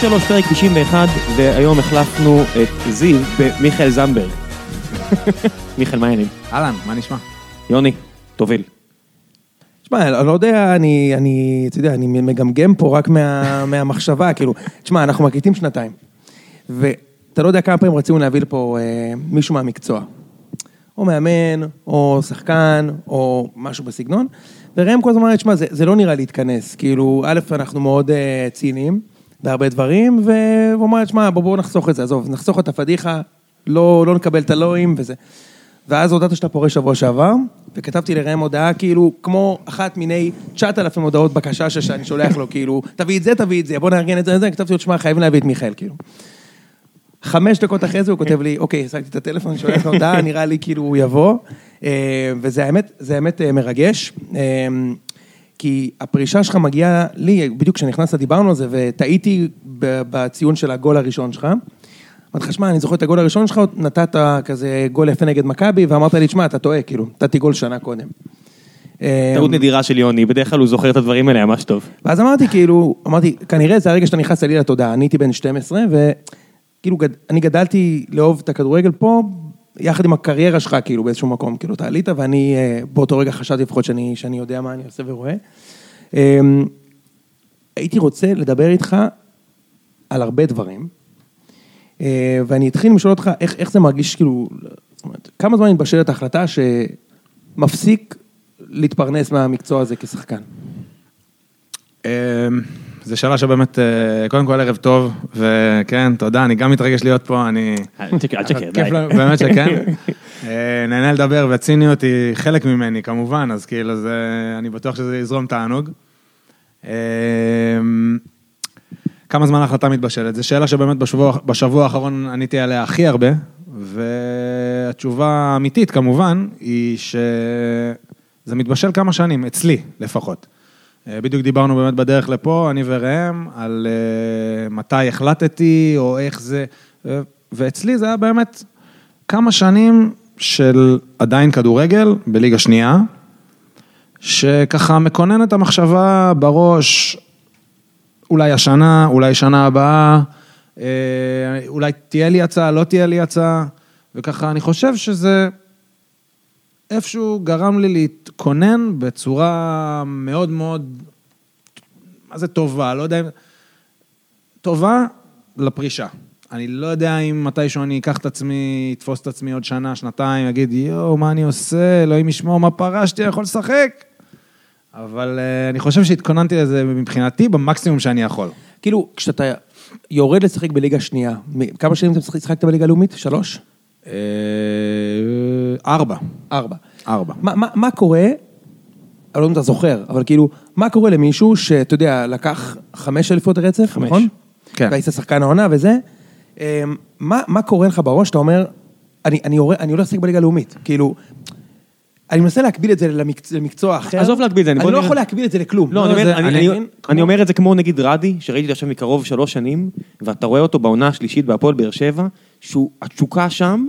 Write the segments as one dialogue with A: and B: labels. A: 3, פרק 91, והיום החלפנו את זיו במיכאל זנדברג. מיכאל, מה העניינים?
B: אהלן, מה נשמע?
A: יוני, תוביל.
C: תשמע, אני לא יודע, אני, אני, אתה יודע, אני מגמגם פה רק מה, מהמחשבה, כאילו, תשמע, אנחנו מקליטים שנתיים, ואתה לא יודע כמה פעמים רצינו להביא לפה אה, מישהו מהמקצוע. או מאמן, או שחקן, או משהו בסגנון, וראם כל הזמן אמר, תשמע, זה, זה לא נראה להתכנס, כאילו, א', אנחנו מאוד אה, ציניים בהרבה דברים, והוא אמר, תשמע, בוא, בוא נחסוך את זה, עזוב, נחסוך את הפדיחה, לא, לא נקבל את הלואים וזה. ואז הודעת שאתה פורש שבוע שעבר, וכתבתי לראם הודעה, כאילו, כמו אחת מיני 9,000 הודעות בקשה ש- שאני שולח לו, כאילו, תביא את זה, תביא את זה, בוא נארגן את זה, את זה, כתבתי לו, תשמע, חייבים להביא את מיכאל, כאילו. חמש דקות אחרי זה הוא כותב לי, אוקיי, השגתי את הטלפון, אני שולח לו הודעה, נראה לי כאילו הוא יבוא. אה, וזה האמת, זה האמת אה, מרגש. אה, כי הפרישה שלך מגיעה לי, בדיוק כשנכנסת דיברנו על זה, וטעיתי ב- בציון של הגול הראשון שלך. אמרתי לך, שמע, אני זוכר את הגול הראשון שלך, נתת כזה גול יפה נגד מכבי, ואמרת לי, שמע, אתה טועה, כאילו, נתתי גול שנה קודם. אה,
B: אמ-
A: טעות נדירה של יוני, בדרך כלל הוא זוכר את הדברים האלה ממש טוב.
C: ואז אמרתי, כאילו, אמרתי, כנראה זה הרגע שאתה נכנס לי לתודעה, אני הייתי בן 12, וכאילו, גד... אני גדלתי לאהוב את הכדורגל פה, יחד עם הקריירה שלך, כאילו, באיזשהו מקום, כאילו, אתה עלית, ואני אה, באותו רגע חשבתי לפחות שאני, שאני יודע מה אני עושה ורואה. אה, הייתי רוצה לדבר איתך על הרבה דברים, אה, ואני אתחיל לשאול אותך, איך, איך זה מרגיש, כאילו, זאת אומרת, כמה זמן מתבשלת ההחלטה שמפסיק להתפרנס מהמקצוע הזה כשחקן?
B: זו שאלה אמ, שבאמת, אה, קודם כל ערב טוב, וכן, תודה, אני גם מתרגש להיות פה, אני...
A: אל תשקר, אל תשקר, די.
B: אה, כיף לנו, באמת שכן. אה, נהנה לדבר, והציניות היא חלק ממני, כמובן, אז כאילו, זה- אני בטוח שזה יזרום תענוג. אמ, אה, כמה זמן ההחלטה מתבשלת? זו שאלה שבאמת בשבוע, בשבוע האחרון עניתי עליה הכי הרבה, והתשובה האמיתית כמובן, היא שזה מתבשל כמה שנים, אצלי לפחות. אה, בדיוק דיברנו באמת בדרך לפה, אני וראם, על אה, מתי החלטתי, או איך זה, אה, ואצלי זה היה באמת כמה שנים של עדיין כדורגל בליגה שנייה, שככה מקונן את המחשבה בראש, אולי השנה, אולי שנה הבאה, אה, אולי תהיה לי הצעה, לא תהיה לי הצעה, וככה אני חושב שזה איפשהו גרם לי להתכונן בצורה מאוד מאוד, מה זה טובה, לא יודע אם... טובה לפרישה. אני לא יודע אם מתישהו אני אקח את עצמי, אתפוס את עצמי עוד שנה, שנתיים, אגיד, יואו, מה אני עושה, אלוהים ישמור, מה פרשתי, אני יכול לשחק. אבל אה, אני חושב שהתכוננתי לזה מבחינתי במקסימום שאני יכול.
C: כאילו, כשאתה יורד לשחק בליגה שנייה, מ- כמה שנים אתה משחק- שיחקת בליגה הלאומית? שלוש?
B: אה, ארבע.
C: ארבע.
B: ארבע.
C: מה, מה, מה קורה, אני לא יודע אם אתה זוכר, אבל כאילו, מה קורה למישהו שאתה יודע, לקח חמש אליפות רצף,
A: חמש.
C: נכון?
B: כן.
C: והיית שחקן העונה וזה, אמ, מה, מה קורה לך בראש, אתה אומר, אני, אני, יורד- אני הולך לשחק בליגה הלאומית, כאילו... אני מנסה להקביל את זה למקצוע, למקצוע אחר.
A: עזוב להקביל את זה, אני-
C: אני,
A: בוא
C: לא
A: נראה-
C: יכול להקביל את זה לכלום.
A: לא, אני אומר-
C: זה-
A: אני-
C: אתה
A: אני-
C: מבין?
A: אני אומר את זה כמו נגיד רדי, שראיתי עכשיו מקרוב שלוש שנים, ואתה רואה אותו בעונה השלישית בהפועל באר שבע, שהוא התשוקה שם,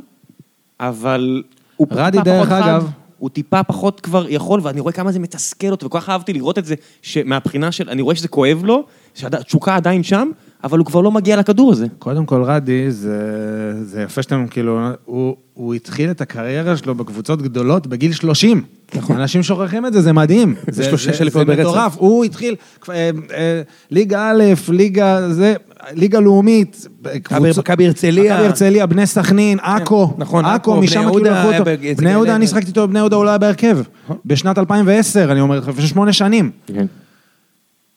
A: אבל הוא
B: רדי,
A: טיפה
B: דרך
A: פחות חד,
B: אגב-
A: הוא טיפה פחות כבר יכול, ואני רואה כמה זה מתסכל אותו, וכל כך אהבתי לראות את זה, שמהבחינה של, אני רואה שזה כואב לו, שהתשוקה עדיין שם, אבל הוא כבר לא מגיע לכדור הזה.
B: קודם כל, רדי, זה, זה יפה שאתם, כאילו, הוא, הוא התחיל את הקריירה שלו בקבוצות גדולות בגיל 30. נכון. אנשים שוכחים את זה, זה מדהים. זה,
C: שלושה
B: זה,
C: אליפויות
B: זה
C: ברצף.
B: מטורף. הוא התחיל, אה, אה, ליגה א', ליגה זה, ליגה לאומית, קבוצות-
C: מכבי הרצליה.
B: מכבי הרצליה, בני סכנין, עכו.
C: נכון, עכו,
B: עכו,
C: בני
B: משם כאילו
C: יהודה אה,
B: לקחו
C: היה
B: אותו.
C: בג-
B: בני יהודה, אני
C: בגלל-
B: שחקתי איתו בבני יהודה, הוא לא היה בהרכב.
C: אה.
B: בשנת 2010, אני אומר לך, לפני שמונה שנים.
A: כן.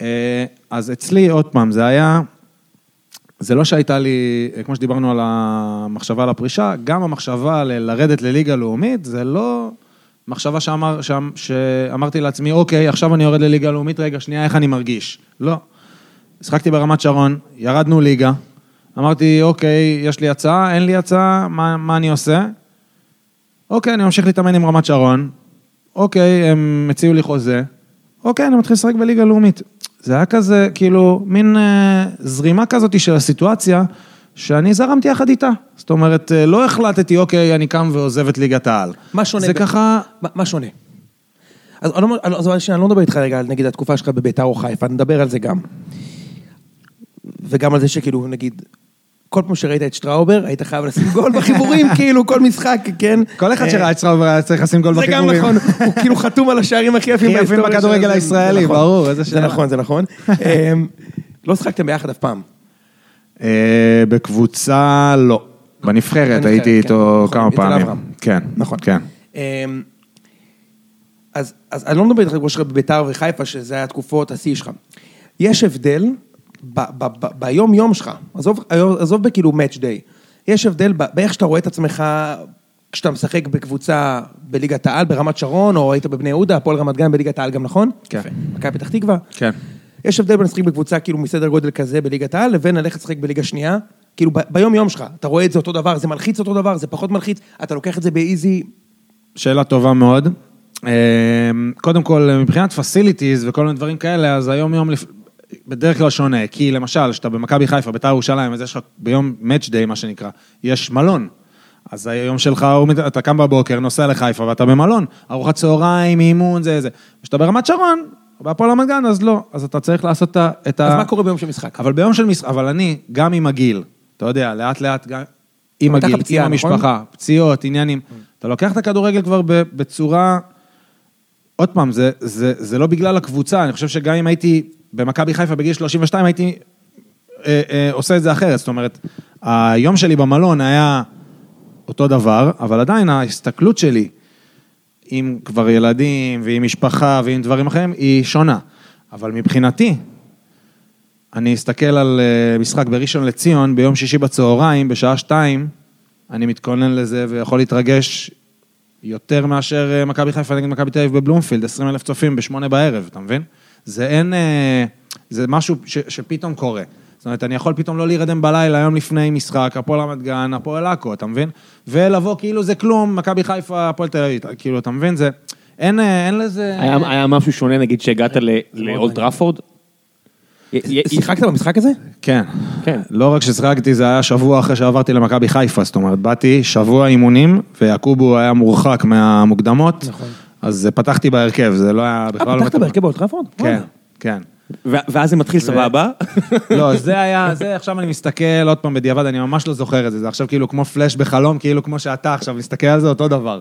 B: אה, אז אצלי, עוד פעם, זה היה... זה לא שהייתה לי, אה, כמו שדיברנו על המחשבה על הפרישה, גם המחשבה ל- לרדת לליגה לאומית, זה לא מחשבה שאמר, שאמ, שאמרתי לעצמי, אוקיי, עכשיו אני יורד לליגה לאומית, רגע, שנייה, איך אני מרגיש? לא. שחקתי ברמת שרון, ירדנו ליגה, אמרתי, אוקיי, יש לי הצעה, אין לי הצעה, מה, מה אני עושה? אוקיי, אני ממשיך להתאמן עם רמת שרון, אוקיי, הם הציעו לי חוזה, אוקיי, אני מתחיל לשחק בליגה לאומית. זה היה כזה, כאילו, מין אה, זרימה כזאת של הסיטואציה, שאני זרמתי יחד איתה. זאת אומרת, אה, לא החלטתי, אוקיי, אני קם ועוזב את ליגת העל.
C: מה שונה?
B: זה
C: ב-
B: ככה...
C: מה- מה שונה? אז אני לא- אז שנייה, אני לא מדבר איתך רגע על נגיד התקופה שלך בביתר או חיפה, נדבר על זה גם. וגם על זה שכאילו, נגיד, כל פעם שראית את שטראובר, היית חייב לשים גול בחיבורים, כאילו, כל משחק, כן?
B: כל אחד
C: אה,
B: שראה את סטראובר היה צריך לשים גול
C: זה גם
B: בחיבורים.
C: נכון, הוא כאילו חתום על השערים הכי יפים
B: הכי יפים
C: בהיסטוריה של
B: בכדורגל
C: זה,
B: הישראלי,
C: זה נכון.
B: ברור, איזה
C: זה
B: שאלה.
C: נכון, זה נכון. אמ, לא שחקתם ביחד אף פעם.
B: אה, בקבוצה לא. בנבחרת
C: בנבחרת,
B: הייתי
C: כן.
B: איתו
C: נכון,
B: כמה
C: אצל
B: פעמים.
C: אברהם.
B: כן,
C: נכון.
B: כן.
C: אמ, אז, אז אני לא מדבר איתך כמו שלך בביתר וחיפה, שזה היה התקופות השיא שלך. יש הבדל ב, ב, ב, ביום-יום שלך, עזוב, היום- עזוב בכאילו match day, יש הבדל ב, באיך שאתה רואה את עצמך כשאתה משחק בקבוצה בליגת העל, ברמת שרון, או היית בבני יהודה, הפועל רמת גן בליגת העל גם, נכון?
B: כן.
C: יפה. מכבי פתח תקווה.
B: כן.
C: יש הבדל בין לשחק בקבוצה כאילו מסדר גודל כזה בליגת העל, לבין ללכת לשחק בליגה שנייה, כאילו ב- ביום-יום שלך, אתה רואה את זה אותו דבר, זה מלחיץ אותו דבר, זה פחות מלחיץ, אתה לוקח את זה באיזי,
B: שאלה טובה מאוד. אה, קודם כל, מבחינת פסיליטיז וכל מיני דברים כאלה, אז היום יום לפ... בדרך כלל שונה, כי למשל, כשאתה במכבי חיפה, בית"ר ירושלים, אז יש לך ביום match day, מה שנקרא, יש מלון. אז היום שלך, הוא מת- אתה קם בבוקר, נוסע לחיפה ואתה במלון. ארוחת צהריים, אימון, זה זה. כשאתה ברמת שרון, בהפועל רמת גן, אז לא. אז אתה צריך לעשות את ה- את ה...
C: אז מה קורה ביום של משחק?
B: אבל ביום של משחק, אבל אני, גם עם הגיל, אתה יודע, לאט לאט, גם עם
C: הייתה לך
B: הגיל,
C: פציעה,
B: עם
C: נכון?
B: המשפחה, פציעות, עניינים, אתה לוקח את הכדורגל כבר ב- בצורה... עוד פעם, זה, זה, זה לא בגלל הקבוצה, אני חושב שגם אם הייתי במכבי חיפה בגיל 32, הייתי אה, אה, עושה את זה אחרת. זאת אומרת, היום שלי במלון היה אותו דבר, אבל עדיין ההסתכלות שלי עם כבר ילדים ועם משפחה ועם דברים אחרים היא שונה. אבל מבחינתי, אני אסתכל על אה, משחק בראשון לציון ביום שישי בצהריים, בשעה שתיים, אני מתכונן לזה ויכול להתרגש יותר מאשר אה, מכבי חיפה נגד מכבי תל אביב בבלומפילד, 20 אלף צופים בשמונה בערב, אתה מבין? זה אין... אה, זה משהו ש, שפתאום קורה. זאת אומרת, אני יכול פתאום לא להירדם בלילה יום לפני משחק, הפועל רמת גן, הפועל עכו, אתה מבין? ולבוא כאילו זה כלום, מכבי חיפה, הפועל תל אביב, כאילו, אתה מבין? זה... אין, אה, אין לזה...
A: היה היה משהו שונה, נגיד, שהגעת ל- לאולד טראפורד?
C: שיחקת במשחק הזה?
B: כן.
A: כן.
B: לא רק ששיחקתי, זה היה שבוע אחרי שעברתי למכבי חיפה, זאת אומרת, באתי שבוע אימונים, ויעקובו היה מורחק מהמוקדמות.
C: נכון.
B: אז אה, פתחתי בהרכב, זה לא היה בכלל...
C: אה,
B: לא
C: פתחת
B: מתוכנן.
C: בהרכב באולטראפורד?
B: כן, כן.
A: ו- ואז זה מתחיל סבבה.
B: לא, זה היה, זה עכשיו אני מסתכל, עוד פעם בדיעבד, אני ממש לא זוכר את זה, זה עכשיו כאילו כמו פלאש בחלום, כאילו כמו שאתה עכשיו מסתכל על זה, אותו דבר.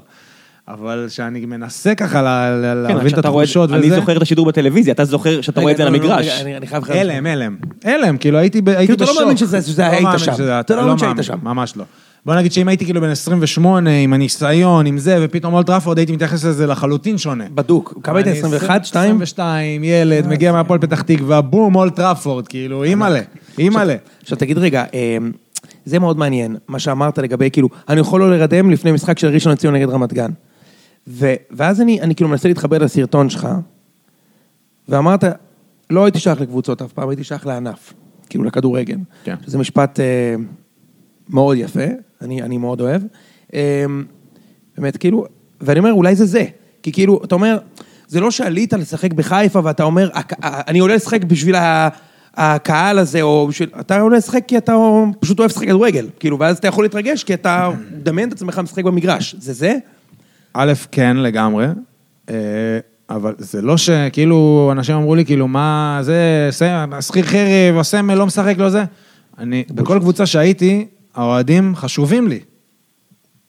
B: אבל שאני מנסה ככה ל- ל-
A: כן,
B: להבין את
A: כשאתה רואה-
B: התחושות וזה...
A: אני זוכר את השידור בטלוויזיה, אתה זוכר שאתה רואה את זה על
C: רגע, לא, לא,
A: המגרש.
C: רגע, אני אני חייב... חייב-
B: הלם, הלם. הלם, כאילו הייתי ב- הייתי בשוק.
C: אתה לא מאמין שזה- שזה
B: לא
C: היית
B: מאמין
C: שם.
B: שזה-
C: אתה לא מאמין שהיית
B: מאמין,
C: שם.
B: ממש לא. בוא נגיד שאם הייתי כאילו בן 28, עם הניסיון, עם זה, ופתאום אולט טראפורד, הייתי מתייחס לזה לחלוטין שונה.
C: בדוק. כמה היית? אה,
B: אני
C: 21? 2?
B: 22, ילד, מגיע מהפועל פתח תקווה, בום, אולט טראפורד, כאילו, אימא'לה,
C: אה,
B: אימא'לה.
C: עכשיו תגיד רגע, אמ, זה מאוד מעניין, מה שאמרת לגבי כאילו, אני יכול לא להירדם לפני משחק של ראשון לציון נגד רמת גן. ו- ואז אני אני כאילו מנסה להתחבר לסרטון שלך, ואמרת, לא הייתי שייך לקבוצות אף פעם, הייתי שייך לענף, כאילו לכדורגל.
B: כן.
C: שזה משפט אה, מאוד יפה, אני, אני מאוד אוהב. אה, באמת, כאילו, ואני אומר, אולי זה זה. כי כאילו, אתה אומר, זה לא שעלית לשחק בחיפה ואתה אומר, "הק- ה- אני עולה לשחק בשביל ה- הקהל הזה, או בשביל... אתה עולה לשחק כי אתה פשוט אוהב לשחק כדורגל. כאילו, ואז אתה יכול להתרגש כי אתה מדמיין את עצמך משחק במגרש. זה זה?
B: א', כן, לגמרי. אה, אבל זה לא שכאילו, אנשים אמרו לי, כאילו, מה זה, סמל, שכיר חרב, הסמל, לא משחק, לא זה. אני, בכל קבוצה שהייתי, האוהדים חשובים לי.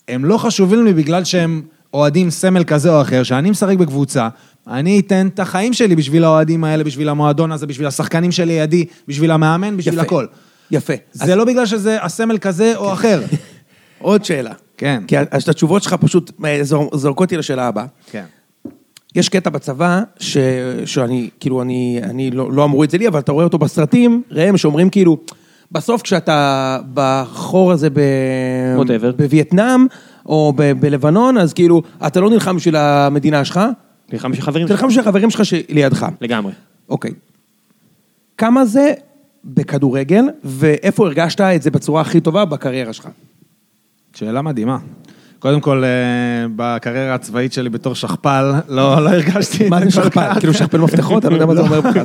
B: הם לא חשובים לי בגלל שהם אוהדים סמל כזה או אחר, שאני משחק בקבוצה, אני אתן את החיים שלי בשביל האוהדים האלה, בשביל המועדון הזה, בשביל השחקנים שלידי, בשביל המאמן, בשביל
C: יפה.
B: הכל.
C: יפה. כאילו אז כן.
B: זה לא בגלל שזה הסמל כזה או אחר.
C: עוד שאלה.
B: כן.
C: כי אז את התשובות שלך פשוט אה, זור- זורקות אותי לשאלה הבאה.
B: כן.
C: יש קטע בצבא, ש... שאני, כאילו, אני, אני לא, לא אמרו את זה לי, אבל אתה רואה אותו בסרטים, ראם, שאומרים כאילו, בסוף כשאתה בחור הזה ב...
A: Whatever.
C: בווייטנאם, או ב... בלבנון, אז כאילו, אתה לא נלחם בשביל המדינה שלך,
A: נלחם בשביל חברים.
D: נכון.
C: תלחם בשביל החברים שלך שלידך.
A: לגמרי.
C: אוקיי. כמה זה בכדורגל, ואיפה הרגשת את זה בצורה הכי טובה בקריירה שלך?
B: שאלה מדהימה. קודם כל, אה, בקריירה הצבאית שלי בתור שכפ"ל, לא לא הרגשתי את
C: מה זה
B: כל
C: שכפל?
B: כך.
C: כאילו שכפל מפתחות? אני לא יודע מה זה אומר בכלל.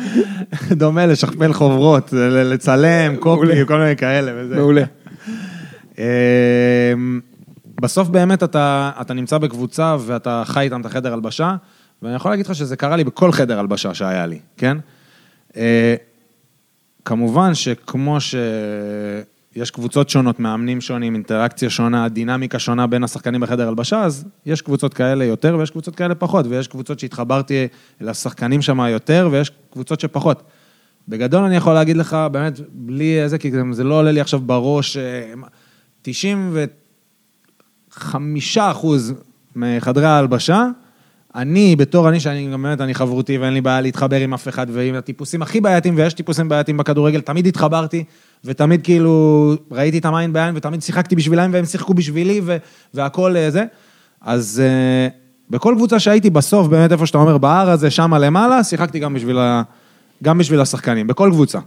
B: דומה לשכפל חוברות, ל- לצלם, קופי, כל מיני כאלה וזה.
C: מעולה.
B: אמ, בסוף באמת אתה, אתה נמצא בקבוצה ואתה חי איתם את החדר הלבשה, ואני יכול להגיד לך שזה קרה לי בכל חדר הלבשה שהיה לי, כן? אה, כמובן שכמו שיש קבוצות שונות, מאמנים שונים, אינטראקציה שונה, דינמיקה שונה בין השחקנים בחדר הלבשה, אז יש קבוצות כאלה יותר ויש קבוצות כאלה פחות, ויש קבוצות שהתחברתי לשחקנים שם יותר ויש קבוצות שפחות. בגדול אני יכול להגיד לך, באמת, בלי איזה, כי זה לא עולה לי עכשיו בראש, אה, 95 אחוז מחדרי ההלבשה, אני, בתור אני, שאני גם באמת, אני חברותי ואין לי בעיה להתחבר עם אף אחד, ועם הטיפוסים הכי בעייתיים, ויש טיפוסים בעייתיים בכדורגל, תמיד התחברתי, ותמיד כאילו ראיתי את המים בעין, ותמיד שיחקתי בשבילם, והם שיחקו בשבילי, ו- והכל אה, זה. אז אה, בכל קבוצה שהייתי בסוף, באמת איפה שאתה אומר, בהר הזה, שמה למעלה, שיחקתי גם בשביל, ה- גם בשביל השחקנים, בכל קבוצה.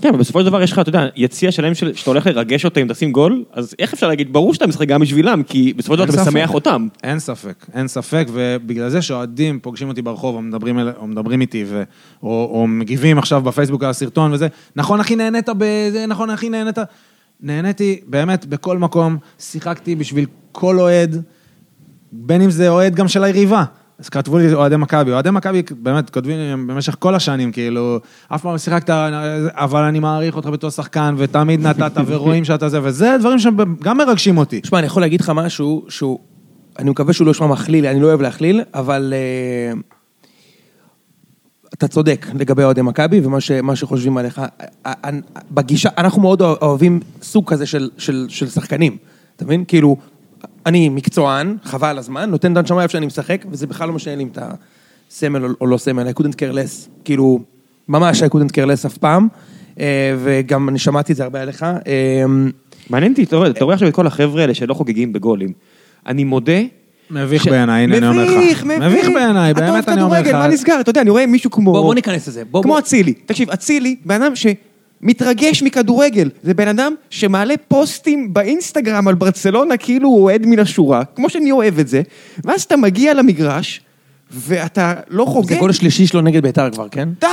D: כן, אבל בסופו של דבר יש לך, אתה יודע, יציע שלם של, שאתה הולך לרגש אותם אם תשים גול, אז איך אפשר להגיד, ברור שאתה משחק גם בשבילם, כי בסופו של דבר
B: אין
D: אתה
B: ספק.
D: משמח אותם.
B: אין ספק, אין ספק, ובגלל זה שאוהדים פוגשים אותי ברחוב, או מדברים, אל- או מדברים איתי, ו... או, או מגיבים עכשיו בפייסבוק על הסרטון וזה, נכון, אחי, נהנית בזה, נכון, אחי, נהנית... נהניתי באמת בכל מקום, שיחקתי בשביל כל אוהד, בין אם זה אוהד גם של היריבה. אז כתבו לי אוהדי מכבי, אוהדי מכבי באמת כותבים לי במשך כל השנים, כאילו, אף פעם לא שיחקת, אבל אני מעריך אותך בתור שחקן, ותמיד נתת, ורואים שאתה זה, וזה דברים שגם מרגשים אותי.
C: תשמע, אני יכול להגיד לך משהו שהוא... אני מקווה שהוא לא ישמע מכליל, אני לא אוהב להכליל, אבל... אה, אתה צודק לגבי אוהדי מכבי ומה ש, מה שחושבים עליך. אה, אה, בגישה, אנחנו מאוד אוה- אוהבים סוג כזה של, של, של שחקנים, אתה מבין? כאילו, אני מקצוען, חבל על הזמן, נותן דן שמאי איפה שאני משחק, וזה בכלל לא משנה לי אם אתה סמל או, או לא סמל, I couldn't care less, כאילו, ממש I couldn't care less אף פעם, אה, וגם אני שמעתי את זה הרבה עליך. אה,
D: מעניין אותי, אתה רואה- אתה רואה עכשיו את כל החבר'ה האלה שלא חוגגים בגולים. אני מודה...
B: מביך
D: ש-
B: בעיניי, הנה, אני אומר לך.
D: מביך, מביך.
B: מביך בעיניי,
D: אתה אוהב
B: באמת אני אומר
D: כדורגל,
B: לך.
D: מה נסגר? אתה יודע, אני רואה מישהו כמו...
C: בוא- בוא ניכנס לזה, בוא-
D: כמו
C: בוא.
D: אצילי. תקשיב, אצילי, בן אדם שמתרגש מכדורגל. זה בן אדם שמעלה פוסטים באינסטגרם על ברצלונה כאילו הוא אוהד מן השורה, כמו שאני אוהב את זה, ואז אתה מגיע למגרש, ואתה לא
C: זה
D: חוגג.
C: גול שלישי שלו נגד ביתר כבר, כן?
D: די,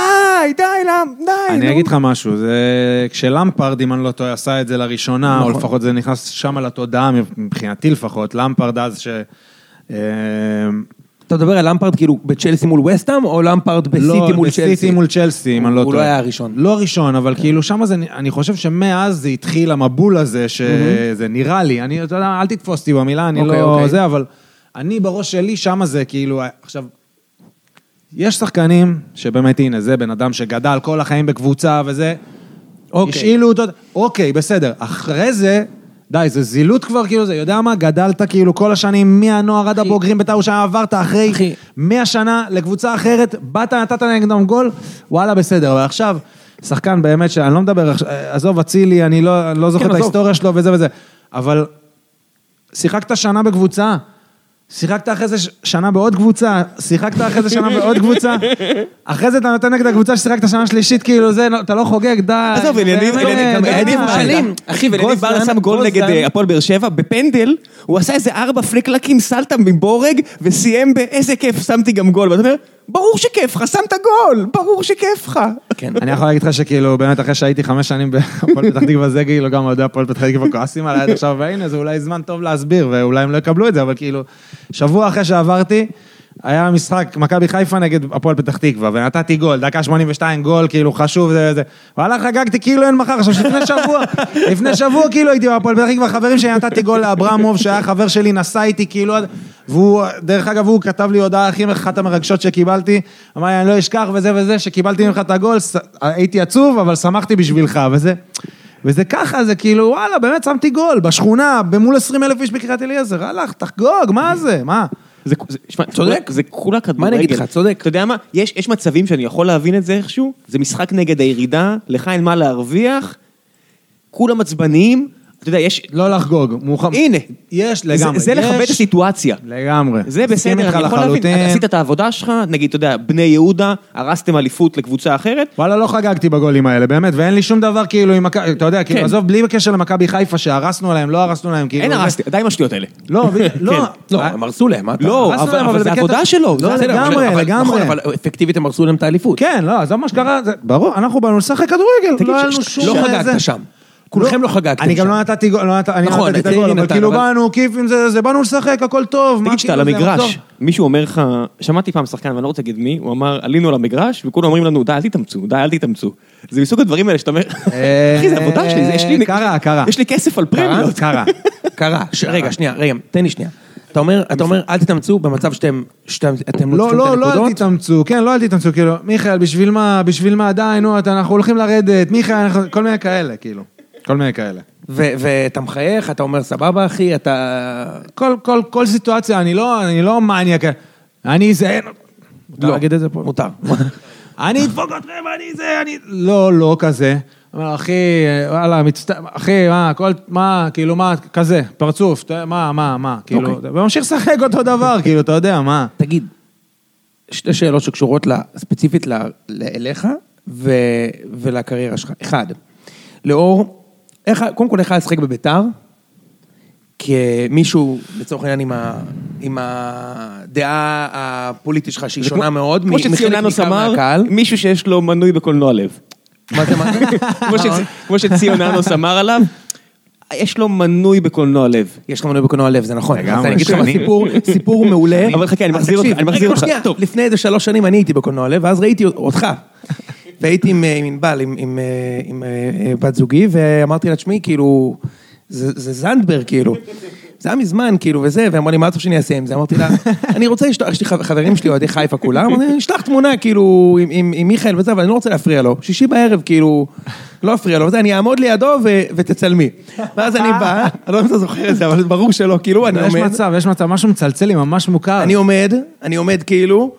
D: די, למה? די,
B: אני
D: נו.
B: אגיד לך משהו, זה... כשלמפרד, אם אני לא טועה, עשה את זה לראשונה, או לפחות זה נכנס שם לתודעה, מבחינתי לפחות, למפרד אז ש... אה,
C: אתה מדבר על למפרד כאילו בצ'לסי מול וסטאם, או למפרד
B: לא,
C: בסיטי מול צ'לסי?
B: בסיטי מול צ'לסי, אם אני לא
C: הוא
B: טועה.
C: לא היה הראשון.
B: לא הראשון, אבל כאילו שם זה, אני חושב שמאז זה התחיל המבול הזה, שזה נראה לי, אני, אתה יודע, אל תתפוס אותי במילה, אני
C: אוקיי,
B: לא
C: אוקיי.
B: זה, אבל אני בראש שלי, שם זה כאילו, עכשיו, יש שחקנים שבאמת, הנה, זה בן אדם שגדל כל החיים בקבוצה וזה,
C: אוקיי.
B: השאילו אותו, אוקיי, בסדר. אחרי זה, די, זה זילות כבר, כאילו, זה, יודע מה, גדלת כאילו כל השנים, מהנוער עד הבוגרים בטאו שנה, עברת אחרי
C: אחי.
B: 100 שנה לקבוצה אחרת, באת, נתת נגדם גול, וואלה, בסדר. אבל עכשיו, שחקן באמת, שאני לא מדבר, עכשיו- עזוב, אצילי, אני לא, אני לא זוכר
C: כן,
B: את
C: עזוב.
B: ההיסטוריה שלו וזה וזה, אבל שיחקת שנה בקבוצה, שיחקת אחרי זה ש- שנה בעוד קבוצה, שיחקת אחרי זה שנה בעוד קבוצה, אחרי זה אתה נותן נגד הקבוצה ששיחקת שנה שלישית, כאילו זה, לא- אתה לא חוגג, די. לא
D: עזוב, אלניב,
B: באמת,
D: אלניב,
C: גם
B: די.
C: אלניב
B: די.
C: מושאלים. אחי, ולניב
D: גוזלן-
C: ברדה שם גול
D: גוזלן-
C: נגד, אה,
D: הפועל באר שבע, בפנדל, הוא עשה איזה ארבע פליקלקים, סלטה מבורג, וסיים באיזה כיף, שמתי גם גול. ואתה אומר, ברור שכיף לך, שמת גול, ברור שכיף לך.
C: כן.
B: אני יכול להגיד לך שכאילו, באמת, אחרי שהייתי חמש שנים בהפועל פתח תקווה, זה כאילו גם אוהדי הפועל פתח תקווה כועסים עליי עד עכשיו, והנה, זה אולי זמן טוב להסביר, ואולי הם לא יקבלו את זה, אבל כאילו, שבוע אחרי שעברתי, היה משחק, מכבי חיפה נגד הפועל פתח תקווה, ונתתי גול, דקה 82 גול, כאילו, חשוב, זה, זה. וואלה, חגגתי כאילו אין מחר, עכשיו שלפני שבוע, לפני שבוע כאילו הייתי בהפועל פתח תקווה, חברים שלי, נתתי גול לאברמוב, שהיה חבר שלי, נסע איתי, כאילו, עד- והוא, דרך אגב, הוא כתב לי הודעה הכי אחת המרגשות שקיבלתי, אמר לי, אני לא אשכח וזה וזה, שקיבלתי ממך את הגול, ס- הייתי עצוב, אבל שמחתי בשבילך, וזה... וזה ככה, זה כאילו, וואלה, באמת שמתי גול, בשכונה, במול 20 אלף איש בקריית אליעזר, הלך, תחגוג, מה זה, מה?
D: זה, זה, שמע,
C: צודק.
D: זה כולה כדורגל.
C: מה אני אגיד לך, צודק.
D: אתה יודע מה, יש, יש מצבים שאני יכול להבין את זה איכשהו, זה משחק נגד הירידה, לך אין מה להרוויח, כולם עצבניים, אתה יודע, יש...
B: לא לחגוג, מוחמד.
D: הנה.
B: יש, לגמרי.
D: זה, זה
B: יש.
D: לכבד את הסיטואציה.
B: לגמרי.
D: זה
B: מסכים
D: בסדר,
B: איתך
D: אני יכול להבין,
B: לחלוטין.
D: אתה עשית את העבודה שלך, נגיד, אתה יודע, בני יהודה, הרסתם אליפות לקבוצה אחרת,
B: וואלה, לא חגגתי בגולים האלה, באמת, ואין לי שום דבר כאילו עם מכבי, אתה יודע,
D: כן.
B: כאילו, עזוב, בלי קשר למכבי חיפה, שהרסנו עליהם, לא הרסנו עליהם, כאילו...
D: אין
B: זה-
D: הרסתי, די עם השטויות האלה.
B: לא, ב- לא,
C: לא, הם הרסו להם, מה אתה...
D: לא,
B: הרסנו
D: אבל-
B: להם,
D: אבל זה
B: בקטע-
D: עבודה שלו,
B: לא,
D: בסדר,
B: לגמרי,
C: אבל- נכון,
B: לגמרי.
C: אבל אפקטיבית הם הרסו להם את האליפות.
B: כן, לא, עזוב מה שקרה, זה- ברור, אנחנו באנו לשחק כדורגל,
C: תגיד,
B: לא היה
C: ש-
B: לנו
C: ש-
B: שום...
C: לא
B: איזה-
C: חגגת שם. כולכם לא חגגתם
B: אני גם
C: שם.
B: לא נתתי גול, לא נת- אני
C: נכון,
B: לא נתתי את
C: את
B: הגול,
C: אלי
B: אבל
C: נתן,
B: כאילו
C: אבל-
B: באנו, כיף עם זה, זה, באנו לשחק, הכל טוב. מה
A: תגיד שאתה על
B: כאילו זה,
A: המגרש,
B: נחזור?
A: מישהו אומר לך, שמעתי פעם שחקן, ואני לא רוצה להגיד מי, הוא אמר, עלינו על המגרש, וכולם אומרים לנו, די, אל תתאמצו, די, אל תתאמצו. זה מסוג הדברים האלה שאתה אומר,
B: אה,
A: אחי, זה עבודה שלי, זה- יש לי...
B: קרה, קרה.
A: יש לי כסף על פרמיות.
B: קרה.
C: קרה. ש- רגע, שנייה, רגע, תן לי שנייה. אתה אומר, אתה אומר, אל תתאמצו במצב שאתם, שאתם, אתם
B: לא,
C: צריכים את
B: לא, לא אל
C: הנקודות.
B: תתאמצו, כן, לא אל תתאמצו, כאילו, מיכאל, בשביל מה, בשביל מה, די, נו, אתה- אנחנו הולכים לרדת, מיכאל, אנחנו- כל מיני כאלה, כאילו. כל מיני כאלה.
C: ו- ואתה מחייך, אתה אומר, סבבה, אחי, אתה...
B: כל, כל, כל סיטואציה, אני לא, אני לא מניאק, אני אזיין, מותר
C: לא.
B: להגיד את זה פה?
C: מותר.
B: אני אדפוק אתכם, אני זה, אני... לא, לא כזה. אומר, אחי, וואלה, מצטער, אחי, מה, הכל, מה, כאילו, מה, כזה, פרצוף, אתה- מה, מה, מה, כאילו,
C: אוקיי.
B: וממשיך לשחק אותו דבר, כאילו, אתה יודע, מה.
C: תגיד, שתי שאלות שקשורות ל- ספציפית ל- ל- אליך ו... ולקריירה שלך. אחד, לאור, איך, קודם כל, איך היה לשחק בביתר? כמישהו, לצורך העניין, עם, ה... עם הדעה הפוליטית שלך, שהיא
A: זה
C: שונה
A: כמו-
C: מאוד,
A: כמו
C: מחלק
A: שציוננוס
C: ניכר
A: אמר,
C: מהקהל.
A: מישהו שיש לו מנוי בקולנוע לב.
C: מה זה, מה זה?
A: כמו
B: נכון.
A: שצ- כמו שציוננוס אמר עליו, יש לו מנוי בקולנוע לב.
C: יש לך מנוי בקולנוע לב, זה נכון.
B: לגמרי,
C: אז אני אגיד לך
B: שנים.
C: סיפור, סיפור מעולה.
A: אבל חכה, אני
C: אז
A: מחזיר אותך,
C: תקשיב,
A: אני מחזיר
C: רגע,
A: אותך.
C: שנייה,
A: טוב.
C: לפני איזה שלוש שנים אני הייתי בקולנוע לב, ואז ראיתי אותך. והייתי עם אה, עם ענבל, עם- עם, אה, עם אה, בת זוגי, ואמרתי לעצמי, כאילו, זה זה זנדברג, כאילו. זה היה מזמן, כאילו, וזה, והיא אמרה לי, מה אתה רוצה שאני אעשה עם זה? אמרתי לה, אני רוצה לשלוח, יש לי חב- חברים שלי, אוהדי חיפה כולם, אני אשלח תמונה, כאילו, עם- עם עם מיכאל וזה, אבל אני לא רוצה להפריע לו. שישי בערב, כאילו, לא אפריע לו, וזה, אני אעמוד לידו ו- ותצלמי. ואז אני בא, אני לא יודע אם אתה זוכר את זה, אבל ברור שלא, כאילו, אני
B: יש
C: עומד...
B: מצב, יש מצב, משהו מצלצל לי ממש מוכר.
C: אני עומד, אני עומד כאילו,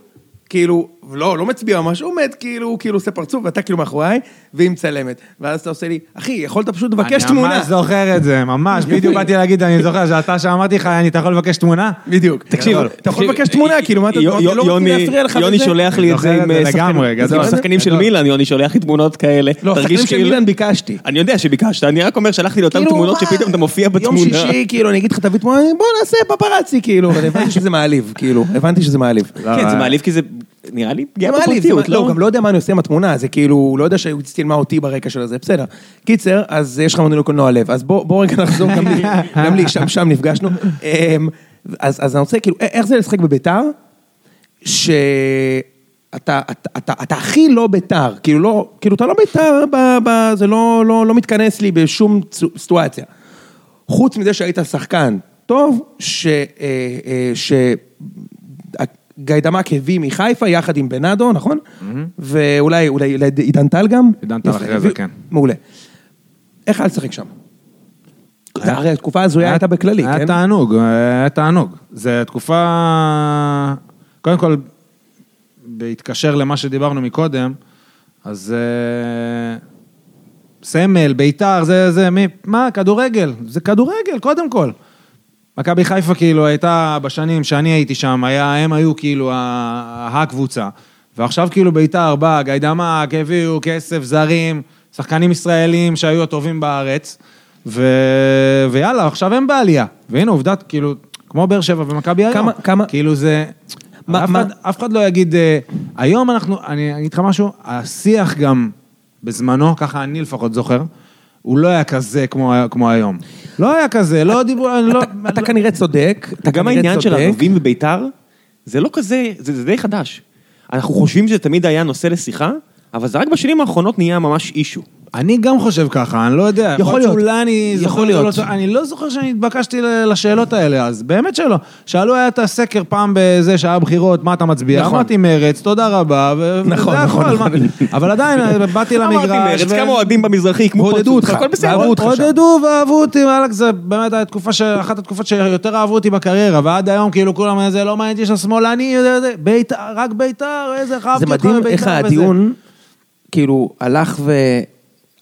C: כאילו, לא, לא מצביע ממש, עומד כאילו, כאילו עושה פרצוף, ואתה כאילו מאחוריי, והיא מצלמת. ואז אתה עושה לי, אחי, יכולת פשוט לבקש
B: אני
C: תמונה.
B: ממש זוכר את זה, ממש, בדיוק באתי להגיד, אני זוכר שאתה שאמרתי לך, אני, אתה יכול לבקש תמונה?
C: בדיוק. תקשיב,
A: גדול.
C: אתה יכול
A: תקשיב,
C: לבקש תמונה, כאילו, מה אתה...
A: יו-
C: אמרתי,
A: יו-
C: לא רוצים
A: יוני-
C: להפריע לך
A: יוני
C: וזה.
A: שולח לי את זה
B: אני זוכר
A: עם
B: את
A: אה,
B: זה
A: שחקנים-
B: לגמרי,
A: עם
B: גדול.
A: שחקנים של
B: גדול.
A: מילאן, יוני שולח לי תמונות כאלה.
C: לא,
A: תרגיש
C: שחקנים של
A: כאילו-
C: מילאן ביקשתי.
A: אני יודע שביקשת, אני רק אומר, שלחתי לאותן
C: כאילו,
A: תמונות
C: מה?
A: שפתאום אתה מופיע בתמונה.
C: יום שישי, כאילו, אני אגיד לך, תביא תמונה, בוא נעשה פפרצי, כאילו. אבל הבנתי שזה מעליב, כאילו, הבנתי שזה מעליב.
A: כן, זה מעליב כי זה נראה לי פגיעה
C: זה מעליב, זה
A: בפרטיות,
C: מעליב. לא, הוא
A: לא?
C: גם לא יודע מה אני עושה עם התמונה, זה כאילו, הוא לא יודע שהוא צילמה אותי ברקע של זה, בסדר. קיצר, אז יש לך מנוי לקולנוע לב, אז בוא בוא רגע נחזור גם לי, גם לי, שם שם נפגשנו. אמ, אז אז אני רוצה, כאילו, א- איך זה לשחק בביתר, שאתה אתה- אתה- אתה הכי לא ביתר, כאילו לא, כאילו אתה לא ביתר, ב- ב- זה לא- לא לא מתכנס לי בשום צו- סיטואציה. חוץ מזה שהיית שחקן טוב, ש... אה, אה, ש... גיידמק הביא מחיפה יחד עם בנאדו, נכון? ואולי אולי אולי עידן טל גם?
B: Mm-hmm. עידן טל
C: יפה,
B: אחרי זה,
C: הביא-
B: כן.
C: מעולה. איך היה לשחק שם?
B: היה-
C: הרי התקופה הזויה הייתה בכללי,
B: היה לא,
C: כן?
B: תענוג, אה, היה תענוג. זו תקופה... קודם כל, בהתקשר למה שדיברנו מקודם, אז אה, סמל, ביתר, זה, זה, מי, מה, כדורגל, זה כדורגל, קודם כל. מכבי חיפה כאילו הייתה בשנים שאני הייתי שם, היה, הם היו כאילו ה- הקבוצה. ועכשיו כאילו ביתר באה, גיידמק, הביאו כסף, זרים, שחקנים ישראלים שהיו הטובים בארץ, ו... ויאללה, עכשיו הם בעלייה. והנה עובדת, כאילו, כמו באר שבע ומכבי היום.
C: כמה- כמה-
B: כאילו זה...
C: מה-
B: אף,
C: מה-
B: אחד, אף אחד לא יגיד, אה, היום אנחנו, אני אגיד לך משהו, השיח גם בזמנו, ככה אני לפחות זוכר, הוא לא היה כזה כמו, כמו היום. לא היה כזה, לא דיברו, אני לא...
C: אתה- אתה כנראה צודק, אתה
A: גם
C: כנראה
A: העניין של
C: צודק.
A: הערבים בביתר, זה לא כזה, זה זה די חדש. אנחנו חושבים שזה תמיד היה נושא לשיחה, אבל זה רק בשנים האחרונות נהיה ממש אישו.
B: אני גם חושב ככה, אני לא יודע.
C: יכול להיות.
B: שאולי אני זוכר
C: יכול
B: את זה
C: להיות.
B: לא, אני לא זוכר שאני התבקשתי ל- לשאלות האלה אז, באמת שלא. שאלו היה את הסקר פעם בזה שהיה בחירות, מה אתה מצביע?
C: נכון.
B: אמרתי מרץ, תודה רבה, ו- וזה
C: נכון, נכון,
B: הכל,
C: נכון.
B: מה- אבל עדיין, אה, באתי למגרש.
A: אמרתי מרץ,
B: ו-
A: כמה אוהדים במזרחי, כמו
C: ועודדו
A: פרצוף,
C: אותך,
A: הכל בסדר.
C: ואהבו אותך שם.
B: עודדו ואהבו אותי, וואלכ, זה באמת התקופה, ש... אחת התקופות שיותר אהבו אותי בקריירה, ועד היום כאילו כולם, זה לא מעניין אותי שהשמאלני, זה- זה- בית"ר, רק בית"ר, איזה חבתי
C: זה
B: אותך
C: מדהים איך
B: וזה.
C: הדיון, כאילו, הלך ו...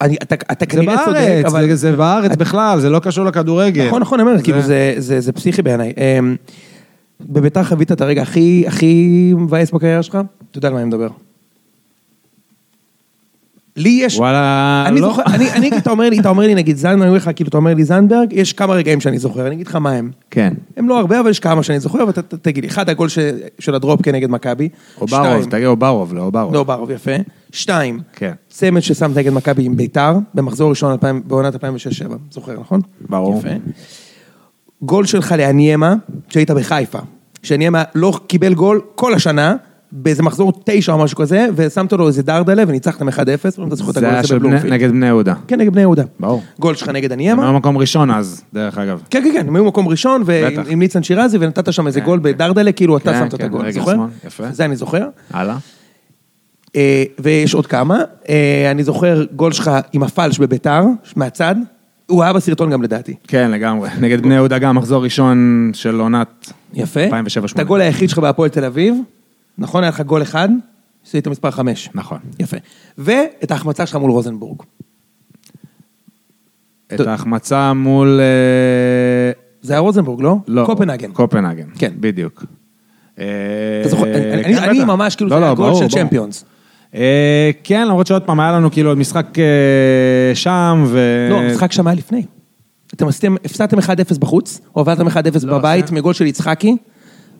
C: אני- אתה אתה
B: זה
C: כנראה צודק,
B: בארץ,
C: אבל...
B: זה- זה בארץ בכלל, זה לא קשור לכדורגל.
C: נכון, נכון, אני אומר, כאילו, זה- זה זה פסיכי בעיניי. אמ, בביתר חווית את הרגע הכי הכי מבאס בקריירה שלך? אתה יודע על מה אני מדבר. לי יש...
B: וואלה,
C: אני
B: לא.
C: זוכר, אני, אני, אתה אומר לי, אתה אומר לי, נגיד זנדברג, אני אומר לך, כאילו, אתה אומר לי זנדברג, יש כמה רגעים שאני זוכר, אני אגיד לך מה הם.
B: כן.
C: הם לא הרבה, אבל יש כמה שאני זוכר, ואתה ת- תגיד לי, אחד הגול ש- של הדרופ כנגד מכבי.
B: אוברוב,
C: שתיים-
B: תגיד אוברוב, לא אוברוב.
C: לא, ברוב, יפה. שתיים,
B: כן.
C: צמד ששם נגד מכבי עם ביתר, במחזור ראשון אלפיים- בעונת 2006-2007, זוכר, נכון?
B: ברור.
C: יפה. גול שלך לאניימה, כשהיית בחיפה. שאניימה לא קיבל גול כל השנה, באיזה מחזור תשע או משהו כזה, ושמת לו איזה דרדלה וניצחתם 1-0, ואתה זוכר את
B: זה
C: הגול
B: היה
C: הזה
B: של בני-
C: בבלומפילד.
B: נגד בני יהודה.
C: כן, נגד בני יהודה.
B: ברור.
C: גול שלך נגד
B: הם
C: אניימה.
B: היו מקום ראשון אז, דרך אגב.
C: כן, כן, כן, הם היו מקום ראשון, ועם
B: בטח.
C: עם ניצן שירזי, ונתת שם איזה גול בדרדלה, כאילו אתה
B: כן,
C: שמת את
B: כן,
C: הגול,
B: רגל
C: זוכר?
B: שמאל, יפה.
C: זה אני זוכר.
B: הלאה.
C: אה, ויש עוד כמה. אה, אני זוכר גול שלך עם הפלש בביתר, מהצד. הוא היה בסרטון גם לדעתי.
B: כן, לגמרי. נגד בני יהודה גם, מחזור ראשון של עונת...
C: יפה.
B: 2007-2008.
C: את הגול היחיד שלך בהפועל תל אביב, נכון? היה לך גול אחד, עשית מספר חמש.
B: נכון.
C: יפה. ואת ההחמצה שלך מול רוזנבורג.
B: את ההחמצה מול... אה,
C: זה היה רוזנבורג, לא?
B: לא.
C: קופנהגן.
B: קופנהגן.
C: כן.
B: בדיוק. אה, לא, אתה
C: אתה זוכר, אני- אני- אני ממש כאילו, זה היה גול של צ'מפיונס.
B: כן, למרות שעוד פעם, היה לנו כאילו עוד משחק אה, שם, ו...
C: לא, המשחק שם היה לפני. אתם עשיתם, הפסדתם 1-0 בחוץ, הובלתם 1-0 בבית
B: לא, זה-
C: מגול של יצחקי,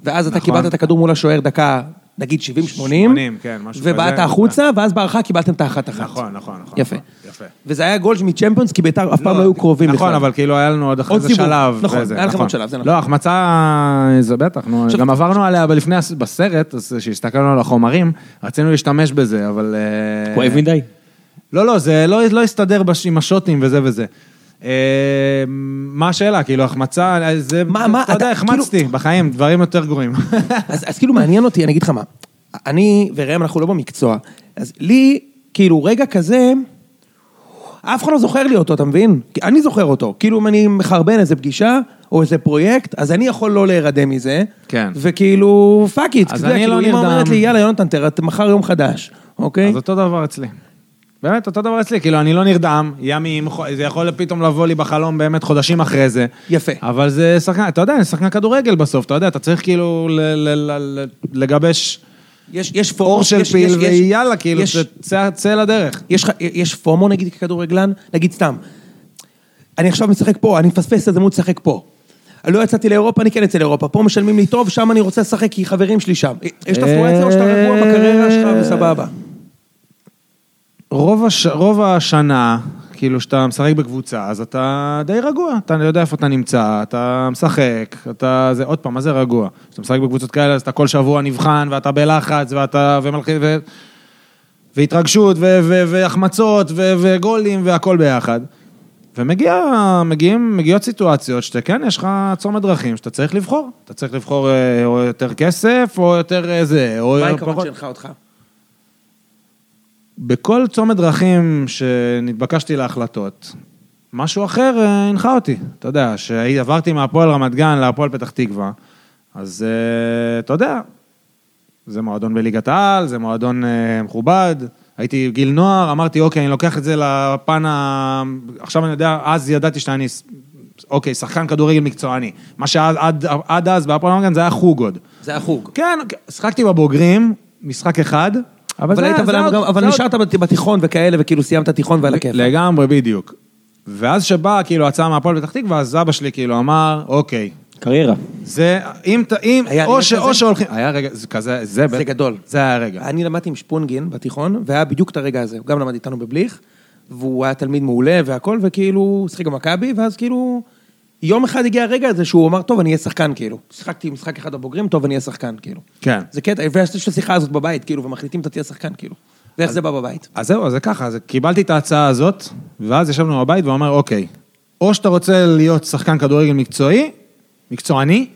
C: ואז אתה
B: נכון.
C: קיבלת את הכדור מול השוער דקה, נגיד 70-80,
B: 80, כן, משהו
C: ובאת
B: כזה.
C: החוצה, ואז בהרחקה קיבלתם את האחת-אחת.
B: נכון, נכון, נכון.
C: יפה.
B: יפה.
C: וזה היה גול מצ'מפיונס, כי ביתר אף פעם לא היו קרובים בכלל.
B: נכון, אבל כאילו היה לנו עוד אחרי
C: עוד
B: זה
C: סיבוב.
B: שלב.
C: נכון,
B: וזה,
C: היה לכם עוד שלב, זה נכון.
B: לא, החמצה, זה בטח, נו,
C: עכשיו-
B: גם עברנו עליה אבל לפני, הס- בסרט, אז כשהסתכלנו על החומרים, רצינו להשתמש בזה, אבל... אה,
D: כואב מדי.
B: לא, לא, זה לא, לא הסתדר בש, עם השוטים וזה וזה. אה, מה השאלה? כאילו, החמצה, אה, זה...
C: מה- מה,
B: אתה יודע,
C: אתה- כאילו-
B: החמצתי בחיים, דברים יותר גרועים.
C: אז, אז כאילו מעניין אותי, אני אגיד לך מה, אני וראם אנחנו לא במקצוע, אז לי, כאילו רגע כזה, אף אחד לא זוכר לי אותו, אתה מבין? כי אני זוכר אותו, כאילו אם אני מחרבן איזה פגישה, או איזה פרויקט, אז אני יכול לא להירדם מזה.
B: כן.
C: וכאילו, פאק איט,
B: אז
C: אתה יודע,
B: אני לא
C: כאילו, אמא
B: נרדם.
C: אומרת לי, יאללה, יונתן, תראה, מחר יום חדש, אוקיי?
B: אז אותו דבר אצלי. באמת, אותו דבר אצלי, כאילו, אני לא נרדם, ימים, חו- זה יכול פתאום לבוא לי בחלום באמת חודשים אחרי זה.
C: יפה.
B: אבל זה שחקן, אתה יודע, זה שחקן כדורגל בסוף, אתה יודע, אתה צריך כאילו ל- ל- ל- ל- לגבש
C: יש, יש פורום,
B: אור של
C: יש-
B: פיל,
C: יש- יש-
B: ויאללה, כאילו,
C: יש-
B: צא- צא לדרך.
C: יש, לך- יש פומו נגיד ככדורגלן? נגיד סתם, אני עכשיו משחק פה, אני מפספס את זה מול לשחק פה. לא יצאתי לאירופה, אני כן אצא לאירופה. פה משלמים לי טוב, שם אני רוצה לשחק כי חברים שלי שם. יש את הפלואציה או שאתה רגוע בקריירה שלך וסבבה.
B: רוב, הש... רוב השנה, כאילו, שאתה משחק בקבוצה, אז אתה די רגוע. אתה יודע איפה אתה נמצא, אתה משחק, אתה... זה, עוד פעם, מה זה רגוע? כשאתה משחק בקבוצות כאלה, אז אתה כל שבוע נבחן, ואתה בלחץ, ואתה... ומלחיץ... ו... והתרגשות, ו... ו... והחמצות, ו... וגולים, והכל ביחד. ומגיע, מגיעים, מגיעות סיטואציות שאתה כן, יש לך צומת דרכים שאתה צריך לבחור. אתה צריך לבחור אה, או יותר כסף, או יותר אה, זה, או...
C: מה
B: פחות.
C: העיקרון שלך אותך?
B: בכל צומת דרכים שנתבקשתי להחלטות, משהו אחר אה, הנחה אותי. אתה יודע, כשעברתי מהפועל רמת גן להפועל פתח תקווה, אז אה, אתה יודע, זה מועדון בליגת העל, זה מועדון אה, מכובד, הייתי גיל נוער, אמרתי, אוקיי, אני לוקח את זה לפן ה... עכשיו אני יודע, אז ידעתי שאני, ס- אוקיי, שחקן כדורגל מקצועני. מה שעד עד, עד אז בהפועל רמת גן זה היה חוג עוד.
C: זה החוג.
B: כן, שיחקתי בבוגרים, משחק אחד, אבל,
C: אבל אה,
B: זה היה-
C: היית-
B: זה
C: אבל
B: היה
C: גם-
B: עוד-
C: אבל
B: זה היה עוד-
C: נשארת בת- בתיכון וכאלה, וכאילו סיימת תיכון ועל הכיף.
B: לגמרי, בדיוק. ואז שבאה, כאילו, הצעה מהפועל פתח תקווה, אז אבא שלי כאילו אמר, אוקיי,
D: קריירה.
B: זה, אם, ת- אם,
C: היה
B: או
C: רגע
B: ש-
C: כזה?
B: או שהולכים, היה רגע, זה כזה, זה,
C: זה
B: בטח-
C: גדול.
B: זה היה רגע.
C: אני למדתי עם שפונגין בתיכון, והיה בדיוק את הרגע הזה, הוא גם למד איתנו בבליך, והוא היה תלמיד מעולה והכל, וכאילו, הוא שיחק במכבי, ואז כאילו, יום אחד הגיע הרגע הזה שהוא אמר, טוב, אני אהיה שחקן, כאילו. שיחקתי משחק אחד בבוגרים, טוב, אני אהיה שחקן, כאילו.
B: כן.
C: זה קטע, ויש את השיחה הזאת בבית, כאילו, ומחליטים אתה תהיה שחקן, כאילו. ואיך זה בא בבית.
B: אז זהו, אז זה ככה, אז קיבלתי את ההצעה הזאת, ואז ישבנו בבית והוא אמר, אוקיי, או שאתה רוצה להיות שחקן כדורגל מקצועי, מקצועני,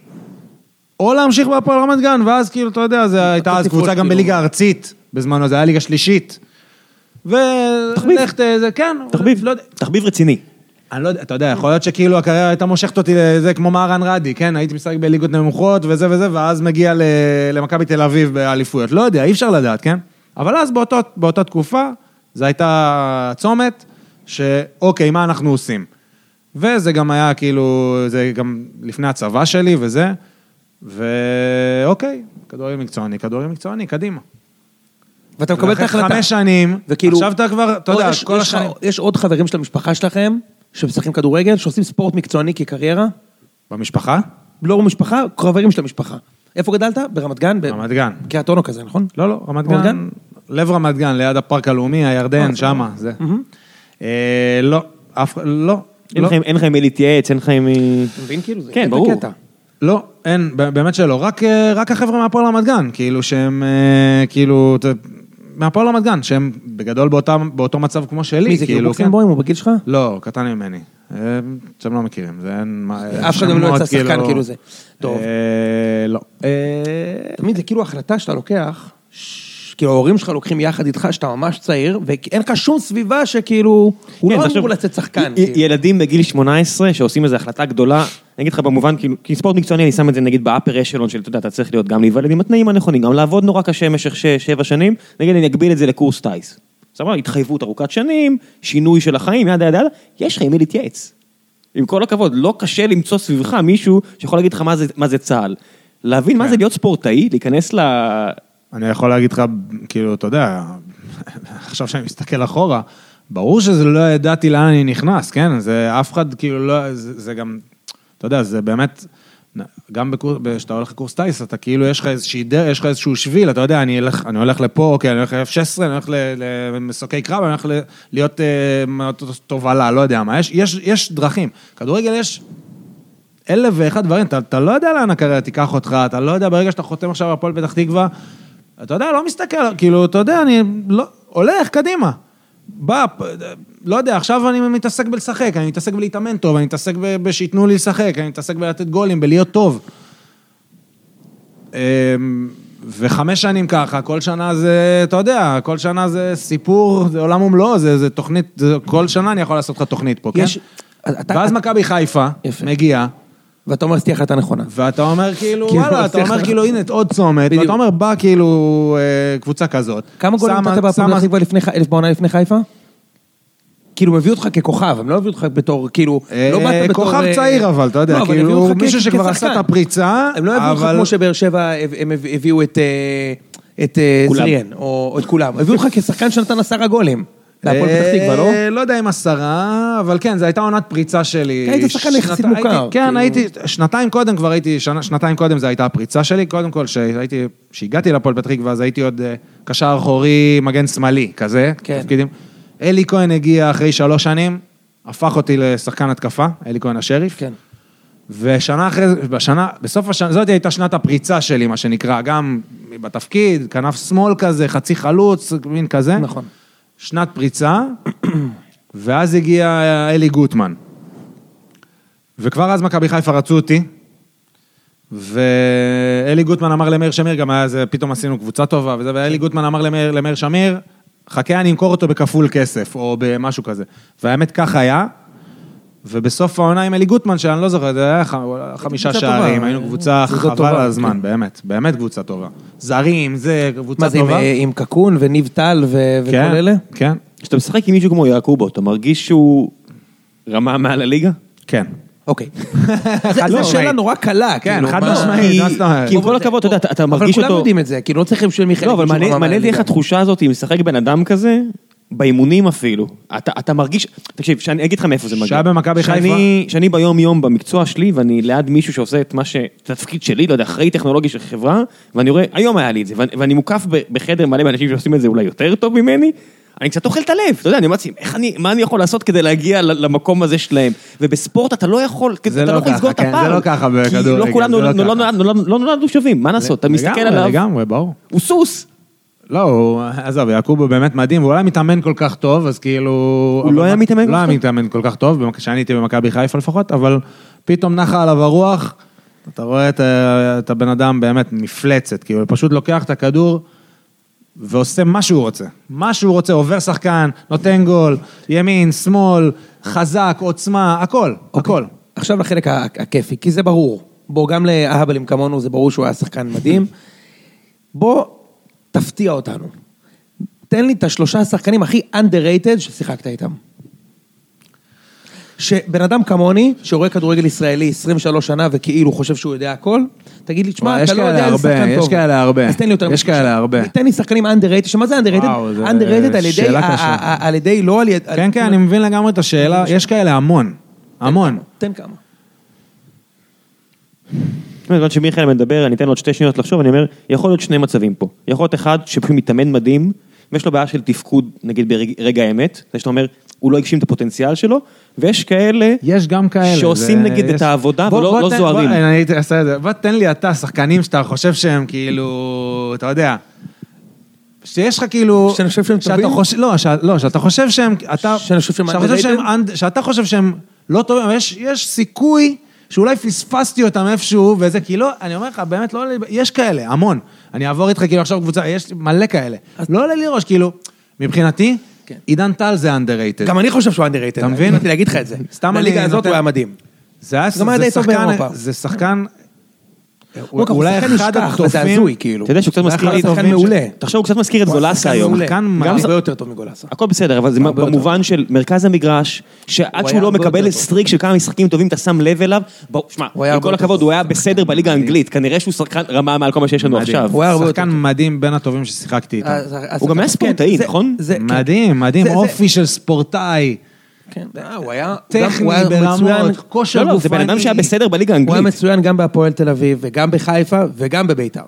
B: או להמשיך בהפועל רמת גן, ואז כאילו, אתה יודע, זו הייתה אז
C: תפרוש,
B: קבוצה גם
C: כאילו.
B: בליגה הארצית, בזמנו, זה היה ליגה שלישית. ו...
D: תחביב.
B: לך ת- זה, כן.
D: תחביב,
B: לא יודע.
D: תחביב רציני.
B: אני לא יודע, אתה יודע, יכול להיות שכאילו הקריירה הייתה מושכת אותי לזה כמו מהרן רדי, כן? הייתי משחק בליגות נמוכות וזה וזה, ואז מגיע ל- למכבי תל אביב באליפויות. לא יודע, אי אפשר לדעת, כן? אבל אז באותו, באותה תקופה, זו הייתה צומת, שאוקיי, מה אנחנו עושים? וזה גם היה כאילו, זה גם לפני הצבא שלי וזה, ואוקיי, כדורגל מקצועני, כדורגל מקצועני, קדימה.
C: ואתה מקבל את ההחלטה.
B: ואחרי חמש שנים,
C: וכאילו,
B: עכשיו אתה כבר, אתה
C: עוד
B: יודע,
C: יש-
B: כל
C: יש לך-
B: השנים...
C: יש עוד חברים של המשפחה שלכם, שמשחקים כדורגל, שעושים ספורט מקצועני כקריירה,
B: במשפחה?
C: לא במשפחה, חברים של המשפחה. איפה גדלת? ברמת גן? ב-
B: רמת גן.
C: קריית אונו כזה, נכון?
B: לא, לא, רמת
C: רמת
B: גן.
C: גן?
B: לב רמת גן, ליד הפארק הלאומי, הירדן, שמה,
C: אה,
B: זה. אה, לא, אף, לא.
D: אין
B: לא.
D: לך עם- אין לך עם מי להתייעץ, אין לך עם מי...
C: אתה מבין? כאילו, זה
D: כן,
C: קטע,
D: ברור.
C: קטע.
B: לא, אין, ב- באמת שלא. רק, אה, רק החבר'ה מהפועל רמת גן, כאילו שהם, אה, כאילו, אתה- מהפועל רמת גן, שהם בגדול באותם, באותו מצב כמו שלי,
C: מי זה, כאילו
B: כאילו, כן.
C: בוקסנבוים הוא בגיל שלך?
B: לא, קטן ממני. אה, אתם לא מכירים, זה אין... מה-
C: אף אחד גם לא
B: שמות,
C: יצא שחקן כאילו זה. טוב.
B: אה, לא. אה,
C: תמיד זה כאילו החלטה שאתה לוקח, ש- כאילו ההורים שלך לוקחים יחד איתך שאתה ממש צעיר, ואין לך שום סביבה שכאילו, הוא
D: כן,
C: לא
D: תחשוב,
C: אמור לצאת שחקן.
D: י-
C: כאילו.
D: ילדים בגיל 18 שעושים איזו החלטה גדולה, אני אגיד לך במובן, כאילו, כי ספורט מקצועני, אני שם את זה נגיד באפר אשלון של, אתה יודע, אתה צריך להיות גם להיוולד עם התנאים הנכונים, גם לעבוד נורא קשה במשך שש, שבע שנים, נגיד אני אגביל את זה לקורס טיס. סבבה, התחייבות ארוכת שנים, שינוי של החיים, ידה ידה ידה, יש לך עם מי להתייעץ. עם כל הכבוד, לא קשה למצוא סביבך מישהו שיכול להגיד לך מה זה, מה זה צה"ל. להבין
C: כן.
D: מה זה להיות ספורטאי, להיכנס ל...
B: אני יכול להגיד לך, כאילו, אתה יודע, עכשיו שאני מסתכל אחורה, ברור שזה לא ידעתי לאן אני נכנס, כן? זה אף אחד, כאילו, לא, זה, זה גם, אתה יודע, זה באמת, גם כשאתה הולך לקורס טיס, אתה כאילו, יש לך איזושהי דרך, יש לך איזשהו שביל, אתה יודע, אני, אלך, אני הולך לפה, אוקיי, אני הולך ל-F-16, אני הולך ל- למסוקי קרב, אני הולך ל- להיות אה, מ- תובלה, לא יודע מה, יש, יש, יש דרכים. כדורגל יש אלף ואחד דברים, אתה, אתה לא יודע לאן הקריירה תיקח אותך, אתה לא יודע, ברגע שאתה חותם עכשיו הפועל פתח תקווה, אתה יודע, לא מסתכל, כאילו, אתה יודע, אני לא, הולך קדימה. בא, פ- לא יודע, עכשיו אני מתעסק בלשחק, אני מתעסק בלהתאמן טוב, אני מתעסק ב- בשייתנו לי לשחק, אני מתעסק בלתת גולים, בלהיות טוב. אמ, וחמש שנים ככה, כל שנה זה, אתה יודע, כל שנה זה סיפור, זה עולם ומלואו, זה, זה תוכנית, זה, כל שנה אני יכול לעשות לך תוכנית פה, כן?
C: יש- אתה-
B: ואז מכבי חיפה
C: יפה.
B: מגיעה,
C: ואתה אומר, עשיתי החלטה נכונה.
B: ואתה אומר כאילו,
C: כאילו,
B: וואלה, אתה
C: סליחה.
B: אומר כאילו, הנה, עוד צומת,
C: בדיוק.
B: ואתה אומר, בא כאילו אה, קבוצה כזאת.
C: כמה גולים
B: שמה-
C: נתת בהפועל
B: שמה-
C: פתח תקווה לפני ח- אלף בעונה לפני חיפה? כאילו, הביאו אותך ככוכב, הם לא הביאו אותך בתור, כאילו,
B: אה,
C: לא באת בתור...
B: כוכב
C: אה,
B: צעיר אבל, אתה יודע,
C: לא, אבל
B: כאילו,
C: הביאו אותך
B: מישהו
C: כ-
B: שכבר
C: כשחקן.
B: עשה את הפריצה,
C: הם לא הביאו אותך
B: אבל-
C: כמו שבאר שבע, הם- הם הביאו את אה, את, אה,
D: כולם.
C: זריאן, או או את כולם. הביאו אותך כשחקן שנתן עשרה גולים. להפועל
B: אה,
C: פתח תקווה, לא?
B: לא יודע אם עשרה, אבל כן, זו הייתה עונת פריצה שלי.
C: כן, היית שחקן
B: שנת-
C: יחסית
B: הייתי-
C: מוכר,
B: כן,
C: כאילו.
B: הייתי, שנתיים קודם כבר הייתי, שנה- שנתיים קודם זו הייתה הפריצה שלי. קודם כל, שהייתי- כשהגעתי לפועל פתח תקווה, אז הייתי עוד אה, קשר אחורי, מגן שמאלי, כזה.
C: כן.
B: תפקידים. אלי כהן הגיע אחרי שלוש שנים, הפך אותי לשחקן התקפה, אלי כהן השריף.
C: כן.
B: ושנה אחרי זה, בשנה, בסוף השנה, זאת הייתה שנת הפריצה שלי, מה שנקרא, גם בתפקיד, כנף שמאל כזה, חצי חלוץ, מין כזה.
C: נכון.
B: שנת פריצה, ואז הגיע אלי גוטמן. וכבר אז מכבי חיפה רצו אותי, ואלי גוטמן אמר למאיר שמיר, גם היה זה, פתאום עשינו קבוצה טובה וזה, ואלי גוטמן אמר למאיר, למאיר שמיר, חכה, אני אמכור אותו בכפול כסף, או במשהו כזה. והאמת, כך היה. ובסוף העונה עם אלי גוטמן, שאני לא זוכר, זה היה ח- חמישה
C: קבוצה טובה.
B: שערים, היינו קבוצה
C: קבוצה
B: חבל
C: טובה, כן.
B: על הזמן, באמת, באמת קבוצה טובה. זרים, זה,
C: מה
B: קבוצה
C: זה, עם,
B: טובה.
C: אה, עם קקון וניב טל ו- וכל
B: כן,
C: אלה?
B: כן,
D: כשאתה משחק עם מישהו כמו יעקובו, אתה מרגיש שהוא רמה מעל הליגה?
B: כן.
C: אוקיי. זו שאלה נורא קלה,
B: כן,
C: כאילו,
B: חד
C: מה-
B: משמעית.
D: כי-
B: מה זאת אומרת?
D: כי עם כל הכבוד, אתה יודע, אתה- אתה מרגיש אותו...
C: אבל כולם יודעים את זה, כאילו, לא צריכים של מיכאל.
D: לא, אבל
C: שהוא
D: מעניין
C: רמה
D: מעניין אותי איך
C: מהליגה.
D: התחושה הזאת, אם משחק בן אדם כזה, באימונים אפילו. אתה, אתה מרגיש, תקשיב, שאני אגיד לך מאיפה זה מגיע.
B: שהיה במכבי חיפה?
D: שאני- שאני ביום יום במקצוע שלי, ואני ליד מישהו שעושה את מה ש... את התפקיד שלי, לא יודע, אחראי טכנולוגי של חברה, ואני רואה, היום היה לי את זה, ואני, ואני מוקף ב- בחדר מלא באנשים שעושים את זה אולי יותר טוב ממני. אני קצת אוכל את הלב, אתה יודע, אני אומר לעצמי, איך אני, מה אני יכול לעשות כדי להגיע ל- למקום הזה שלהם? ובספורט אתה לא יכול, אתה
B: זה
D: לא
B: לא
D: יכול לסגור את
B: ככה, כן,
D: הפער.
B: זה לא ככה
D: כי
B: בכדורגל,
D: לא
B: זה
D: כולנו,
B: לא
D: לא
B: ככה.
D: נולדנו- לא נולדנו שווים, מה לעשות? אתה מסתכל
B: לגמרי,
D: עליו,
B: לגמרי, ברור.
D: הוא סוס.
B: לא, הוא, עזוב, יעקובו באמת מדהים, הוא לא היה מתאמן כל כך טוב, אז כאילו... הוא
D: לא היה מתאמן כל
B: לא
D: כך
B: היה
D: טוב?
B: מתאמן כל כך טוב, במק- כשאני הייתי במכבי חיפה לפחות, אבל פתאום נחה עליו הרוח, אתה רואה את, ה- את הבן אדם באמת מפלצת, כאילו, הוא פשוט לוקח את הכדור ועושה מה שהוא רוצה. מה שהוא רוצה, עובר שחקן, נותן גול, ימין, שמאל, חזק, עוצמה, הכל,
D: אוקיי.
B: הכל.
C: עכשיו לחלק ה- הכיפי, כי זה ברור. בוא, גם לאהבלים כמונו זה ברור שהוא היה שחקן מדהים. בוא, תפתיע אותנו. תן לי את השלושה השחקנים הכי underrated ששיחקת איתם. שבן אדם כמוני, שרואה כדורגל ישראלי 23 שנה וכאילו חושב שהוא יודע הכל, תגיד לי, תשמע,
B: וואי, יש
C: אתה לא
B: כאלה
C: יודע איזה
B: הרבה,
C: שחקן
B: יש
C: טוב.
B: כאלה הרבה.
C: אז תן לי יותר
B: יש כאלה הרבה.
C: תן לי שחקנים underrated, שמה זה underrated?
B: וואו, זה
C: underrated על ידי,
B: שאלה
C: ה-
B: קשה.
C: ה- ה- על ידי, לא על ידי...
B: כן, כן, אני מבין לגמרי את השאלה, יש כאלה המון, המון.
C: תן כמה.
D: תשמע, בזמן שמיכאל מדבר, אני אתן לו עוד שתי שניות לחשוב, אני אומר, יכול להיות שני מצבים פה. יכול להיות אחד שפשוט מתאמן מדהים, ויש לו בעיה של תפקוד, נגיד ברגע האמת, זה שאתה אומר, הוא לא הגשים את הפוטנציאל שלו, ויש כאלה
B: יש גם כאלה.
D: שעושים
B: זה-
D: נגיד
B: יש-
D: את העבודה
B: בוא-
D: ולא
B: בוא
D: לא
B: תן-
D: זוהרים.
B: בוא, אני הייתי עושה את זה. בוא תן לי אתה, שחקנים שאתה חושב שהם כאילו, אתה יודע. שיש לך כאילו...
C: שאני חושב שהם
B: שאתה
C: טובים?
B: חושב- לא, ש- לא, שאתה חושב שהם... אתה,
C: שאני חושב שהם
B: שאתה חושב שהם
C: underrated?
B: under- שאתה חושב שהם לא טובים, אבל יש, יש סיכוי שאולי פספסתי אותם איפשהו וזה, כי לא, אני אומר לך, באמת, לא, עולה לי- יש כאלה, המון. אני אעבור איתך כאילו עכשיו קבוצה, יש מלא כאלה. לא עולה לי ראש, כאילו, מבחינתי,
C: כן.
B: עידן טל זה underrated.
C: גם אני חושב שהוא underrated.
B: כן. אתה מבין?
C: באתי להגיד לך את זה.
B: סתם אני
C: בליגה הזאת
B: נותן-
C: הוא היה מדהים.
B: זה היה
C: גם היה
B: זה
C: די טוב
B: שחקן-
C: באירופה.
B: זה שחקן... הוא
C: הוא
B: אולי
C: שחקן
B: אחד
C: נשכח, זה
B: הטובים,
C: הזוי כאילו.
D: אתה יודע שהוא קצת
B: זה
D: מזכיר
B: אחלה
D: לי...
B: שחקן
C: מעולה.
D: תחשוב, הוא קצת מזכיר את גולסה היום.
B: שחקן
C: גם
B: מעולה.
C: הרבה יותר טוב מגולסה.
D: הכל בסדר, אבל זה
C: הרבה יותר.
D: במובן של מרכז המגרש, שעד
C: הוא
D: שהוא
C: היה
D: לא
C: הרבה יותר
D: מקבל
C: טוב.
D: סטריק של כמה משחקים טובים, אתה שם לב אליו, בוא, שמע,
C: הוא היה
D: עם
C: הרבה
D: כל
C: יותר
D: הכבוד,
C: טוב.
D: הוא היה בסדר בליגה האנגלית, כנראה שהוא שחקן רמה מעל כל מה שיש לנו
B: מדהים.
D: עכשיו.
C: הוא היה הרבה יותר
B: שחקן
C: טוב.
B: מדהים בין הטובים ששיחקתי איתם.
D: הוא גם היה ספורטאי, נכון?
B: מדהים, מדהים,
C: כן. זה- זה-
B: אופי של ספורטאי,
C: כן, אה, הוא היה... גם-
B: טכני
C: הוא היה מצוין-
B: ברמות, כושר
D: לא,
B: גופני.
D: לא, זה בן אדם שהיה בסדר בליגה
C: הוא היה
D: האנגלית.
C: מצוין גם בהפועל תל אביב, וגם בחיפה, וגם בביתר.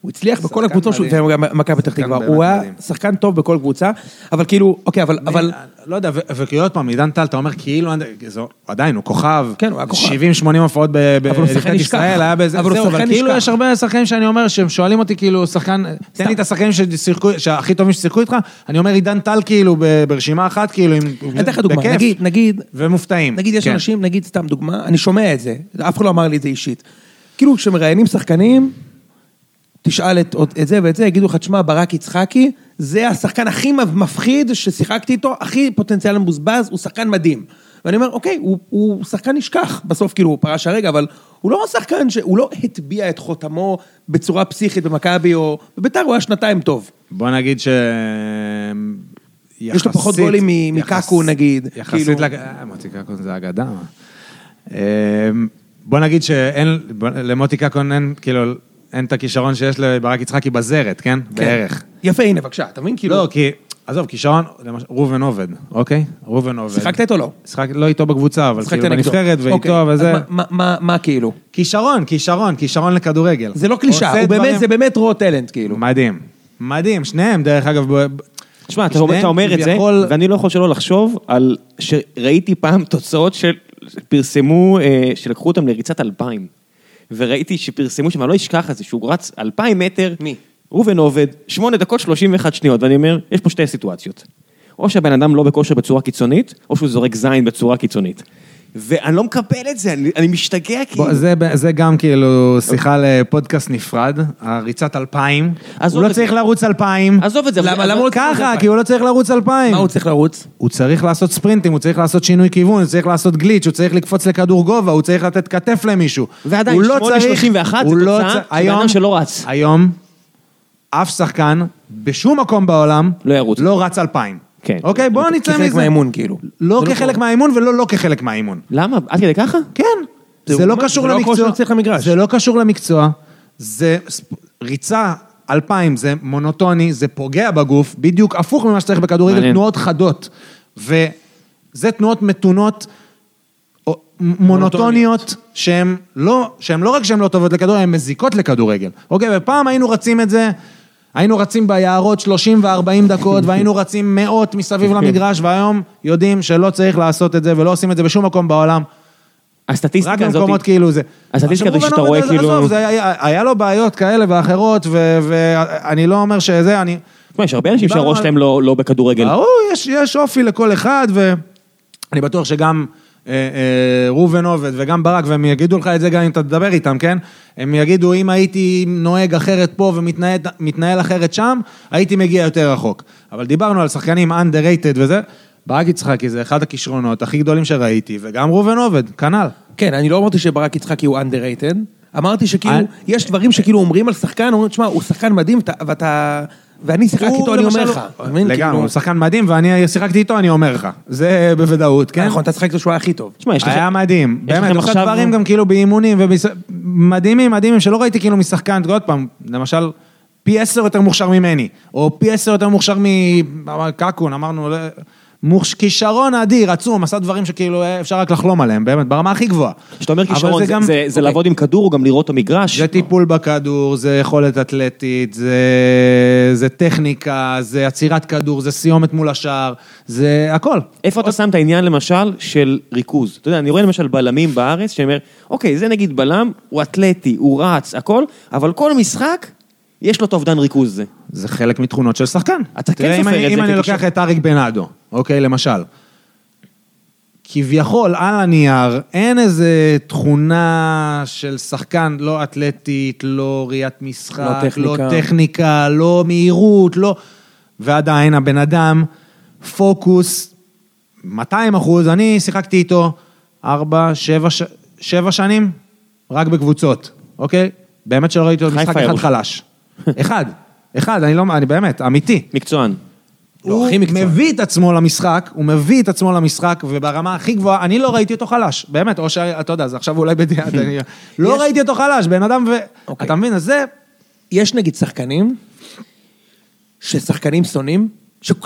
C: הוא הצליח בכל
B: שחקן
C: הקבוצות שלו,
B: מדהים.
C: וגם במכבי פתח
B: שחקן
C: תקווה.
B: באמת
C: הוא היה
B: מדהים.
C: שחקן טוב בכל קבוצה, אבל כאילו, אוקיי, אבל- אבל...
B: אבל... לא יודע, ו- וכאילו עוד פעם, עידן טל, אתה אומר כאילו, זה- עדיין, הוא כוכב.
C: כן, הוא היה כוכב.
B: 70-80 הופעות
C: אבל הוא שחקן
B: בליגת
C: נשכח.
B: ישראל, היה באיזה...
C: אבל הוא
B: זהו,
C: שחקן
B: אבל כאילו
C: נשכח.
B: יש הרבה שחקנים שאני אומר, שהם שואלים אותי, כאילו, שחקן... תן לי את השחקנים ששיחקו- שהכי טובים ששיחקו איתך, אני אומר עידן טל, כאילו, ב- ברשימה אחת, כאילו, עם...
C: אני אתן לך דוגמה,
B: בכיף,
C: נגיד, נגיד,
B: ומופתעים.
C: נגיד יש
B: כן.
C: אנשים, נגיד סתם דוגמה, אני שומע את זה, אף אחד לא אמר לי את זה אישית. כאילו כשמראיינים שחקנים, תשאל את, את זה ואת זה, יגידו לך, תשמע, ברק יצחקי, זה השחקן הכי מפחיד ששיחקתי איתו, הכי פוטנציאל מבוזבז, הוא שחקן מדהים. ואני אומר, אוקיי, הוא, הוא שחקן נשכח, בסוף כאילו הוא פרש הרגע, אבל הוא לא שחקן שהוא לא הטביע את חותמו בצורה פסיכית במכבי או... בביתר הוא היה שנתיים טוב.
B: בוא נגיד ש...
C: יש לו פחות גולים מ-
B: יחס-
C: מקקו, נגיד,
B: יחסית
C: כאילו.
B: לק... אה, מוטי קקון זה אגדה. מה. אמ, בוא נגיד שאין, בוא- למוטי קקון אין, כאילו, אין את הכישרון שיש לברק יצחקי בזרת, כן? בערך.
C: יפה, הנה, בבקשה, אתה מבין? כאילו,
B: לא, כי, עזוב, כישרון, למשל, ראובן עובד, אוקיי? ראובן עובד.
C: שיחקת איתו או לא?
B: שיחק, לא איתו בקבוצה, אבל
C: משחק
B: כאילו
C: נגדו.
B: בנבחרת
C: אוקיי,
B: ואיתו
C: אז
B: וזה.
C: מה- מה- מה- מה כאילו?
B: כישרון, כישרון, כישרון לכדורגל.
C: זה לא קלישאה,
B: עושה
C: הוא באמת,
B: דברים-
C: זה באמת רו טלנט כאילו.
B: מדהים. מדהים, שניהם, דרך אגב, ב-
D: תשמע, אתה אומר- אתה
B: שניהם
D: אומר את זה,
B: כביכול-
D: ואני לא יכול שלא לחשוב על שראיתי פעם תוצאות של- שפרסמו, אה, שלקחו אותם לריצת אלפיים. וראיתי שפרסמו שם, אני לא אשכח את זה, שהוא רץ אלפיים מטר.
C: מי?
D: ראובן עובד, שמונה דקות שלושים ואחת שניות, ואני אומר, יש פה שתי סיטואציות. או שהבן אדם לא בכושר בצורה קיצונית, או שהוא זורק זין בצורה קיצונית. ואני לא מקבל את זה, אני, אני משתגע כאילו.
B: בוא, זה, זה גם כאילו שיחה לפודקאסט נפרד, הריצת אלפיים.
D: עזוב
B: הוא לא
D: את זה.
B: צריך לרוץ אלפיים.
D: עזוב את זה,
C: למה-
D: אבל-
C: למה הוא צריך לרוץ
B: ככה,
C: אלפיים?
B: כי הוא לא צריך לרוץ אלפיים.
C: מה הוא צריך לרוץ?
B: הוא צריך לעשות ספרינטים, הוא צריך לעשות שינוי כיוון, הוא צריך לעשות גליץ', הוא צריך לקפוץ לכדור גובה, הוא צריך לתת כתף למישהו.
D: ועדיין,
B: הוא לא
D: 8.31
B: צריך- הוא
D: זה תוצאה של
B: לא צריך-
D: בן אדם
B: היום-
D: שלא רץ.
B: היום, אף שחקן, בשום מקום בעולם,
D: לא ירוץ.
B: לא רץ אלפיים.
D: כן.
B: אוקיי, בואו נצא מזה.
C: כחלק מהאימון כאילו.
B: לא כחלק מהאימון ולא לא כחלק מהאימון.
D: למה? עד כדי ככה?
B: כן.
C: זה
B: זה לא
C: מה-
B: קשור
C: זה לא
B: למקצוע.
C: כושר צריך למגרש.
B: זה לא קשור למקצוע. זה ספ- ריצה אלפיים, זה מונוטוני, זה פוגע בגוף, בדיוק הפוך ממה שצריך בכדורגל,
D: מעניין.
B: תנועות חדות. וזה תנועות מתונות, או- מ- מונוטוניות, שהן לא, שהן לא רק שהן לא טובות לכדורגל, הן מזיקות לכדורגל. אוקיי, ופעם היינו רצים את זה, היינו רצים ביערות 30 ו-40 דקות, והיינו רצים מאות מסביב למגרש, והיום יודעים שלא צריך לעשות את זה, ולא עושים את זה בשום מקום בעולם.
D: הסטטיסטיקה
B: רק
D: הזאת...
B: במקומות כאילו זה.
D: הסטטיסטיקה
B: עכשיו,
D: הזו שאתה
B: ראובן
D: רואה
B: עובד,
D: כאילו-
B: לא, עזוב, זה היה- היה לו בעיות כאלה ואחרות, ו- ואני לא אומר שזה, אני...
D: תשמע, יש הרבה אנשים
B: דיברנו
D: שהראש
B: על-
D: שלהם לא לא בכדורגל.
B: ברור, יש, יש אופי לכל אחד, ואני בטוח שגם אה, אה, ראובן עובד וגם ברק, והם יגידו לך את זה גם אם אתה תדבר איתם, כן? הם יגידו, אם הייתי נוהג אחרת פה ומתנהל מתנהל אחרת שם, הייתי מגיע יותר רחוק. אבל דיברנו על שחקנים underrated וזה. ברק יצחקי זה אחד הכישרונות הכי גדולים שראיתי, וגם ראובן עובד, כנ"ל.
C: כן, אני לא אמרתי שברק יצחקי הוא underrated, אמרתי שכאילו,
B: אני-
C: יש דברים שכאילו אומרים על שחקן, אומרים, תשמע, הוא שחקן מדהים, ואתה- ואתה... ואני
D: אה,
C: שיחקתי איתו, אני אומר לך. אתה מבין?
B: לא- לגמרי,
C: כאילו-
B: הוא שחקן מדהים, ואני שיחקתי איתו, אני אומר לך. זה בוודאות, כן?
C: נכון, אתה שיחק איתו שהוא היה הכי טוב.
D: תשמע, יש לך...
B: היה מדהים,
D: יש לכם
B: באמת, הוא עושה
D: עכשיו-
B: דברים גם כאילו באימונים, ובס- מדהימים, מדהימים, שלא ראיתי כאילו משחקן, עוד פעם, למשל, פי עשר יותר מוכשר ממני, או פי עשר יותר מוכשר מקקון, אמרנו, לא- מוכש כישרון אדיר, עצום, עשה דברים שכאילו אה, אפשר רק לחלום עליהם, באמת, ברמה הכי גבוהה.
D: כשאתה אומר
B: אבל
D: כישרון, זה,
B: גם-
D: זה, זה
B: אוקיי.
D: לעבוד עם כדור או גם לראות את המגרש?
B: זה טיפול בכדור, זה יכולת אתלטית, זה, זה טכניקה, זה עצירת כדור, זה סיומת מול השער, זה הכל.
D: איפה
B: אוקיי.
D: אתה שם את העניין למשל של ריכוז? אתה יודע, אני רואה למשל בלמים בארץ, שאני אומר, אוקיי, זה נגיד בלם, הוא אתלטי, הוא רץ, הכל, אבל כל משחק, יש לו את האובדן ריכוז הזה.
B: זה חלק מתכונות של שחקן.
D: אתה כן
B: תראה, אם
D: סופר
B: אני-
D: את זה
B: אם אני
D: כקישור.
B: לוקח את אריק בנאדו, אוקיי, למשל. כביכול, על הנייר, אין איזה תכונה של שחקן לא אתלטית, לא ראיית משחק,
C: לא טכניקה.
B: לא, טכניקה, לא מהירות, לא... ועדיין הבן אדם, פוקוס, 200 אחוז, אני שיחקתי איתו ארבע, שבע, ש... שבע שנים, רק בקבוצות, אוקיי? באמת שלא ראיתי אותו
D: חיפה
B: משחק אחד
D: ירושלים.
B: חלש. אחד, אחד, אני לא, אני באמת, אמיתי.
D: מקצוען.
B: הוא
C: לא, הכי מקצוען.
B: מביא את עצמו למשחק, הוא מביא את עצמו למשחק, וברמה הכי גבוהה, אני לא ראיתי אותו חלש, באמת, או שאתה יודע, זה עכשיו אולי בדיעד, אני... לא ראיתי אותו חלש, בן אדם ו...
C: אוקיי.
B: אתה מבין, אז זה...
C: יש נגיד שחקנים, ששחקנים שונאים,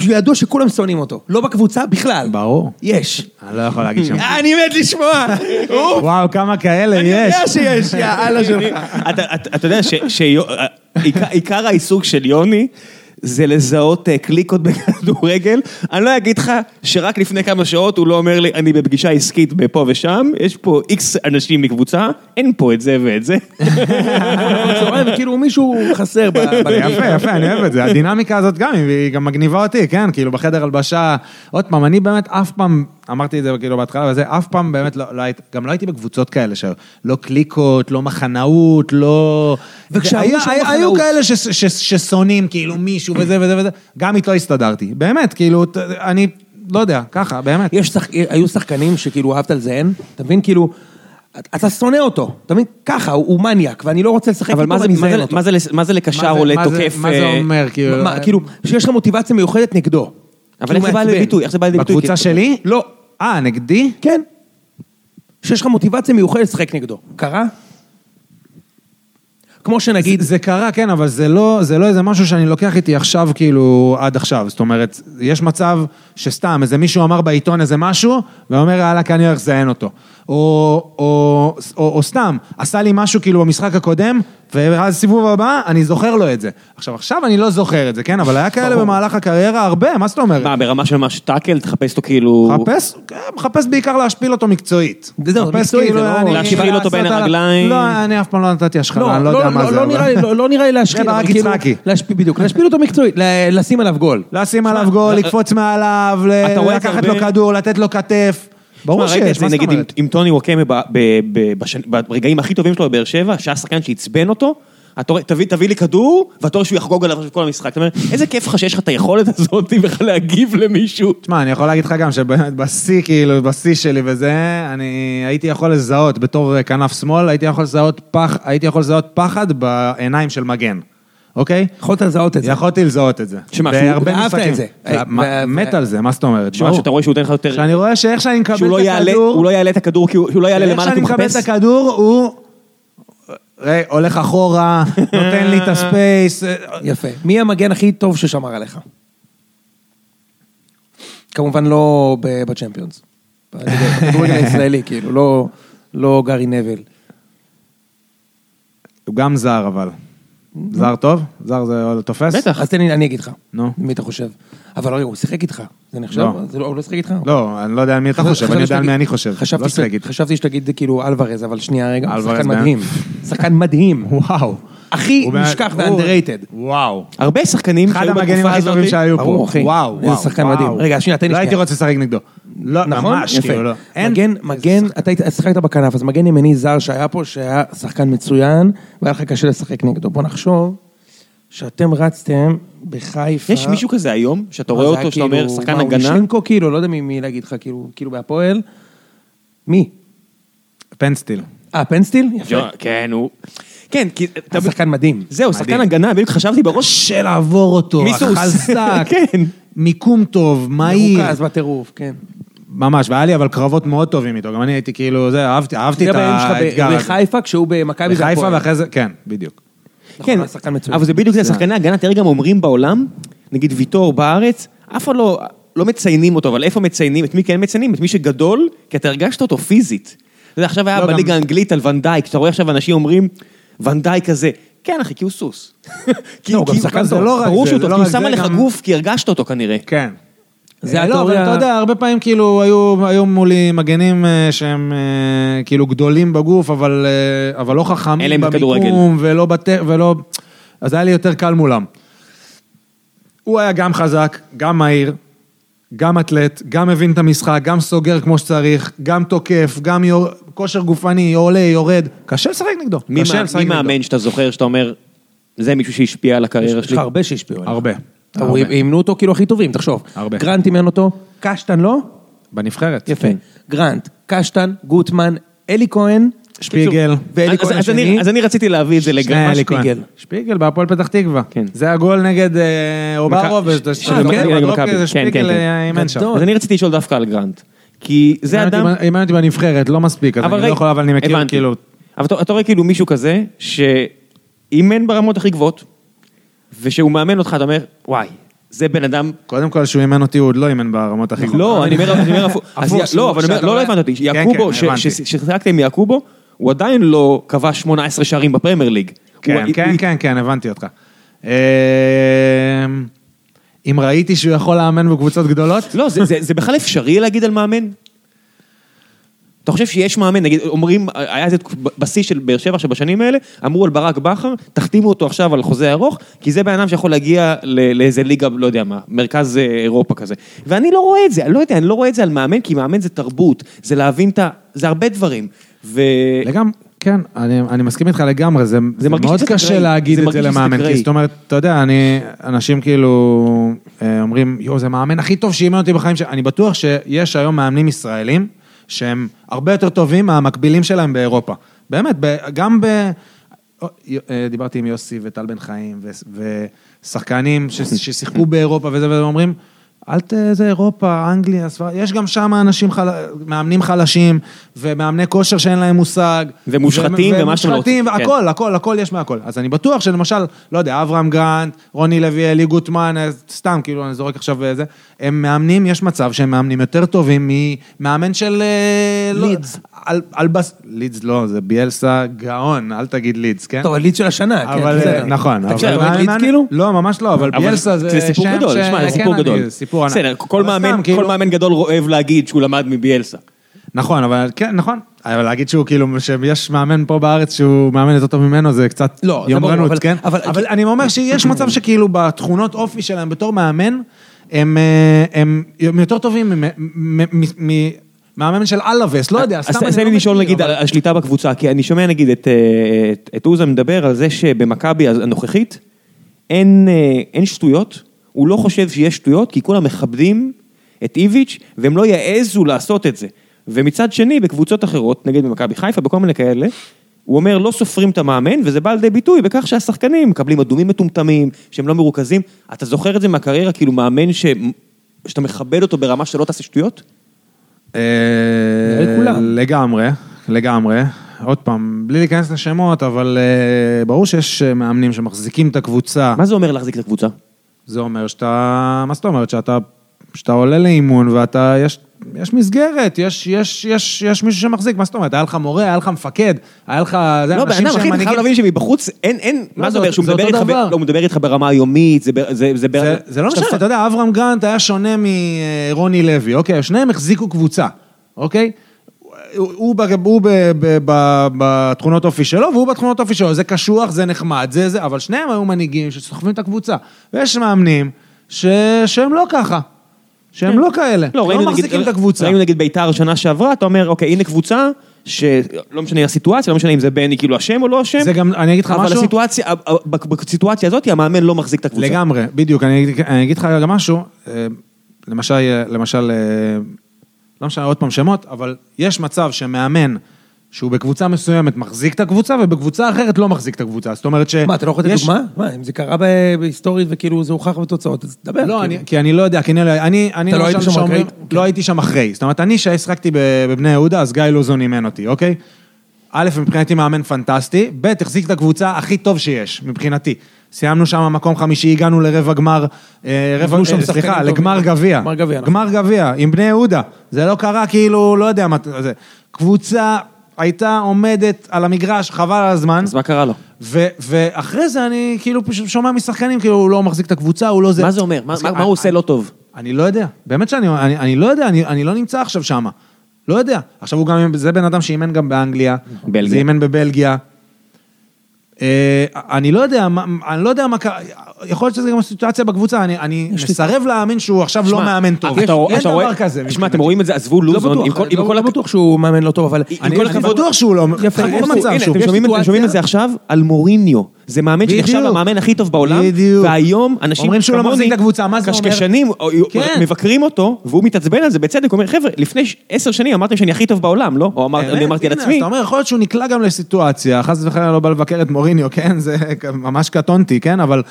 C: שידוע שכולם שונאים אותו. לא בקבוצה בכלל.
B: ברור.
C: יש.
B: אני לא יכול להגיד שם.
C: אני מת לשמוע! אוף,
B: וואו, כמה כאלה
C: אני
B: יש.
C: יודע שיש, יא אללה שלך.
D: אתה- אתה אתה יודע שעיקר העיסוק של יוני זה לזהות אה, קליקות בכדורגל. אני לא אגיד לך שרק לפני כמה שעות הוא לא אומר לי, אני בפגישה עסקית בפה ושם, יש פה איקס אנשים מקבוצה, אין פה את זה ואת זה.
C: צהריים, כאילו מישהו חסר ב- בליגה.
B: יפה, יפה, אני אוהב את זה. הדינמיקה הזאת גם, היא- היא גם מגניבה אותי, כן? כאילו, בחדר הלבשה... עוד פעם, אני באמת אף פעם, אמרתי את זה כאילו בהתחלה, וזה, אף פעם באמת לא לא הייתי, גם לא הייתי בקבוצות כאלה שהיו. לא קליקות, לא מחנאות, לא...
C: וכשהיו
B: היה-
C: שם
B: היה- היו
C: מחנאות.
B: כאלה ש- ש- ש- ששונאים, כאילו, מישהו וזה וזה וזה. גם איתו הסתדרתי. באמת, כאילו, ת- אני... לא יודע, ככה, באמת.
C: יש שח... היו שחקנים שכאילו אהבת על זהן, אתה מבין? כאילו, אתה שונא אותו, אתה מבין? ככה, הוא, הוא מניאק, ואני לא רוצה לשחק
D: אבל
C: איתו
D: מה זה-
C: ואני
D: מה
C: זיין
D: זה-
C: אותו.
D: מה זה לס- מה זה לקשר או
B: מה זה-
D: לתוקף?
B: מה זה
D: אה,
B: אומר, כאילו?
C: מה, כאילו, שיש לך מוטיבציה מיוחדת נגדו.
D: אבל
C: שהוא
D: איך זה בא
C: מעצבן.
D: לידי ביטוי? איך זה בא לידי ביטוי?
B: בקבוצה
D: כי-
B: שלי?
C: לא.
B: אה, נגדי?
C: כן. שיש לך מוטיבציה מיוחדת לשחק נגדו. קרה? כמו שנגיד,
B: נגיד, זה קרה, כן, אבל זה לא, זה לא איזה משהו שאני לוקח איתי עכשיו, כאילו, עד עכשיו. זאת אומרת, יש מצב שסתם, איזה מישהו אמר בעיתון איזה משהו, ואומר, יאללה, כאן אני הולך לזיין אותו. או, או, או, או סתם, עשה לי משהו כאילו במשחק הקודם, ואז סיבוב הבא, אני זוכר לו את זה. עכשיו, עכשיו אני לא זוכר את זה, כן? אבל היה כאלה במהלך הקריירה הרבה, מה זאת אומרת?
D: מה, ברמה של ממש טאקל? תחפש אותו כאילו...
B: מחפש, כן, מחפש בעיקר להשפיל אותו מקצועית.
C: זהו,
B: מחפש
C: מקצועית,
B: כאילו,
C: זה לא-
B: אני-
D: להשפיל אותו בין
B: לעשות עליו-
D: הרגליים.
B: לא, אני אף פעם לא נתתי השחלה, אני לא יודע מה זה.
C: לא
B: אבל-
C: נראה לי, לא, לא נראה לי להשחיל,
B: זה
C: אבל
B: ברק יצחקי.
C: להשפיל, בדיוק, להשפיל אותו מקצועית, ל- לשים עליו גול.
B: לשים עליו גול, לקפוץ מעליו, ל-
D: לא, אתה רואה את
B: לקחת
D: הרבה-
B: לו כדור, לתת לו כתף. ברור
D: תשמע, ראית את
B: שיש,
D: זה
B: מה זאת
D: נגיד עם-
B: אומרת?
D: עם טוני ווקמה ב- ב- ב- בשנ- ברגעים הכי טובים שלו בבאר שבע, שהיה שחקן שעצבן אותו, אתה רואה, תביא, תביא לי כדור, ואתה רואה שהוא יחגוג עליו עכשיו כל המשחק. אתה אומר, איזה כיף לך שיש לך את היכולת הזאת בכלל להגיב למישהו.
B: תשמע, אני יכול להגיד לך גם שבאמת בשיא, כאילו, בשיא שלי וזה, אני הייתי יכול לזהות בתור אה, כנף שמאל, הייתי יכול לזהות פח, הייתי יכול לזהות פחד בעיניים של מגן, אוקיי?
C: יכולת לזהות את זה.
B: יכולתי לזהות את זה.
D: שמע, שהוא-
B: בהרבה
C: ואהבת
B: משחקים.
C: את זה.
B: אה, מה-
C: ו- ו-
B: מת על זה, מה זאת אומרת?
D: תשמע,
B: ברור.
D: שאתה רואה שהוא נותן לך יותר...
B: שאני רואה שאיך שאני מקבל את
D: שהוא לא יעלה,
B: הכדור,
D: הוא לא יעלה את הכדור, כי הוא שהוא לא יעלה
B: איך
D: למעלה, כי
B: שאני
D: הוא
B: מקבל את
D: מחפש.
B: הכדור, הוא ראה, הולך אחורה, נותן לי את הספייס. אה,
C: יפה. מי המגן הכי טוב ששמר עליך? כמובן לא ב- בצ'מפיונס. בכדורגל הישראלי, כאילו, לא, לא גארי נבל.
B: הוא גם זר, אבל. זר טוב? זר זה עוד תופס?
D: בטח.
C: אז תן לי, אני אגיד לך.
B: נו.
C: מי אתה חושב? אבל רגע, הוא שיחק איתך. זה נחשב?
B: לא.
C: זה לא, הוא לא שיחק איתך?
B: לא, אני לא יודע על מי אתה
C: חשב-
B: חושב, אני
C: חשבתי
B: יודע על
C: שתגיד-
B: מי אני חושב.
C: חשבתי
B: לא
C: שת-
B: שתגיד.
C: חשבתי שתגיד כאילו אלוורז, אבל שנייה רגע, הוא
B: אלוורז,
C: שחקן
B: מה?
C: מדהים. שחקן מדהים.
B: וואו.
C: הכי
B: הוא באמת-
C: נשכח
B: הוא-
C: ואנדררייטד.
B: וואו.
D: הרבה שחקנים
B: אחד
D: שהיו
B: המגנים
D: בתקופה
B: הכי
D: הזאת,
B: טובים שהיו פה.
C: ברור, אחי.
B: וואו,
C: איזה
B: וואו.
C: שחקן
B: וואו.
C: מדהים. רגע, שנייה, תן לי
B: לא
C: שנייה.
B: הייתי רוצה לשחק נגדו. לא,
C: נכון?
B: ממש,
C: יפה.
B: כאילו, לא. אין-
C: מגן, מגן, אתה היית- שיחקת בכנף, אז מגן ימיני זר שהיה פה, שהיה שחקן מצוין, והיה לך קשה לשחק נגדו. בוא נחשוב שאתם רצתם בחיפה.
D: יש מישהו כזה היום, שאתה רואה
B: אה,
C: מה, זה היה
D: אותו, שאתה אומר,
C: כאילו-
D: שחקן
C: מה, הוא
D: הגנה,
C: שינקו כאילו, לא יודע מי- מי להגיד לך, כאילו, כאילו בהפועל. מי?
B: פנסטיל.
C: אה, פנסטיל? יפה.
D: ג'ו- כן, הוא... כן, כי... אתה-
C: השחקן מדהים.
D: זהו, שחקן
B: מדהים.
D: הגנה, בדיוק חשבתי בראש,
B: קשה לעבור אותו,
D: מיסוס.
B: חזק,
D: כן.
B: מיקום טוב, מהיר.
C: מרוכז בטירוף, כן.
B: ממש, והיה לי אבל קרבות מאוד טובים איתו, גם אני הייתי כאילו, זה, אהבתי, אהבתי
C: זה
B: את
C: הבעלים שלך
B: האתגר
C: ב-
B: הזה.
C: בחיפה, כשהוא במכבי
B: בחיפה
C: והפועל.
B: ואחרי זה, כן, בדיוק.
C: נכון,
D: כן,
C: הוא היה שחקן מצוין.
D: אבל זה בדיוק זה, שחקני הגנה, תראה גם אומרים בעולם, נגיד ויטור בארץ, אף אחד לא, לא מציינים אותו, אבל איפה מציינים? את מי כן מציינים? את מי שגדול? כי אתה הרגשת אותו פיזית. אתה יודע, עכשיו היה
B: לא, גם-
D: בליגה האנגלית על ונדייק, שאתה רואה עכשיו אנשים אומרים, ונדייק הזה. כן, אחי, כי הוא סוס. כי-
C: הוא גם
D: כי-
C: שחקן
B: טוב.
D: ברור
B: לא רק
D: שהוא
B: זה,
D: טוב,
B: זה לא
D: כי הוא
B: רק
D: שם
B: זה,
D: עליך
B: גם-
D: גוף, כי הרגשת אותו כנראה.
B: כן.
C: זה
B: אה, לא, אבל
C: התיאוריה-
B: אתה יודע, הרבה פעמים כאילו היו, היו מולי מגנים אה, שהם אה, כאילו גדולים בגוף, אבל, אה, אבל לא
D: אין
B: חכמים
D: להם בכדורגל.
B: במיקום, ולא בת... ולא... אז היה לי יותר קל מולם. הוא היה גם חזק, גם מהיר, גם אתלט, גם מבין את המשחק, גם סוגר כמו שצריך, גם תוקף, גם יור... כושר גופני, עולה, יורד. קשה לשחק נגדו.
D: מי
B: קשה
D: מה-
B: לשחק
D: מי
B: נגדו.
D: מאמן שאתה זוכר, שאתה אומר, זה מישהו שהשפיע על הקריירה
C: יש
D: שלי?
C: לך הרבה שהשפיעו עליו.
B: הרבה.
C: אתה רואה,
B: הרבה.
C: אימנו אותו כאילו הכי טובים, תחשוב.
B: הרבה.
C: גרנט אימן אותו, קשטן לא?
B: בנבחרת. כן.
C: יפה. גרנט, קשטן, גוטמן, אלי כהן.
B: שפיגל.
C: ואלי
D: אז-
C: כהן
D: אז אני-
C: השני.
D: אז אני רציתי להביא את זה
B: שני
D: לגרמה
B: אלי כהן.
C: שפיגל.
B: שפיגל בהפועל פתח תקווה.
D: כן.
B: זה הגול נגד אה, אוברו,
D: מכבי-
B: וזה
D: ש- של מכבי, נגד מכבי. כן,
B: זה
D: כן,
B: שפיגל
D: כן.
B: אה, אימן שם.
C: גדול.
D: אז אני רציתי לשאול דווקא על גרנט. כי זה
B: אימן
D: אדם...
B: אותי ב- אימן אותי בנבחרת, לא מספיק, אז אני לא
D: רגע,
B: יכול, אבל אני מכיר,
D: הבנתי.
B: כאילו...
D: אבל אתה, אתה רואה כאילו מישהו כזה, שאימן ברמות הכי גבוהות, ושהוא מאמן אותך, אתה אומר, וואי, זה בן אדם...
B: קודם כל, שהוא אימן אותי, הוא עוד לא אימן ברמות הכי גבוהות.
D: לא, אני אומר, אני אומר הפוך. אז
B: הפוך,
D: יא- לא, אבל אני אומר,
B: שאתה
D: לא, לא
B: רואה-
D: הבנת אותי.
B: כן,
D: יעקובו,
B: כן, הבנתי.
D: כששיחקתם עם יעקובו, הוא עדיין לא כבש 18 שערים בפרמייר ליג.
B: כן,
D: הוא-
B: כן,
D: הוא-
B: כן, כן, הבנתי אותך. אה, אם ראיתי שהוא יכול לאמן בקבוצות גדולות,
D: לא, זה, זה, זה בכלל אפשרי להגיד על מאמן? אתה חושב שיש מאמן, נגיד, אומרים, היה איזה תק- בשיא של באר שבע שבשנים האלה, אמרו על ברק בכר, תחתימו אותו עכשיו על חוזה ארוך, כי זה בן אדם שיכול להגיע ל- לאיזה ליגה, לא יודע מה, מרכז אה, אירופה כזה. ואני לא רואה את זה, אני לא יודע, אני לא רואה את זה על מאמן, כי מאמן זה תרבות, זה להבין את ה... זה הרבה דברים. ו...
B: לגמרי, כן, אני, אני מסכים איתך לגמרי, זה, זה,
D: מרגיש
B: מאוד
D: שזה
B: קשה
D: אקראי,
B: להגיד
D: זה
B: את זה
D: מרגיש שזה
B: למאמן,
D: אקראי.
B: כי זאת אומרת, אתה יודע, אני, אנשים כאילו אה, אומרים, יואו, זה המאמן הכי טוב שאימן אותי בחיים שלי, אני בטוח שיש היום מאמנים ישראלים שהם הרבה יותר טובים מהמקבילים שלהם באירופה. באמת, ב, גם ב... אה, אה, דיברתי עם יוסי וטל בן חיים ו- ושחקנים ש- ששיחקו באירופה וזה, והם אומרים, אל ת... זה אירופה, אנגליה, ספרד, יש גם שם אנשים, חל... מאמנים חלשים, ומאמני כושר שאין להם מושג.
D: ומושחתים ומה שאתם לא רוצים,
B: ומושחתים,
D: כן.
B: והכל, הכל, הכל יש מהכל. אז אני בטוח שלמשל, לא יודע, אברהם גרנט, רוני לוי, אלי גוטמן, אה, סתם, כאילו, אני זורק עכשיו איזה, הם מאמנים, יש מצב שהם מאמנים יותר טובים ממאמן של... אה, לא-
C: לידס.
B: על, על בס... לידס לא, זה ביאלסה גאון, אל תגיד לידס, כן?
C: טוב, הליד של השנה, כן.
B: אבל
C: בסדר.
B: אה, נכון,
C: אתה
B: אבל
C: כשאתה אוהד
B: מאמן-
C: ליד כאילו?
B: לא, ממש לא, אבל ביאלסה זה
D: זה סיפור
B: שם
D: גדול,
B: ש-
D: שמע, זה
B: כן,
D: סיפור
B: אני-
D: גדול.
B: זה סיפור ענק.
D: בסדר, כל
B: אבל
D: מאמן-
B: סתם,
D: כל
B: כאילו-
D: מאמן גדול אוהב להגיד שהוא למד מביאלסה.
B: נכון, אבל כן, נכון. אבל להגיד שהוא כאילו, שיש מאמן פה בארץ שהוא מאמן יותר טוב ממנו, זה קצת
C: לא, זה ברור, אבל-
B: יומרנות, כן?
C: אבל-
B: אבל אני אומר שיש מצב שכאילו בתכונות אופי שלהם בתור מאמן, הם, אה, הם, הם יותר טובים ממ- מ- מ- ממאמן של אלווס, לא
C: אה,
B: יודע,
D: אז
B: סתם
D: ת-
B: אני
D: תן
B: לא
D: לי לשאול
B: מכיר,
D: נגיד
B: אבל-
D: על השליטה בקבוצה, כי אני שומע נגיד את, אה, את- את אוזה מדבר על זה שבמכבי הנוכחית אין, אה, אין שטויות, הוא לא חושב שיש שטויות, כי כולם מכבדים את איביץ' והם לא יעזו לעשות את זה. ומצד שני, בקבוצות אחרות, נגיד במכבי חיפה, בכל מיני כאלה, הוא אומר, לא סופרים את המאמן, וזה בא לידי ביטוי בכך שהשחקנים מקבלים אדומים מטומטמים, שהם לא מרוכזים. אתה זוכר את זה מהקריירה, כאילו מאמן ש... שאתה מכבד אותו ברמה שלא תעשה שטויות?
B: אה,
C: לכולם.
B: לגמרי, לגמרי. עוד פעם, בלי להיכנס לשמות, אבל אה, ברור שיש אה, מאמנים שמחזיקים את הקבוצה.
D: מה זה אומר להחזיק את הקבוצה?
B: זה אומר שאתה, מה זאת אומרת? שאתה, שאתה עולה לאימון ואתה, יש, יש מסגרת, יש, יש, יש, יש מישהו שמחזיק, מה זאת אומרת? היה לך מורה, היה לך מפקד, היה לך... זה
D: לא, בן
B: אנשים
D: אדם,
B: שהם
D: אחי, אתה
B: מנהיגים.
D: חייב להבין שמבחוץ אין, אין, מה זה
B: זה
D: אומר,
B: אותו-
D: שהוא
B: זה
D: מדבר
B: אותו
D: איתך, ב-
B: דבר.
D: לא, הוא מדבר איתך ברמה היומית, זה ב- זה... זה ב-
B: זה, זה לא
D: שאתה-
B: משנה, אתה יודע, אברהם גרנט היה שונה מרוני לוי, אוקיי? שניהם החזיקו קבוצה, אוקיי? הוא, הוא, ב, הוא ב, ב, ב, בתכונות אופי שלו, והוא בתכונות אופי שלו. זה קשוח, זה נחמד, זה זה, אבל שניהם היו מנהיגים שסוחבים את הקבוצה. ויש מאמנים ש, שהם לא ככה. שהם לא כאלה.
D: לא, ראינו
B: לא
D: נגיד-
B: מחזיקים את הקבוצה.
D: ראינו נגיד ביתר שנה שעברה, אתה אומר, אוקיי, הנה קבוצה, שלא משנה הסיטואציה, לא משנה אם זה בני כאילו אשם או לא אשם.
B: זה גם- אני אגיד לך
D: אבל
B: משהו?
D: הסיטואציה, ה- ה- בק- בסיטואציה הזאת, המאמן לא מחזיק את הקבוצה.
B: לגמרי, בדיוק, אני אגיד- אני אגיד לך גם משהו, אה, למשל, אה, למשל, אה, לא משנה עוד פעם שמות, אבל יש מצב שמאמן שהוא בקבוצה מסוימת מחזיק את הקבוצה, ובקבוצה אחרת לא מחזיק את הקבוצה, זאת אומרת ש...
C: מה, אתה לא יכול לתת
B: יש-
C: דוגמה? מה, אם זה קרה ב- בהיסטורית וכאילו זה הוכח בתוצאות, אז דבר.
B: לא,
C: כאילו.
B: אני- כי אני לא יודע, כי אני לא... אני, אני
C: אתה לא
B: למשל,
C: היית שם
B: שאומרים-
C: אחרי?
B: לא הייתי שם אחרי. זאת אומרת, אני שהשחקתי ב- בבני יהודה, אז גיא לוזון אימן אותי, אוקיי? א', מבחינתי מאמן פנטסטי, ב', החזיק את הקבוצה הכי טוב שיש, מבחינתי. סיימנו שם מקום חמישי, הגענו לרבע גמר, אה, רבע,
C: נבנו שם
B: אה,
C: שחקנים
B: סליחה,
C: טובים.
B: לגמר גביע.
C: גמר גביע, נכון.
B: גמר גביע, עם בני יהודה. זה לא קרה כאילו, לא יודע מה זה. קבוצה הייתה עומדת על המגרש, חבל על הזמן.
D: אז מה קרה לו?
B: ו- ואחרי זה אני כאילו פשוט שומע משחקנים, כאילו הוא לא מחזיק את הקבוצה, הוא לא זה.
D: מה זה אומר? מה-
B: אז
D: מה-
B: כאילו,
D: מה הוא
B: אני-
D: עושה לא טוב?
B: אני לא יודע, באמת שאני אני, אני לא יודע, אני, אני לא נמצא עכשיו שם. לא יודע. עכשיו הוא גם, זה בן אדם שאימן גם באנגליה.
D: בלגיה.
B: זה אימן בבלגיה. אה, אני לא יודע, מה- אני לא יודע מה קרה, יכול להיות שזה גם הסיטואציה בקבוצה, אני, אני מסרב להאמין שהוא עכשיו לא
D: שמע, אה,
B: מאמן טוב.
D: אתה רואה-
B: אין
D: אתה
B: דבר
D: רואה-
B: כזה.
D: תשמע, אתם רואים את זה, עזבו
C: לא
D: לוזון, עם
C: בטוח,
D: כל- עם כל
C: לא
D: הכ-
C: בטוח שהוא מאמן לא טוב, אבל...
B: אני,
D: כל
B: אני
D: הכבוד-
B: בטוח שהוא לא...
C: יפה,
B: חכו
C: יש-
B: במצב
D: הנה,
B: שהוא...
D: אתם שומעים את- אתם שומעים את זה עכשיו על מוריניו. זה מאמן
B: בדיוק.
D: שנחשב למאמן הכי טוב בעולם,
B: בדיוק.
D: והיום אנשים
B: אומרים שהוא לא מחזיק את הקבוצה, מה זה אומר?
D: קשקשנים או-
B: כן.
D: מבקרים אותו, והוא מתעצבן על זה בצדק, הוא אומר, חבר'ה, לפני ש- עשר שנים אמרתם שאני הכי טוב בעולם, לא? או אמר- אני
B: באמת,
D: אמרתי על
B: הנה,
D: עצמי,
B: אז אתה אומר, יכול להיות שהוא נקלע גם לסיטואציה, חס וחלילה לא בא לבקר את מוריניו, כן? זה ממש קטונתי, כן? אבל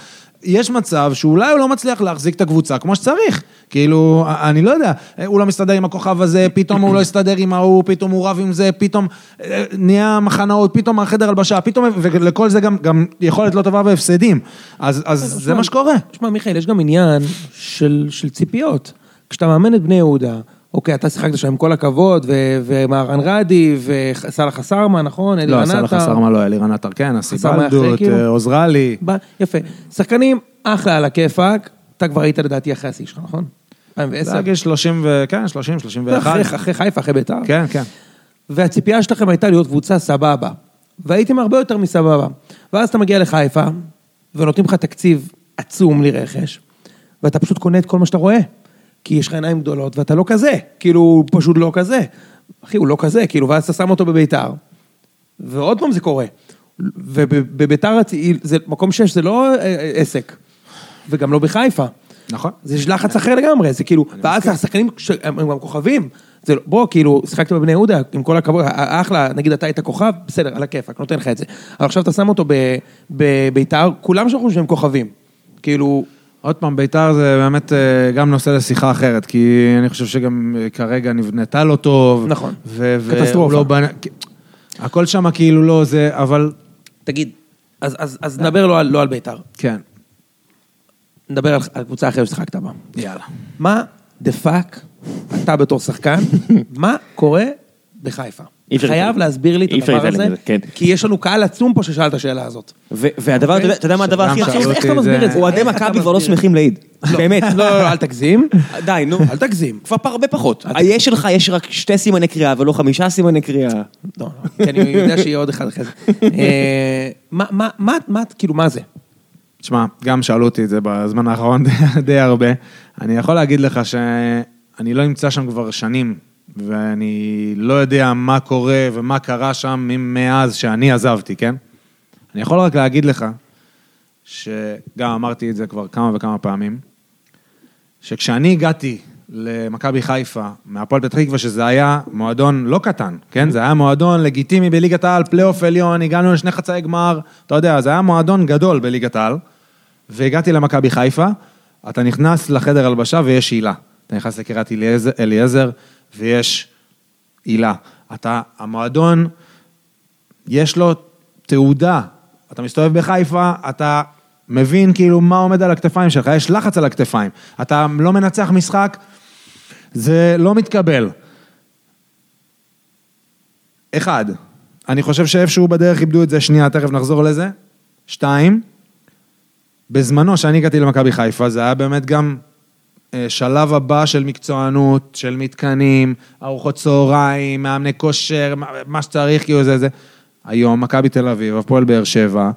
B: יש מצב שאולי הוא לא מצליח להחזיק את הקבוצה כמו שצריך. כאילו, אני לא יודע, הוא לא מסתדר עם הכוכב הזה, פתאום הוא לא הסתדר עם ההוא, פתאום הוא רב עם זה, פתאום אה, נהיה מחנאות, פתאום החדר הלבשה, פתאום, ולכל זה גם, גם יכולת לא טובה והפסדים. אז, אז
C: כן,
B: זה
C: נכון.
B: מה שקורה.
C: תשמע, לא מיכאל, יש גם עניין של, של ציפיות. כשאתה מאמן את בני יהודה, אוקיי, אתה שיחקת שם עם כל הכבוד, ו- ומהרן ראדי, וסאלח חסרמה, נכון? אלי
B: לא,
C: רנטה.
B: סלח הסרמה לא, אלירן עטר כן,
C: חסר מאחרי,
B: הסיבלדות,
C: כאילו.
B: אה, עוזרה לי.
C: ב- יפה. שחקנים, אחלה על הכיפאק. אתה כבר היית לדעתי אחרי השיא שלך, נכון? 2010.
B: זה היה גיל 30 ו... כן, 30, 31.
C: אחרי, אחרי חיפה, אחרי ביתר.
B: כן, כן.
C: והציפייה שלכם הייתה להיות קבוצה סבבה. והייתם הרבה יותר מסבבה. ואז אתה מגיע לחיפה, ונותנים לך תקציב עצום לרכש, ואתה פשוט קונה את כל מה שאתה רואה. כי יש לך עיניים גדולות, ואתה לא כזה. כאילו, הוא פשוט לא כזה. אחי, הוא לא כזה, כאילו, ואז אתה שם אותו בביתר. ועוד פעם זה קורה. ובביתר הצ- זה מקום שש, זה לא אה, אה, עסק. וגם לא בחיפה.
B: נכון.
C: זה יש לחץ אחר לגמרי, זה כאילו, ואז השחקנים ש- הם הם גם כוכבים. זה לא- בוא, כאילו, שיחקת בבני יהודה, עם כל הכבוד, ה- אחלה, נגיד אתה היית כוכב, בסדר, על הכיפאק, נותן לך את זה. אבל עכשיו אתה שם אותו ב- בביתר, כולם שם חושבים שהם כוכבים. כאילו,
B: עוד פעם, ביתר זה באמת אה, גם נושא לשיחה אחרת, כי אני חושב שגם אה, כרגע נבנתה לא טוב.
C: נכון.
B: ו- והוא
C: קטסטרופה.
B: לא בנה... הכל שם כאילו לא זה, אבל
C: תגיד, אז- אז אז נדבר לא על- לא על ביתר,
B: כן,
C: נדבר על- על קבוצה אחרת ששיחקת בה.
B: יאללה.
C: מה דה פאק, אתה בתור שחקן, מה קורה בחיפה?
D: אי אפשר
C: חייב
D: להתעלם.
C: להסביר לי את
D: אי אפשר
C: הדבר
D: להתעלם
C: הזה,
D: מזה, כן.
C: כי יש לנו קהל עצום פה ששאל את השאלה הזאת.
D: ו- והדבר, אתה יודע- אתה יודע מה הדבר הכי
B: שאלו
D: עצוב?
B: אותי
C: איך אתה מסביר את זה?
D: אוהדי
C: איך אתה
D: מכבי כבר לא
C: מסביר?
D: שמחים להעיד, באמת.
C: לא, לא, לא, אל תגזים.
D: די, נו.
C: אל תגזים.
D: כבר פר- הרבה פחות. היש שלך יש רק שתי סימני קריאה ולא חמישה סימני קריאה.
C: לא, לא, כי אני יודע שיהיה עוד אחד אחרי זה. אה, מה, מה, מה, מה, כאילו, מה זה?
B: תשמע, גם שאלו אותי את זה בזמן האחרון די- די הרבה. אני יכול להגיד לך שאני לא נמצא שם כבר שנים, ואני לא יודע מה קורה ומה קרה שם מ- מאז שאני עזבתי, כן? אני יכול רק להגיד לך, שגם אמרתי את זה כבר כמה וכמה פעמים, שכשאני הגעתי למכבי חיפה, מהפועל פתח תקווה, שזה היה מועדון לא קטן, כן? זה היה מועדון לגיטימי בליגת העל, פלייאוף עליון, הגענו לשני חצאי גמר, אתה יודע, זה היה מועדון גדול בליגת העל, והגעתי למכבי חיפה, אתה נכנס לחדר הלבשה ויש הילה. אתה נכנס לקריית אליעזר- אליעזר ויש הילה. אתה, המועדון, יש לו תעודה. אתה מסתובב בחיפה, אתה מבין כאילו מה עומד על הכתפיים שלך, יש לחץ על הכתפיים. אתה לא מנצח משחק, זה לא מתקבל. אחד, אני חושב שאיפשהו בדרך איבדו את זה, שנייה, תכף נחזור לזה. שתיים, בזמנו, כשאני הגעתי למכבי חיפה, זה היה באמת גם אה, שלב הבא של מקצוענות, של מתקנים, ארוחות צהריים, מאמני כושר, מה- מה שצריך, כאילו זה זה. היום, מכבי תל אביב, הפועל באר שבע,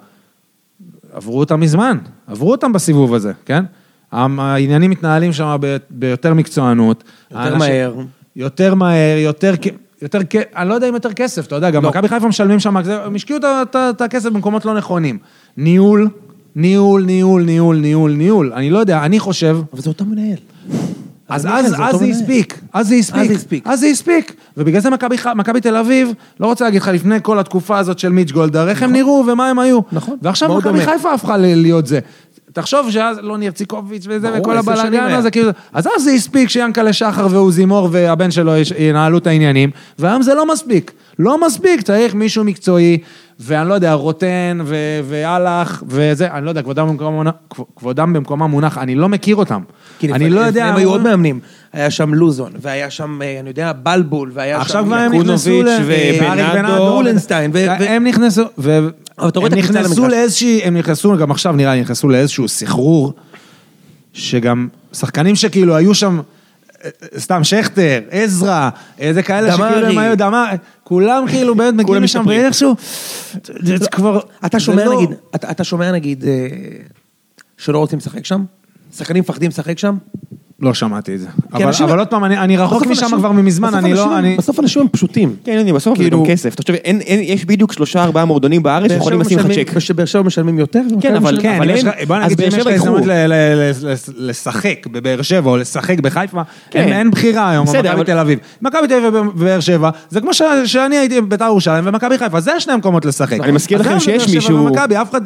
B: עברו אותם מזמן, עברו אותם בסיבוב הזה, כן? המ- העניינים מתנהלים שם ב- ביותר מקצוענות.
C: יותר
B: האנשים-
C: מהר.
B: יותר מהר, יותר... כ- יותר, כ- אני לא יודע אם יותר כסף, אתה יודע, גם
C: לא.
B: מכבי חיפה משלמים שם, זה- הם השקיעו את ה- את ה- את הכסף במקומות לא נכונים. ניהול, ניהול, ניהול, ניהול, ניהול, ניהול, אני לא יודע, אני חושב,
C: אבל זה אותו מנהל.
B: אז
C: אבל מיכאל,
B: אז
C: זה
B: אז
C: אותו
B: זה
C: מנהל.
B: הספיק, אז זה הספיק,
C: זה הספיק.
B: אז זה הספיק, ובגלל זה מכבי ח- מכבי תל אביב, לא רוצה להגיד לך, לפני כל התקופה הזאת של מיץ' גולדהר, איך הם נראו ומה הם היו.
C: נכון.
B: ועכשיו
C: מאוד
B: מכבי
C: דומה.
B: חיפה הפכה ל- להיות זה. תחשוב שאז לא ניר ציקוביץ' וזה,
C: ברור,
B: וכל
C: עשר שנים
B: הבלאגן
C: היה.
B: הזה, כאילו, אז אז זה הספיק שיענקלה שחר ועוזי מור והבן שלו יש- ינהלו את העניינים, והיום זה לא מספיק. לא מספיק, צריך מישהו מקצועי, ואני לא יודע, רוטן ו- ואלאך וזה, אני לא יודע, כבודם במקומם מונח, כבודם במקומם מונח, אני לא מכיר אותם.
C: כי
B: אני
C: לפני-
B: לא יודע...
C: הם היו עוד מאמנים. היה שם לוזון, והיה שם, אה, אני יודע, בלבול, והיה שם...
B: עכשיו כבר הם
D: יקונוביץ'
B: נכנסו ל... אה,
D: ובנאדו.
B: ואריק בנאדו. אה,
C: אולנשטיין, ו- ו-
B: הם נכנסו... ו-
C: אבל אתה רואה
B: הם
C: את הקפיצה
B: נכנסו
C: למגרש.
B: לאיזושהי... הם נכנסו, גם עכשיו נראה לי, נכנסו לאיזשהו סחרור, שגם שחקנים שכאילו היו שם... אה, אה, סתם, שכטר, עזרא, איזה כאלה
C: דמרי.
B: שכאילו הם היו, דמר, כולם כאילו באמת מגיעים לשם
D: משתפרים.
B: ואיכשהו, זה זה כבר,
C: אתה
B: זה
C: שומע
B: לא-
C: נגיד, אתה אתה שומע נגיד אה, שלא רוצים לשחק שם? שחקנים מפחדים לשחק שם?
B: לא שמעתי את זה.
C: כי
B: אבל
C: אנשים-
B: אבל עוד פעם, אני אני רחוק
C: בסוף
B: משם
C: אנשים-
B: כבר מזמן,
C: בסוף
B: אני
C: אנשים-
B: לא, אני...
C: בסוף אנשים הם פשוטים.
D: כן, אני בסוף, זה גם
C: כאילו-
D: כסף. אתה חושב, אין- אין- יש בדיוק שלושה ארבעה מועדונים בארץ
C: באר שבע
D: שיכולים לשים לך
C: משלמים-
D: צ'ק.
C: שבאר שבע משלמים יותר? ומכבי
D: אבל-
C: משלמים-
B: כן, אבל
D: הם-
B: בוא
D: אז
B: נגיד
D: באר
B: שאם יש לך
D: שבע ייקחו.
B: הזדמנות ל- ל- ל- ל- לשחק בבאר שבע או לשחק בחיפה,
D: כן.
B: אין- אין בחירה היום
D: בסדר,
B: במכבי
D: אבל-
B: תל אביב. מכבי תל אביב ובאר שבע, זה כמו ש- שאני הייתי בבית"ר ירושלים ומכבי חיפה, זה השני המקומות לשחק.
D: אני מזכיר
B: אז
D: לכם
B: גם
D: שיש
B: בבאר שבע
D: מישהו-
B: ובמכבי, אף אחד...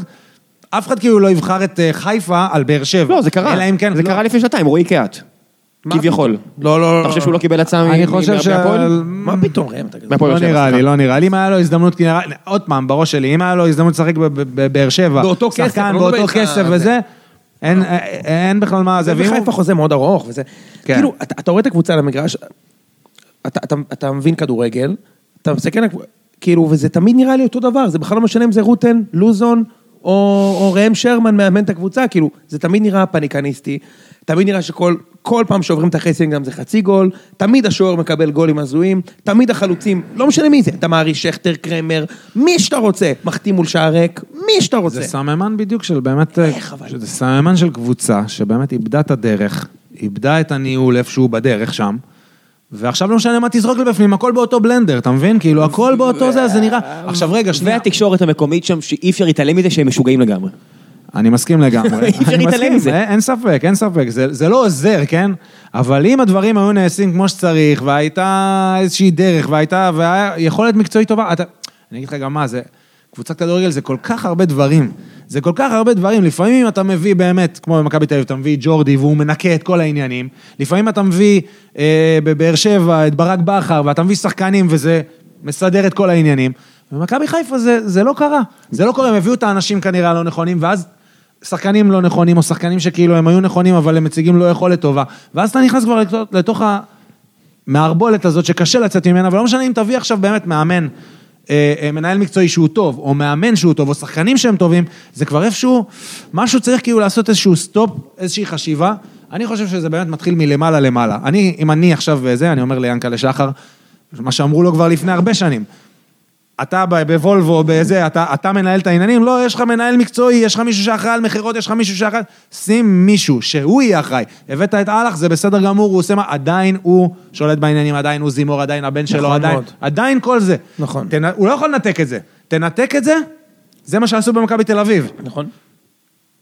B: אף אחד כאילו לא יבחר את אה, חיפה על באר שבע.
D: לא, זה קרה.
B: אלא אם כן...
D: זה
B: לא.
D: קרה לפני שנתיים, רועי קהת. כביכול.
C: לא, לא, לא.
D: אתה חושב שהוא לא קיבל הצעה מ-
B: אני
D: מ-
B: חושב ש...
D: מהפועל?
C: מה פתאום, ראם? אתה כזה-
D: מהפועל
B: לא
D: באר שבע,
B: נראה לי,
D: סליחה.
B: לא נראה לי. אם היה לו הזדמנות, כי נראה- עוד פעם, בראש שלי, אם היה לו הזדמנות לשחק בב- בב- בבאר שבע,
C: באותו כסף, אני
B: שחקן
C: לא
B: באותו
C: מדבר איתך
B: כסף
C: על זה.
B: וזה, אין- אה, אין בכלל מה זה. ואם הוא-
C: וחיפה חוזה מאוד ארוך וזה.
B: כן.
C: כאילו, אתה אתה רואה את הקבוצה על המגרש, אתה- אתה- אתה מבין כדורגל, אתה מסתכל על... הקב- כאילו, וזה תמיד נראה לי אותו דבר, זה בכלל לא משנה אם זה רוטן, לוזון, או או ראם שרמן מאמן את הקבוצה, כאילו, זה תמיד נראה פניקניסטי, תמיד נראה שכל כל פעם שעוברים את החסים גם זה חצי גול, תמיד השוער מקבל גולים הזויים, תמיד החלוצים, לא משנה מי זה, דמרי, שכטר, קרמר, מי שאתה רוצה, מחטיא מול שער ריק, מי שאתה רוצה.
B: זה סממן בדיוק של באמת,
C: איך אבל?
B: זה סממן של קבוצה שבאמת איבדה את הדרך, איבדה את הניהול איפשהו בדרך שם, ועכשיו לא משנה מה תזרוק לבפנים, הכל באותו בלנדר, אתה מבין? כאילו, הכל באותו זה, אז זה נראה... עכשיו רגע, שנייה.
D: והתקשורת המקומית שם, שאי אפשר להתעלם מזה שהם משוגעים לגמרי.
B: אני מסכים לגמרי.
D: אי אפשר
B: אני
D: להתעלם
B: מסכים,
D: מזה.
B: אה, אין- אין ספק, אין ספק, זה זה לא עוזר, כן? אבל אם הדברים היו נעשים כמו שצריך, והייתה איזושהי דרך, והייתה, והיה יכולת מקצועית טובה, אתה... אני אגיד לך גם מה, זה... קבוצת כדורגל זה כל כך הרבה דברים. זה כל כך הרבה דברים. לפעמים אם אתה מביא באמת, כמו במכבי תל אביב, אתה מביא את ג'ורדי והוא מנקה את כל העניינים. לפעמים אתה מביא אה, בבאר שבע את ברק בכר, ואתה מביא שחקנים וזה מסדר את כל העניינים. במכבי חיפה זה, זה לא קרה. זה לא קורה, הם הביאו את האנשים כנראה הלא נכונים, ואז שחקנים לא נכונים, או שחקנים שכאילו הם היו נכונים, אבל הם מציגים לא יכולת טובה. ואז אתה נכנס כבר לתוך- לתוך המערבולת הזאת שקשה לצאת ממנה, ולא משנה אם תביא עכשיו באמת מאמן, אה, אה, מנהל מקצועי שהוא טוב, או מאמן שהוא טוב, או שחקנים שהם טובים, זה כבר איפשהו, משהו צריך כאילו לעשות איזשהו סטופ, איזושהי חשיבה. אני חושב שזה באמת מתחיל מלמעלה למעלה. אני, אם אני עכשיו אה, זה, אני אומר ליענקלה שחר, מה שאמרו לו כבר לפני הרבה שנים. אתה ב- בוולבו, בזה, אתה, אתה מנהל את העניינים, לא, יש לך מנהל מקצועי, יש לך מישהו שאחראי על מכירות, יש לך מישהו שאחראי, שים מישהו שהוא יהיה אחראי. הבאת את אהלך, זה בסדר גמור, הוא עושה מה, עדיין הוא שולט בעניינים, עדיין הוא זימור, עדיין הבן שלו,
C: נכון
B: עדיין,
C: מאוד.
B: עדיין כל זה.
C: נכון.
B: תנ... הוא לא יכול לנתק את זה. תנתק את זה, זה מה שעשו במכבי תל אביב.
C: נכון?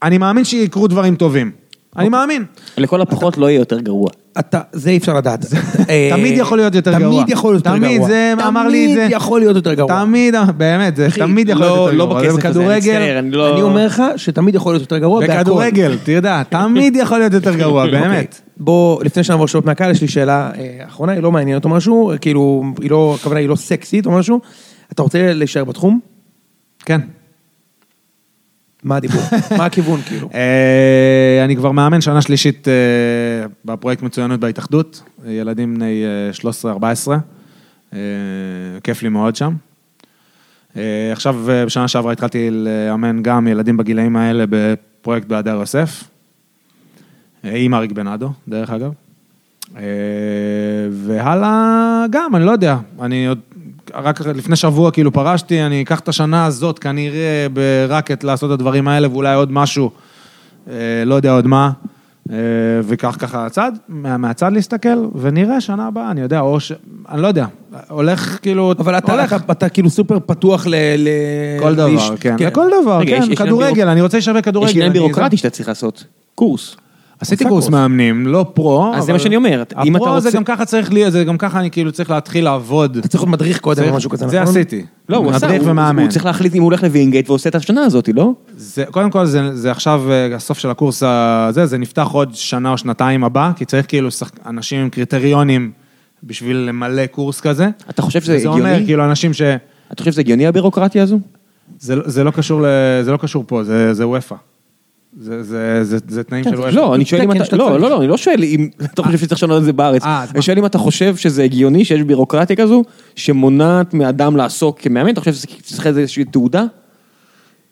B: אני מאמין שיקרו דברים טובים.
C: אוקיי.
B: אני מאמין.
D: לכל הפחות לא יהיה יותר גרוע.
C: אתה, זה אי אפשר לדעת. אה,
B: תמיד יכול להיות יותר גרוע.
C: תמיד יכול להיות יותר גרוע.
B: תמיד, זה אמר לי את זה.
C: תמיד יכול להיות יותר גרוע.
B: תמיד, באמת, זה תמיד יכול להיות
D: לא-
B: יותר
D: לא
B: גרוע.
D: בכסף הזה, אני
B: ובכדורגל-
D: מצטער, אני לא...
C: אני אומר לך שתמיד יכול להיות יותר גרוע בהכל.
B: בכדורגל, תדע, תמיד יכול להיות יותר גרוע, באמת.
C: אוקיי. בוא, לפני שנעבור שאלות מהקהל, יש לי שאלה אה, אחרונה, היא לא מעניינת או משהו, כאילו, היא לא, הכוונה היא לא סקסית או משהו. אתה רוצה להישאר בתחום?
B: כן.
C: מה הדיבור? מה הכיוון, כאילו?
B: אה, אני כבר מאמן שנה שלישית אה, בפרויקט מצוינות בהתאחדות, אה, ילדים בני אה, 13-14, אה, כיף לי מאוד שם. אה, עכשיו, אה, בשנה שעברה התחלתי לאמן גם ילדים בגילאים האלה בפרויקט בהדר יוסף, אה, עם אריק בנאדו, דרך אגב. אה, והלאה, גם, אני לא יודע. אני עוד, רק לפני שבוע כאילו פרשתי, אני אקח את השנה הזאת כנראה ברקט לעשות את הדברים האלה, ואולי עוד משהו, אה, לא יודע עוד מה. אה, וכך ככה הצד, מה, מהצד להסתכל, ונראה שנה הבאה, אני יודע, או ש... אני לא יודע, הולך כאילו...
C: אבל אתה,
B: הולך.
C: אתה, אתה כאילו סופר פתוח ל... ל-
B: כל
C: לאיש-
B: דבר, כן. כל דבר,
D: רגע, יש- יש
B: כן,
D: עניין
B: כדורגל,
D: בירוק-
B: אני רוצה להישאר בכדורגל.
D: יש עניין
B: אני-
D: בירוקרטי שאתה צריך לעשות. קורס.
B: עשיתי קורס מאמנים, לא פרו.
D: אז זה
B: אבל
D: מה שאני אומר, אם אתה
B: הפרו זה
D: רוצה-
B: גם ככה צריך, לי- זה גם ככה אני כאילו צריך להתחיל לעבוד.
C: אתה צריך להיות מדריך קודם או משהו כזה,
B: זה
C: נכון?
B: עשיתי.
D: לא, הוא עשה,
B: מדריך
D: הוא-
B: ומאמן.
D: הוא צריך להחליט אם הוא הולך לווינגייט ועושה את השנה הזאת, לא?
B: זה, קודם כל, זה, זה עכשיו אה, הסוף של הקורס הזה, זה נפתח עוד שנה או שנתיים הבא, כי צריך כאילו שחק... אנשים עם קריטריונים בשביל למלא קורס כזה.
D: אתה חושב שזה
B: זה אומר
D: הגיוני?
B: כאילו אנשים ש...
D: אתה חושב שזה הגיוני הבירוקרטיה הזו?
B: זה, לא- זה, לא קשור ל- זה לא קשור פה, זה, זה וופא. זה, זה, זה, זה תנאים של וופא. כן,
D: לא, אני שואל אם
C: תקן
D: אתה,
C: שאתה
D: לא,
C: צריך.
D: לא, לא, אני לא שואל אם אתה חושב שצריך לשנות את זה בארץ.
B: אה, אז
D: אני שואל אם אתה חושב שזה הגיוני שיש בירוקרטיה כזו שמונעת מאדם לעסוק כמאמן, אתה חושב שזה צריך איזה איזושהי תעודה?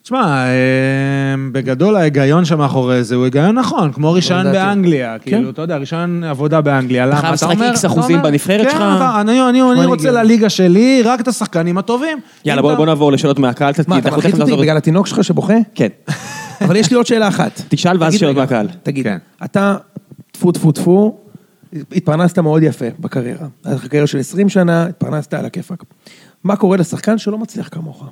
B: תשמע, אה, בגדול ההיגיון שמאחורי זה הוא היגיון נכון,
D: לא
B: כמו רישיון
C: לדעתי.
B: באנגליה, כאילו, אתה יודע, רישיון עבודה באנגליה, למה?
D: כן. חייב
B: אתה
D: לשחק
B: אומר-
D: X
B: אתה
D: אחוזים
B: אומר,
D: בנבחרת שלך.
B: כן, אתה- אני- אני- אני
C: נשמע לי
B: רוצה
C: הגיוני.
B: לליגה שלי, רק את השחקנים הטובים.
D: יאללה,
B: אם
D: בוא
B: אתה-
D: בוא נעבור לשאלות מהקהל,
C: מה, אתה מלחיץ אותי בגלל התינוק שלך שבוכה?
D: כן.
C: אבל יש לי עוד שאלה אחת.
D: תשאל ואז
C: תגיד
D: שאלות
C: רגע,
D: מהקהל.
C: תגיד,
B: כן.
C: אתה, טפו טפו טפו, התפרנסת מאוד יפה בקריירה. היה לך קריירה של 20 שנה, התפרנסת על הכיפאק. מה קורה לשחקן שלא מצליח כמוך?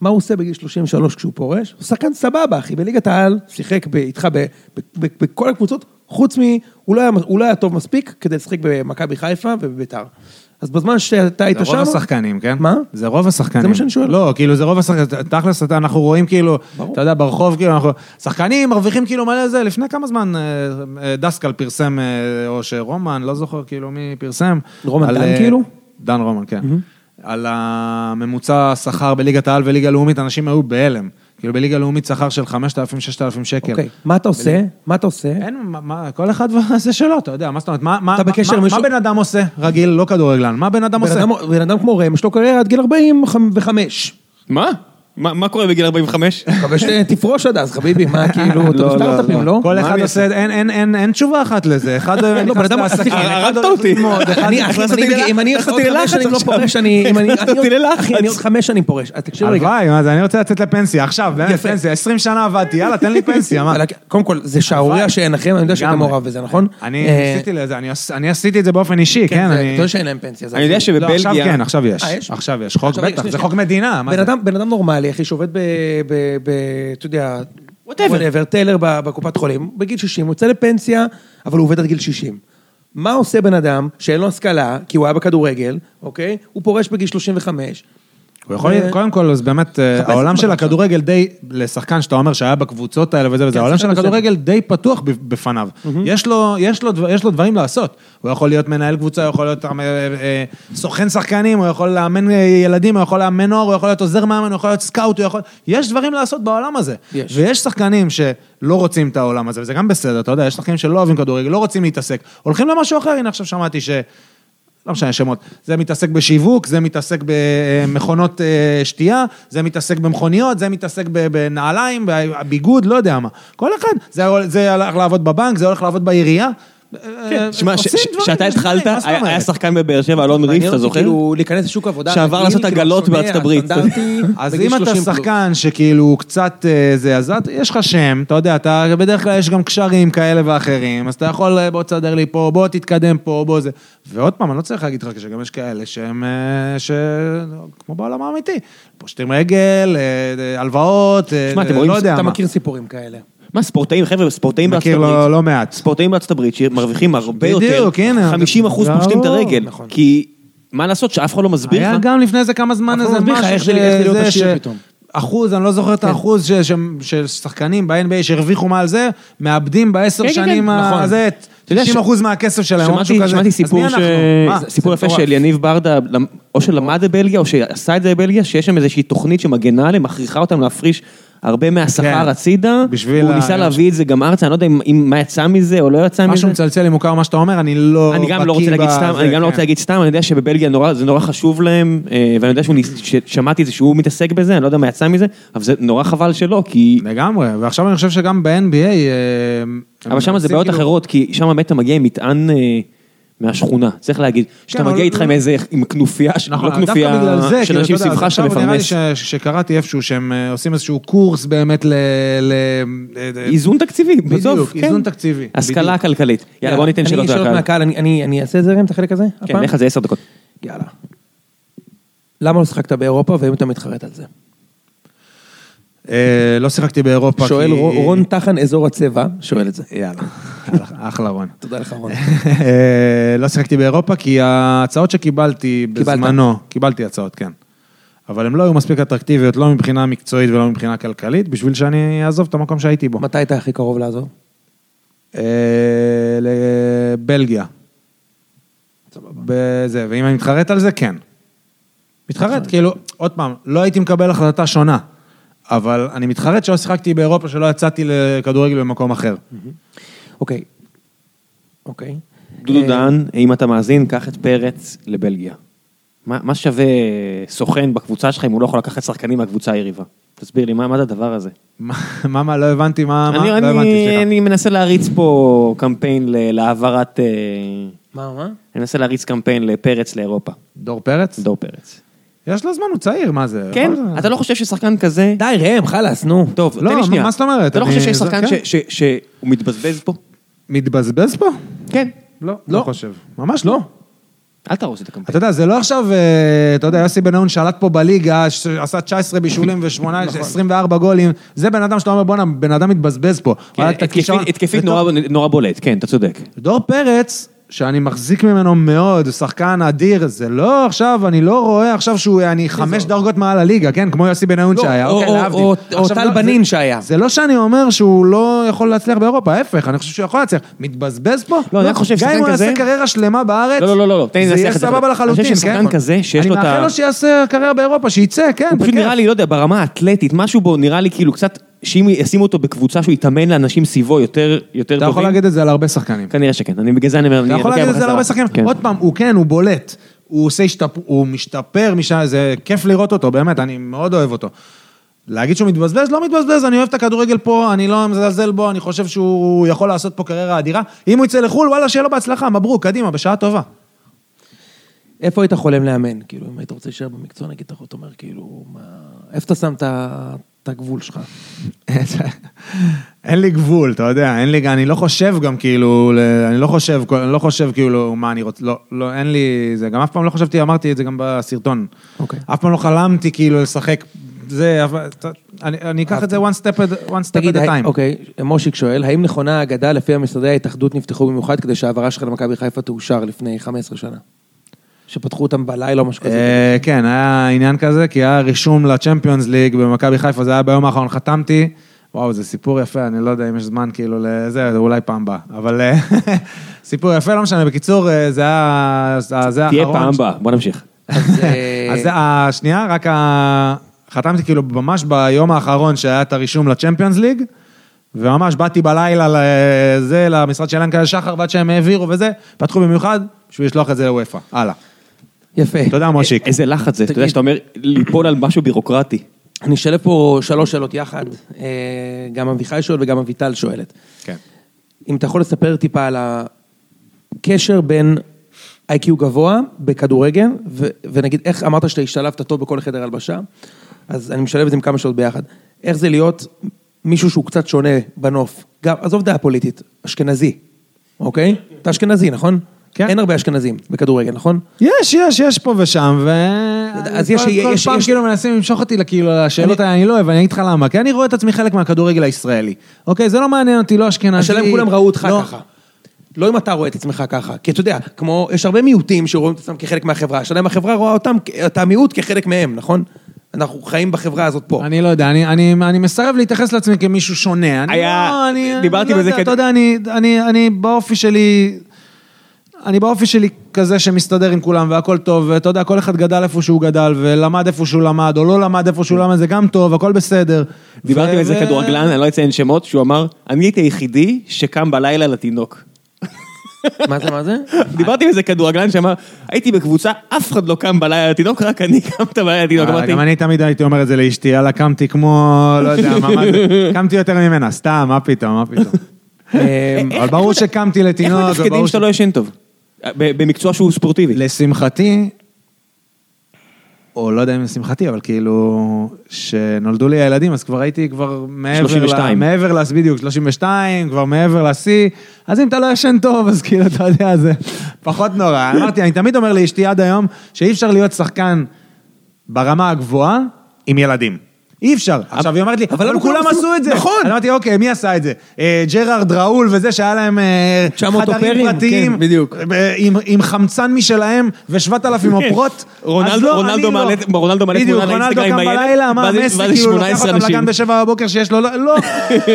C: מה הוא עושה בגיל 33 כשהוא פורש? הוא שחקן סבבה, אחי, בליגת העל, שיחק ב- איתך ב- ב- ב- בכל הקבוצות, חוץ מ... הוא לא היה- הוא לא היה טוב מספיק כדי לשחק במכבי חיפה ובביתר. אז בזמן שאתה היית
B: זה
C: שם...
B: רוב השחקנים, כן?
C: מה?
B: זה רוב השחקנים.
C: זה מה שאני שואל.
B: לא, כאילו זה רוב השחקנים, תכלס אתה- אנחנו רואים כאילו,
C: ברור.
B: אתה יודע, ברחוב כאילו, אנחנו... שחקנים מרוויחים כאילו מלא זה, לפני כמה זמן אה, אה, דסקל פרסם, אה, או שרומן, לא זוכר כאילו מי פרסם.
C: רומן
B: על,
C: דן,
B: אה,
C: כאילו?
B: דן רומן, כן. על הממוצע שכר בליגת העל וליגה לאומית, אנשים היו בהלם. כאילו בליגה לאומית שכר של 5,000-6,000 שקל.
C: אוקיי, מה אתה עושה? מה אתה עושה?
B: אין, מה- מה, כל אחד וזה שלו, אתה יודע, מה זאת אומרת, מה- מה
C: אתה בקשר
B: מה-
C: עם
B: מה
C: מישהו-
B: בן אדם עושה? רגיל, לא כדורגלן, מה בן אדם
C: בן
B: עושה?
C: אדם- בן אדם כמו ראם, יש לו קריירה עד גיל 45.
D: מה? מה מה קורה בגיל 45?
C: מקווה שתפרוש עד אז, חביבי, מה כאילו, אתה
D: לא,
C: בסטארט-אפים,
D: לא,
C: לא?
D: לא.
B: כל
D: מה
B: אחד
D: אני
B: עושה, אין- אין- אין אין תשובה אחת לזה, אחד
C: לא, בן
B: נכנס
C: אדם,
B: לעסקים,
C: סליחה,
B: אחד
D: הרגת
B: הולך
D: אותי.
B: ללמוד, אחד-
C: אני, אחי,
D: הכנסת
C: אם
D: אותי
C: אני- אם אני
D: ללחץ
C: עוד חמש
D: עכשיו.
C: שנים לא פורש, אני... אם אני-
D: הכנסת
C: אני עוד-
D: אותי ללחץ.
C: אחי, אני עוד חמש שנים פורש. אז תקשיב רגע.
B: הלוואי, מה זה, אני רוצה לצאת לפנסיה, עכשיו, באמת,
C: יפה.
B: פנסיה, 20 שנה עבדתי, יאללה, תן לי פנסיה, מה?
C: אבל קודם כל, זה שערורייה
B: הלוואי.
C: שאין לכם, אני יודע שאתה
B: לגמרי.
C: מעורב בזה, נכון?
B: אני
C: אה,
B: עשיתי לזה, אני עש- אני עשיתי את זה באופן אישי,
C: כן,
B: כן,
C: זה-
B: אני...
C: אתה יודע שאין להם פנסיה. זה
D: אני יודע
C: אפילו-
B: לא, עכשיו
D: שבבלגיה...
B: כן, עכשיו יש,
C: אה, יש?
B: עכשיו יש, חוק
C: עכשיו, רגע,
B: בטח,
C: שנייה,
B: זה
C: שנייה.
B: חוק מדינה, מה
C: בן
B: זה?
C: אדם- בן אדם נורמלי, אחי, שעובד ב... ב- ב- אתה יודע...
D: Whatever.
C: whatever, טיילר ב- בקופת חולים, בגיל 60, הוא יוצא לפנסיה, אבל הוא עובד עד גיל 60. מה עושה בן אדם שאין לו השכלה, כי הוא היה בכדורגל, אוקיי? הוא פורש בגיל 35.
B: הוא יכול,
C: ו-
B: קודם כל, אז באמת, אה,
C: חפש
B: העולם
C: את
B: של
C: זה
B: הכדורגל די, לשחקן שאתה אומר שהיה בקבוצות האלה וזה וזה, העולם של
C: שחקן בסדר.
B: הכדורגל די פתוח ב- בפניו. יש לו- יש לו דבר- יש לו דברים לעשות. הוא יכול להיות מנהל קבוצה, הוא יכול להיות אה, אה, סוכן שחקנים, הוא יכול לאמן אה, ילדים, הוא יכול לאמן נוער, הוא יכול להיות עוזר מאמן, הוא יכול להיות סקאוט, הוא יכול... יש דברים לעשות בעולם הזה.
C: יש.
B: ויש שחקנים שלא רוצים את העולם הזה, וזה גם בסדר, אתה יודע, יש שחקנים שלא אוהבים כדורגל, לא רוצים להתעסק, הולכים למשהו אחר, הנה עכשיו שמעתי ש... לא משנה שמות, זה מתעסק בשיווק, זה מתעסק במכונות אה, שתייה, זה מתעסק במכוניות, זה מתעסק ב- בנעליים, ביגוד, לא יודע מה. כל אחד, זה, הול- זה הלך לעבוד בבנק, זה הולך לעבוד בעירייה. אה,
D: כן, שמע,
B: עושים דברים,
D: כשאתה
B: יש דברים,
D: התחלת,
B: מה זאת
D: היה
B: אומרת?
D: היה שחקן בבאר שבע, אלון ריף,
C: מעניין
D: אתה
C: אותי
D: זוכר?
C: כאילו להיכנס לשוק עבודה.
D: שעבר
C: רגיל,
D: לעשות
C: כאילו,
D: עגלות
C: שומע,
D: בארצות הברית.
C: סטנדרטי,
B: אז
C: בגיל
B: אם אתה
C: 30 פלוס.
B: שחקן שכאילו הוא קצת אה, זה, אז את- יש לך שם, אתה יודע, אתה, בדרך כלל יש גם קשרים כאלה ואחרים, אז אתה יכול, אה, בוא תסדר לי פה, בוא תתקדם פה, בוא זה. ועוד פעם, אני לא צריך להגיד לך שגם יש כאלה שהם, אה, ש... כמו בעולם האמיתי, פושטים רגל, אה, אה, הלוואות, אה,
D: שמע, אתם
B: לא
D: רואים,
B: יודע
C: אתה
B: מה.
C: מכיר סיפורים כאלה.
D: מה, ספורטאים, חבר'ה, ספורטאים בארצות
B: מכיר
D: הברית.
B: לא, לא מעט.
D: ספורטאים בארצות הברית שמרוויחים הרבה
B: בדיוק,
D: יותר,
B: הנה,
D: 50 אחוז
B: ברור,
D: פושטים את הרגל,
C: נכון.
D: כי מה לעשות שאף אחד לא מסביר
B: אה, היה
D: לך?
B: גם לפני איזה כמה זמן
C: אף
B: איזה
C: אחד לא מסביר לך
B: משהו
C: איך זה- איך להיות
B: שזה
C: עשיר
B: ש-
C: פתאום.
B: אחוז, אני לא זוכר
D: כן.
B: את האחוז ש- ש- של שחקנים ב-NBA שהרוויחו מעל זה, מאבדים בעשר
D: כן, כן,
B: שנים
D: כן, נכון.
B: הזה,
D: אתה יודע ש-
B: 90 אחוז מהכסף שלהם, או משהו
D: שמעתי,
B: כזה.
D: שמעתי
B: אז מי
D: סיפור, ש...
B: אנחנו? מה?
D: זה סיפור
B: זה
D: יפה
B: מטורף.
D: של יניב ברדה, למ- או שלמד בבלגיה, או שעשה את זה בבלגיה, שיש שם איזושהי תוכנית שמגנה עליהם, מכריחה אותם להפריש הרבה מהשכר
B: כן.
D: הצידה.
B: בשביל
D: הוא
B: ה-
D: ניסה להביא את זה גם ארצה, אני לא יודע אם- אם מה יצא מזה או לא יצא מזה.
B: משהו מצלצל לי מוכר מה שאתה אומר, אני לא...
D: אני גם לא
B: בקיא
D: רוצה להגיד
B: בזה,
D: סתם, אני גם לא
B: כן.
D: רוצה להגיד סתם, אני יודע שבבלגיה נורא- זה נורא חשוב להם, אה, ואני יודע שהוא ניס- ששמעתי את זה שהוא מתעסק בזה, אני לא יודע מה יצא מזה, אבל זה נורא חבל שלא, כי...
B: לגמרי, ועכשיו אני חושב שגם ב-NBA... אה, הם
D: אבל שם זה
B: עושים
D: בעיות
B: כאילו-
D: אחרות, כי שם באמת אתה מגיע עם מטען אה, מהשכונה, צריך להגיד. שאתה
B: אבל
D: מגיע
B: לא-
D: איתך עם איזה, עם כנופיה, ש- לא
B: נכון,
D: כנופיה,
B: דווקא בגלל זה,
D: של
B: כאילו,
D: אנשים
B: אתה יודע,
D: סביבך שאתה
B: עכשיו נראה לי
D: מפרנס.
B: ש- שקראתי איפשהו שהם אה, עושים איזשהו קורס באמת ל... ל- אה,
D: איזון תקציבי, בסוף, כן.
B: איזון תקציבי,
D: השכלה
B: בדיוק.
D: כלכלית. יאללה, בוא ניתן
C: אני
D: שאלות
C: שאלות
D: לקהל.
C: מהקהל, אני- אני אני אעשה את זה ראם, את החלק הזה?
D: כן,
C: הפעם?
D: לך זה עשר דקות.
C: יאללה. למה לא שחקת באירופה, והאם אתה מתחרט על זה?
B: אה, לא שיחקתי באירופה.
C: שואל
B: כי-
C: רו- רון טחן, אזור הצבע, שואל את זה.
B: יאללה, אחלה- אחלה רון.
C: תודה לך, רון.
B: אה, לא שיחקתי באירופה כי ההצעות שקיבלתי
C: קיבלת.
B: בזמנו, קיבלתי הצעות, כן. אבל הן לא היו מספיק אטרקטיביות, לא מבחינה מקצועית ולא מבחינה כלכלית, בשביל שאני אעזוב את המקום שהייתי בו.
C: מתי אתה הכי קרוב לעזוב?
B: אה, לבלגיה. בזה, ואם אני מתחרט על זה, כן. מתחרט, כאילו, עוד פעם, לא הייתי מקבל החלטה שונה, אבל אני מתחרט שלא שיחקתי באירופה, שלא יצאתי לכדורגל במקום אחר.
C: Mm. אוקיי. אוקיי.
D: דודו
C: אה,
D: דהן, אם אתה מאזין, קח את פרץ לבלגיה. מה מה שווה סוכן בקבוצה שלך אם הוא לא יכול לקחת שחקנים מהקבוצה היריבה? תסביר לי, מה מה זה הדבר הזה?
B: מה, מה, מה, לא הבנתי מה, מה,
D: אני-
B: לא
D: אני-
B: הבנתי, סליחה.
D: אני מנסה להריץ פה קמפיין ל- להעברת... אה,
C: מה, מה?
D: אני מנסה להריץ קמפיין לפרץ לאירופה,
B: דור פרץ?
D: דור פרץ.
B: יש לו זמן, הוא צעיר, מה זה?
D: כן?
B: מה זה?
D: אתה לא חושב ששחקן כזה...
C: די, ראם, חלאס, נו.
D: טוב,
B: לא,
D: תן לי
B: מה-
D: שנייה.
B: מה זאת אומרת?
D: אתה לא
B: אני-
D: חושב שיש
B: זה-
D: שחקן
B: כן.
D: ש- ש- שהוא מתבזבז פה?
B: מתבזבז פה?
D: כן.
B: לא, לא חושב. ממש לא.
D: אל תהרוס את הקמפיין.
B: אתה יודע, זה לא עכשיו, אה, אתה יודע, יוסי בניון שלט פה בליגה, ש- עשה 19 בישולים נכון. ו-24 גולים, זה בן אדם שאתה אומר, בואנה, בן אדם מתבזבז פה.
D: כן,
B: היה
D: התקפית-
B: את הכישרון-
D: התקפית
B: בתור-
D: נורא- נורא בולט, כן, אתה צודק.
B: דור פרץ, שאני מחזיק ממנו מאוד, הוא שחקן אדיר, זה לא עכשיו, אני לא רואה עכשיו שהוא, אני חמש דרגות מעל הליגה, כן? כמו יוסי בניון
C: לא,
B: שהיה,
C: או-
B: אוקיי,
C: או-
B: להבדיל.
C: או- או
B: עכשיו,
C: טל
B: לא,
C: בנין
B: זה-
C: שהיה.
B: זה לא שאני אומר שהוא לא יכול להצליח באירופה, ההפך, אני חושב שהוא יכול להצליח. מתבזבז פה?
D: לא, אני רק חושב
B: גם
D: ששחקן
B: אם הוא
D: כזה-
B: יעשה קריירה שלמה בארץ,
D: לא, לא, לא, לא, תן לי
B: זה
D: לנסח
B: יהיה
D: את זה.
B: סבבה
D: אני חושב
B: לחלוטין, כן?
D: ששחקן כזה שיש לו את ה-
B: אני מאחל לו שיעשה קריירה באירופה, שיצא, כן,
D: הוא פשוט
B: בכיף.
D: נראה לי, לא יודע, ברמה האתלטית, משהו בו נראה לי כאילו קצת, שאם ישימו אותו בקבוצה שהוא יתאמן לאנשים סביבו יותר יותר
B: אתה יכול
D: טובים,
B: להגיד את זה על הרבה שחקנים.
D: כנראה שכן, אני בגלל זה אני אומר, אני
B: אתה יכול
D: לוקח
B: להגיד את זה
D: בחזרה.
B: על הרבה שחקנים.
D: כן.
B: עוד פעם, הוא כן, הוא בולט. הוא עושה השתפ... הוא משתפר משם, זה כיף לראות אותו, באמת, אני מאוד אוהב אותו. להגיד שהוא מתבזבז? לא מתבזבז, אני אוהב את הכדורגל פה, אני לא מזלזל בו, אני חושב שהוא יכול לעשות פה קריירה אדירה. אם הוא יצא לחו"ל, וואלה, שיהיה לו בהצלחה, מברוק, קדימה, בשעה טובה.
C: איפה היית חולם לאמן? כאילו, אם היית רוצה להישאר במקצוע, נגיד, אתה אתה אומר, כאילו, מה... איפה אתה שם את ה- את הגבול שלך?
B: אין לי גבול, אתה יודע, אין לי, אני לא חושב גם כאילו, ל- אני לא חושב, אני לא חושב כאילו מה אני רוצה, לא, לא, אין לי, זה גם אף פעם לא חשבתי, אמרתי את זה גם בסרטון.
C: אוקיי.
B: אף פעם לא חלמתי כאילו לשחק, זה, אבל, אתה- אני, אני אקח את זה one step at, one step
C: תגיד,
B: at a
C: הי-
B: time.
C: אוקיי, מושיק שואל, האם נכונה האגדה לפיה משרדי ההתאחדות נפתחו במיוחד כדי שההעברה שלך למכבי חיפה תאושר לפני 15 שנה? שפתחו אותם בלילה או משהו כזה?
B: אה, כן, היה עניין כזה, כי היה רישום לצ'מפיונס ליג במכבי חיפה, זה היה ביום האחרון, חתמתי. וואו, זה סיפור יפה, אני לא יודע אם יש זמן כאילו לזה, זה אולי פעם הבאה. אבל אה, סיפור יפה, לא משנה, בקיצור, אה, זה היה, זה
D: תהיה
B: האחרון.
D: פעם הבאה, בוא נמשיך.
C: אז, אה,
B: אז זה השנייה, רק ה... חתמתי כאילו ממש ביום האחרון שהיה את הרישום לצ'מפיונס ליג, וממש באתי בלילה לזה, למשרד של ינקה שחר, ועד שהם העבירו וזה, פתחו במיוחד בשביל לשלוח את זה לוופא. הלאה.
C: יפה.
B: תודה, מושיק.
D: איזה לחץ זה, אתה יודע
C: תגיד.
D: שאתה אומר, ליפול על משהו בירוקרטי.
C: אני אשלב פה שלוש שאלות יחד. אה, גם אביחי שואל וגם אביטל שואלת.
B: כן.
C: אם אתה יכול לספר טיפה על הקשר בין איי-קיו גבוה בכדורגל, ו- ונגיד איך אמרת שאתה השתלבת טוב בכל חדר הלבשה, אז אני משלב את זה עם כמה שעות ביחד. איך זה להיות מישהו שהוא קצת שונה בנוף, גם, עזוב דעה פוליטית, אשכנזי, אוקיי? אתה אשכנזי, נכון?
B: כן.
C: אין הרבה אשכנזים בכדורגל, נכון?
B: יש, יש, יש פה ושם, ו...
C: אז יש-
B: כל- כל
C: יש-
B: פעם
C: יש-
B: כאילו מנסים למשוך אותי לכאילו לשאלות
C: אני-
B: האלה, אני לא אוהב, אני אגיד לך למה. כי אני רואה את עצמי חלק מהכדורגל הישראלי. אוקיי, זה לא מעניין אותי, לא אשכנזי.
C: השאלה אם כולם ראו אותך
B: לא-
C: ככה. לא אם אתה רואה את עצמך ככה, כי אתה יודע, כמו, יש הרבה מיעוטים שרואים את עצמם כחלק מהחברה, השאלה אם החברה רואה אותם, כ- את המיעוט כחלק מהם, נכון? אנחנו חיים בחברה הזאת פה.
B: אני לא יודע, אני, אני, אני מסרב להתייחס לעצמי כמישהו שונה. אני
D: היה-
B: לא, אני,
D: דיברתי
B: אני לא
D: בזה
B: יודע,
D: כד-
B: אתה יודע, אני, אני, אני באופי שלי... אני באופי שלי כזה שמסתדר עם כולם והכל טוב, ואתה יודע, כל אחד גדל איפה שהוא גדל, ולמד איפה שהוא למד, או לא למד איפה שהוא למד, זה גם טוב, הכל בסדר.
D: דיברתי עם
B: ו-
D: איזה
B: ו-
D: כדורגלן, אני לא אציין שמות, שהוא אמר, אני הייתי היחידי שקם בלילה לתינוק.
C: מה זה, מה זה?
D: דיברתי עם איזה כדורגלן שאמר, הייתי בקבוצה, אף אחד לא קם בלילה לתינוק, רק אני קמת בלילה לתינוק.
B: אה,
D: אמרתי,
B: גם אני תמיד הייתי אומר את זה לאשתי, יאללה, קמתי כמו, לא יודע, מה מה זה, קמתי יותר ממנה, סתם, מה פתאום, מה פתאום.
C: אה,
B: אבל ברור שקמתי
D: איך
B: לתינוק,
D: מתפקדים
B: וברור
D: שאתה לא ישן טוב? ב- במקצוע שהוא ספורטיבי.
B: לשמחתי, או לא יודע אם לשמחתי, אבל כאילו, שנולדו לי הילדים, אז כבר הייתי כבר מעבר...
D: 32.
B: ל, מעבר ל... בדיוק, 32, כבר מעבר לשיא. אז אם אתה לא ישן טוב, אז כאילו, אתה יודע, זה פחות נורא. אמרתי, אני תמיד אומר לאשתי עד היום, שאי אפשר להיות שחקן ברמה הגבוהה עם ילדים. אי אפשר. עכשיו, היא אומרת לי,
D: לא
B: אבל כולם עשו את זה.
C: נכון.
B: אני אמרתי, אוקיי, מי עשה את זה? אה, ג'רארד ראול וזה, שהיה להם אה,
C: 900 אופרים,
B: פרטיים.
C: כן, בדיוק.
B: אה, עם- עם חמצן משלהם ו-7,000 אופרות.
D: כן. רונלדו-
B: אז לא,
D: רונלדו
B: אני לא.
D: מעלה- רונלדו מעלה
B: בדיוק,
D: תמונה
B: רונלדו
D: לאינסטגרם
B: קם
D: עם הילד,
B: בלילה, אמר,
D: ואז יש-
B: מסי
D: ואז יש
B: כאילו לקח
D: 18
B: אותם
D: אנשים."
B: לגן בשבע בבוקר שיש לו, לא, לא.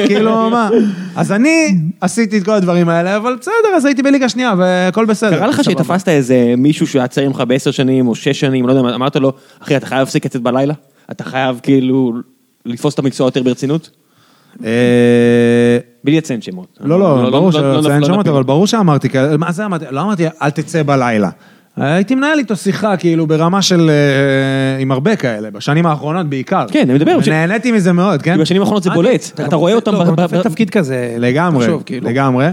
B: כאילו, מה. אז אני עשיתי את כל הדברים האלה, אבל בסדר, אז הייתי בליגה שנייה, והכל בסדר.
D: קרה לך
B: סבבה.
D: שתפסת איזה מישהו שהיה צעיר ממך בעשר שנים או שש שנים, לא יודע, מה, אמרת לו, אחי, אתה חייב להפסיק לצאת בלילה? אתה חייב כאילו לתפוס את המקצוע יותר ברצינות?
B: אה,
D: בלי לציין שמות.
B: לא, לא, ברור שלא
D: נפ-
B: ציין
D: לא
B: שמות,
D: נפיל.
B: אבל ברור שאמרתי, כאלה, מה זה אמרתי? לא אמרתי, אל תצא בלילה. הייתי מנהל איתו שיחה, כאילו, ברמה של... אה, עם הרבה כאלה, בשנים האחרונות בעיקר.
D: כן, אני מדבר, ש-
B: נהניתי מזה מאוד, כן?
D: כי בשנים האחרונות זה בולט, אתה רואה אותם
C: לא,
D: ב-
C: גם
D: ב-
C: תופס
D: ב-
C: תפקיד כזה.
B: לגמרי,
C: תחשוב, כאילו.
B: לגמרי.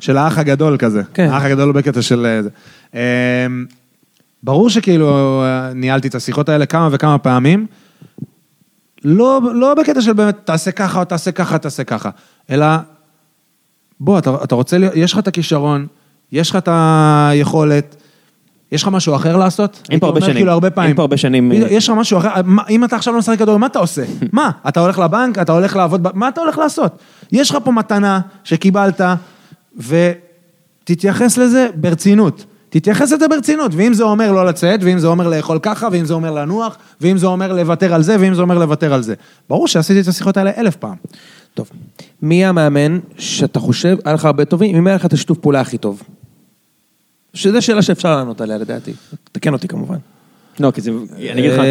B: של האח הגדול כזה.
C: כן.
B: האח הגדול בקטע של... אה, זה. אמ, ברור שכאילו אה, ניהלתי את השיחות האלה כמה וכמה פעמים. לא, לא בקטע של באמת, תעשה ככה או תעשה ככה, תעשה ככה, אלא בוא, אתה, אתה רוצה, להיות- יש לך את הכישרון, יש לך את היכולת, יש לך משהו אחר לעשות? הייתי
D: הרבה
B: אומר
D: שנים.
B: כאילו הרבה
D: אין
B: פעמים.
D: פה הרבה שנים,
B: בדיוק,
D: אה,
B: יש לך משהו אחר, מה- אם אתה עכשיו לא משחק כדורגל, מה אתה עושה? מה, אתה הולך לבנק, אתה הולך לעבוד, ב- מה אתה הולך לעשות? יש לך פה מתנה שקיבלת, ותתייחס לזה ברצינות. תתייחס לזה ברצינות, ואם זה אומר לא לצאת, ואם זה אומר לאכול ככה, ואם זה אומר לנוח, ואם זה אומר לוותר על זה, ואם זה אומר לוותר על זה. ברור שעשיתי את השיחות האלה אלף פעם.
C: טוב. מי המאמן שאתה חושב, היה לך הרבה טובים, עם מי היה לך את השיתוף פעולה הכי טוב? שזו שאלה שאפשר לענות עליה לדעתי. תקן אותי כמובן.
D: לא, כי זה, אני אגיד לך,
B: אה,